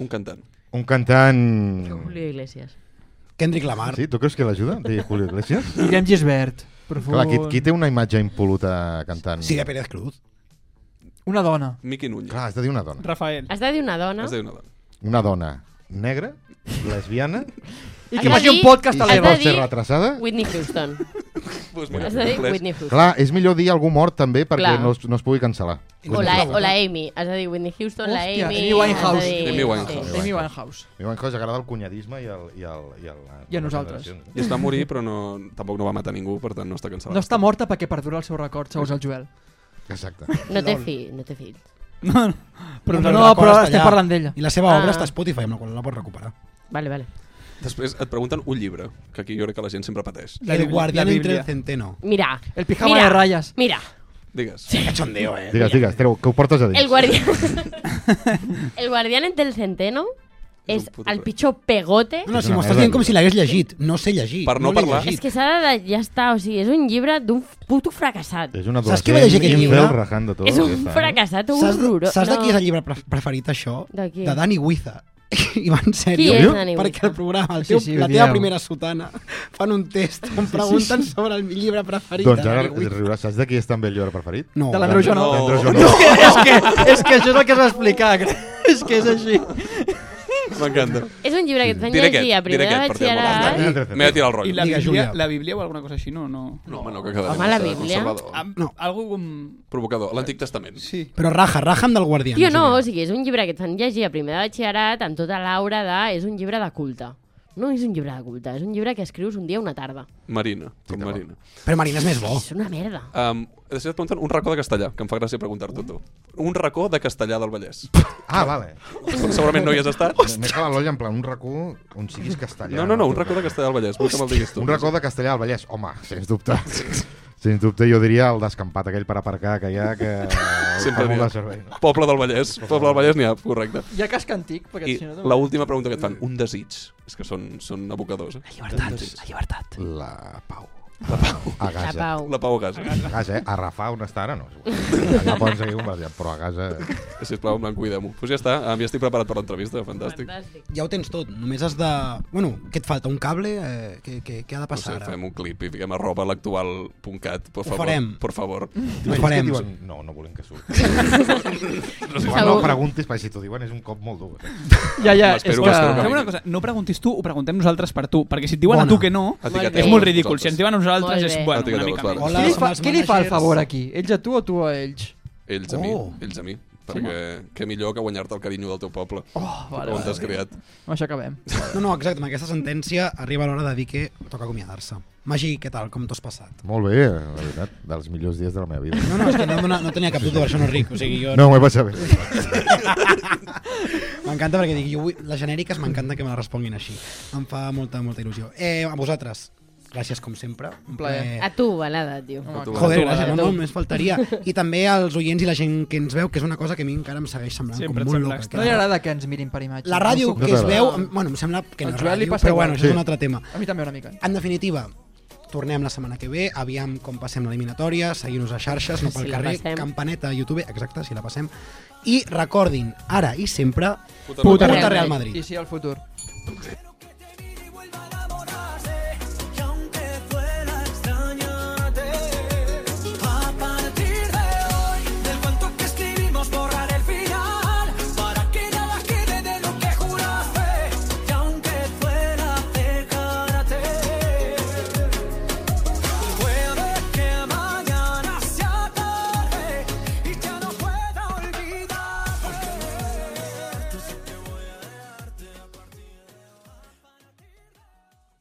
H: Un cantant.
G: Un cantant...
I: Julio Iglesias.
E: Kendrick Lamar.
G: Sí, tu creus que l'ajuda? Dir Julio Iglesias?
F: <laughs> Guillem Gisbert. Profund.
G: Clar, qui, qui té una imatge impoluta cantant?
E: Síria Pérez Cruz.
F: Una dona.
H: Miqui Núñez.
G: Clar, has de dir una dona.
J: Rafael.
I: Has de dir una dona.
H: Has de dir una dona.
G: Una dona negra,
F: <laughs>
G: lesbiana,
F: I
I: Has
F: que
I: de
F: faci un
I: dir-
F: podcast a
I: has
G: i si
F: l'Eva.
I: de
G: vol ser
I: dir-
G: retrasada...
I: Whitney Houston.
H: Pues mira,
I: Has de dir
H: compleix.
I: Whitney Houston.
G: Clar, és millor dir algú mort també perquè
I: Clar. eh,
G: no es, no es pugui cancel·lar. eh,
I: O la, o la Amy. Has de dir Whitney Houston, la Amy...
F: Hòstia, Amy
I: has
F: Winehouse.
I: de dir-
H: Amy Winehouse.
F: Amy Winehouse.
G: A mi m'agrada agrada el cunyadisme i el... I, el, i, el,
F: I a nosaltres.
H: I es va morir, però no, tampoc no va matar ningú, per tant no està cancel·lat.
F: No està morta perquè perdura el seu record, segons el Joel.
G: Exacte.
I: No té fill, no té fill.
J: No, no. Però
F: No,
J: no,
F: no, però
E: Records
F: estem
E: allà.
F: parlant d'ella.
E: I la seva obra
I: Ah.
E: està a Spotify, amb la qual cosa la pots recuperar.
I: Vale, vale.
H: Després et pregunten un llibre, que aquí jo crec que la gent sempre pateix.
J: La
E: el
J: Bíblia-
E: guardián
J: la
E: entre el
J: Bíblia.
E: centeno.
I: Mira.
F: El pijama
I: mira,
F: de ratlles.
I: Mira.
H: Digues.
E: Cachondeo, eh?
G: Digues, digues, treu, que ho portes
H: Pues
G: a dins.
I: El guardián. <laughs> el guardián entre el centeno
H: És
I: és
H: un puto
I: el
H: rei.
I: pitjor pegote.
E: No, no, si
G: És una
E: m'ho estàs
G: merda.
E: dient com si l'hagués llegit. No sé llegir.
H: Per no
E: l'he
H: parlar.
E: llegit.
I: És que s'ha de... Ja està, o sigui, és un llibre d'un puto fracassat.
G: És una
E: Saps qui va llegir aquest llibre?
G: rajant de tot.
I: és
G: ja
I: un
G: està.
I: fracassat
E: Saps,
I: horrorós.
E: saps de qui
I: No.
E: és el llibre pre- preferit, això?
I: De qui?
E: De Dani Huiza. <laughs> I va en
I: Qui
E: sèrio.
I: és Dani Huiza?
E: Perquè el programa, el teu,
F: Sí, sí, ho
E: la teva
F: dieu.
E: primera sotana, <laughs> fan un test on pregunten sobre el llibre preferit
G: Doncs
E: de
G: ara
E: Dani Huiza.
G: riuràs. Saps de qui és també el llibre preferit?
E: No.
F: De l'Andreu Jonó.
H: No.
G: D'Andreu
F: No, és
G: Jonó.
F: que, <laughs> és, que, és que això és el que <laughs> has d'explicar. És que és així.
H: M'encanta.
I: És un llibre que et van
H: Diré
I: llegir
H: aquest,
I: a
H: diré
I: primer de
H: aquest, perquè
I: batxillerat.
G: Andreu
H: m'ha-
G: Jonó.
H: m'he de tirar el
J: I
H: rotllo.
J: la
E: Digues,
J: Bíblia,
E: Júlia.
J: la Bíblia o alguna cosa així, no? no.
H: No, home, no, que quedarem.
I: Home, la
H: massa
I: Bíblia.
H: conservador.
J: Am-
E: No.
J: Algú com...
H: Provocador, l'Antic Testament.
J: Sí.
E: Però raja, raja amb del guardián.
I: Tio, no, o sigui, és un llibre que et fan llegir a primer de batxillerat amb tota l'aura de... És un llibre de culte. No és un llibre de culte, és un llibre que escrius un dia una tarda.
H: Marina, com Marina.
E: Però Marina és més bo.
I: És una merda.
H: Um, després et pregunten un racó de castellà, que em fa gràcia preguntar-t'ho tu. Un racó de castellà del Vallès.
G: Ah, vale.
H: Segurament no hi has estat.
G: Més que l'Eloi, en plan, un racó on siguis castellà.
H: No, no, no, un
G: Tu,
H: racó de castellà del Vallès. Vull que me'l diguis tu.
G: Un racó de castellà al Vallès. Home, sens dubte. Sens dubte jo diria el descampat aquell per aparcar que hi ha que...
H: Sempre
G: fa molt
H: n'hi ha.
G: de servei. no?
H: Poble del Vallès. Poble del Vallès n'hi ha, correcte.
F: Hi ha casc antic, perquè
H: I
F: si no...
H: la última pregunta que et fan, un desig. És que són, són abocadors. Eh?
F: Llibertat, la llibertat.
G: La pau. A
I: La
G: Gaza.
I: Pau.
H: La Pau a casa.
G: A Gaza, eh? A Rafah, on està ara, no. Allà poden seguir bombarejant, però a Gaza...
H: Sisplau, en blanc, cuidem-ho. Doncs ja està, em ja estic preparat per l'entrevista, fantàstic.
I: Fantàstic.
E: Ja ho tens tot, només has de... Bueno, què et falta? Un cable? Eh, què, què, què ha de
H: No sé,
E: passar ara?
H: fem un clip i fiquem arroba l'actual.cat, por
E: Ho
H: favor.
E: farem.
H: Por favor.
E: Ho farem.
G: Diuen, no, no volem que surti.
I: Segur.
G: Quan no preguntis, perquè si t'ho diuen és un cop molt dur.
J: Ja, ja, és
H: M'espero
J: que...
H: que-
J: Fem una cosa, no preguntis tu, ho preguntem nosaltres per tu, perquè si et diuen
E: Bona.
J: a tu que no,
H: Etiqueteu
J: és molt ridícul.
H: vosaltres.
J: Si ens diuen a nosaltres
I: Molt
J: és,
I: bé.
J: bueno, una
H: Etiqueteu-vos,
J: mica
H: vale.
J: menys.
E: Hola,
F: Qui li, fa,
E: els
F: qui li fa el
E: managers.
F: favor aquí? Ells a tu o tu a ells?
H: Ells a mi,
E: Oh.
H: ells a mi. Perquè què millor que guanyar-te el carinyo del teu poble.
F: Oh, vale,
H: on t'has
F: vale.
H: criat.
F: Amb això acabem.
E: No, no, exacte, amb aquesta sentència arriba l'hora de dir que toca acomiadar-se. Magí, què tal? Com t'ho has passat?
G: Molt bé, la veritat, dels millors dies de la meva vida.
E: No, no, és que no, em dona- no tenia cap dubte, per això no ric. O sigui, jo...
G: No, m'ho he passat bé.
E: M'encanta perquè dic, jo vull... les genèriques m'encanta que me les responguin així. Em fa molta, molta il·lusió. Eh, a vosaltres, gràcies com sempre. Un
F: plaer.
I: A tu, balada, tio.
F: Home,
H: tu,
E: Joder,
H: Tu,
E: gràcies,
F: eh?
E: no, no, només faltaria. I també als oients i la gent que ens veu, que és una cosa que a mi encara em segueix semblant
J: Sempre et
E: com molt
J: sembla
E: loca.
J: extra.
F: No li agrada que ens mirin per imatge.
E: La ràdio
G: No
E: que es
G: t'agrada.
E: veu, em- bueno, em sembla que no
F: Al
E: és
F: Joel li
E: ràdio,
F: passa
E: però bueno,
F: igual.
E: això és un
G: Sí.
E: altre tema.
F: A mi també una mica.
E: En definitiva, tornem la setmana que ve, aviam com passem l'eliminatòria, seguim-nos a xarxes, no pel
I: Si la
E: carrer,
I: passem.
E: campaneta, YouTube, exacte, si la passem. I recordin, ara i sempre,
H: Puta
E: puta,
I: Real
E: Real
I: Madrid.
E: Madrid.
F: I sí, al futur.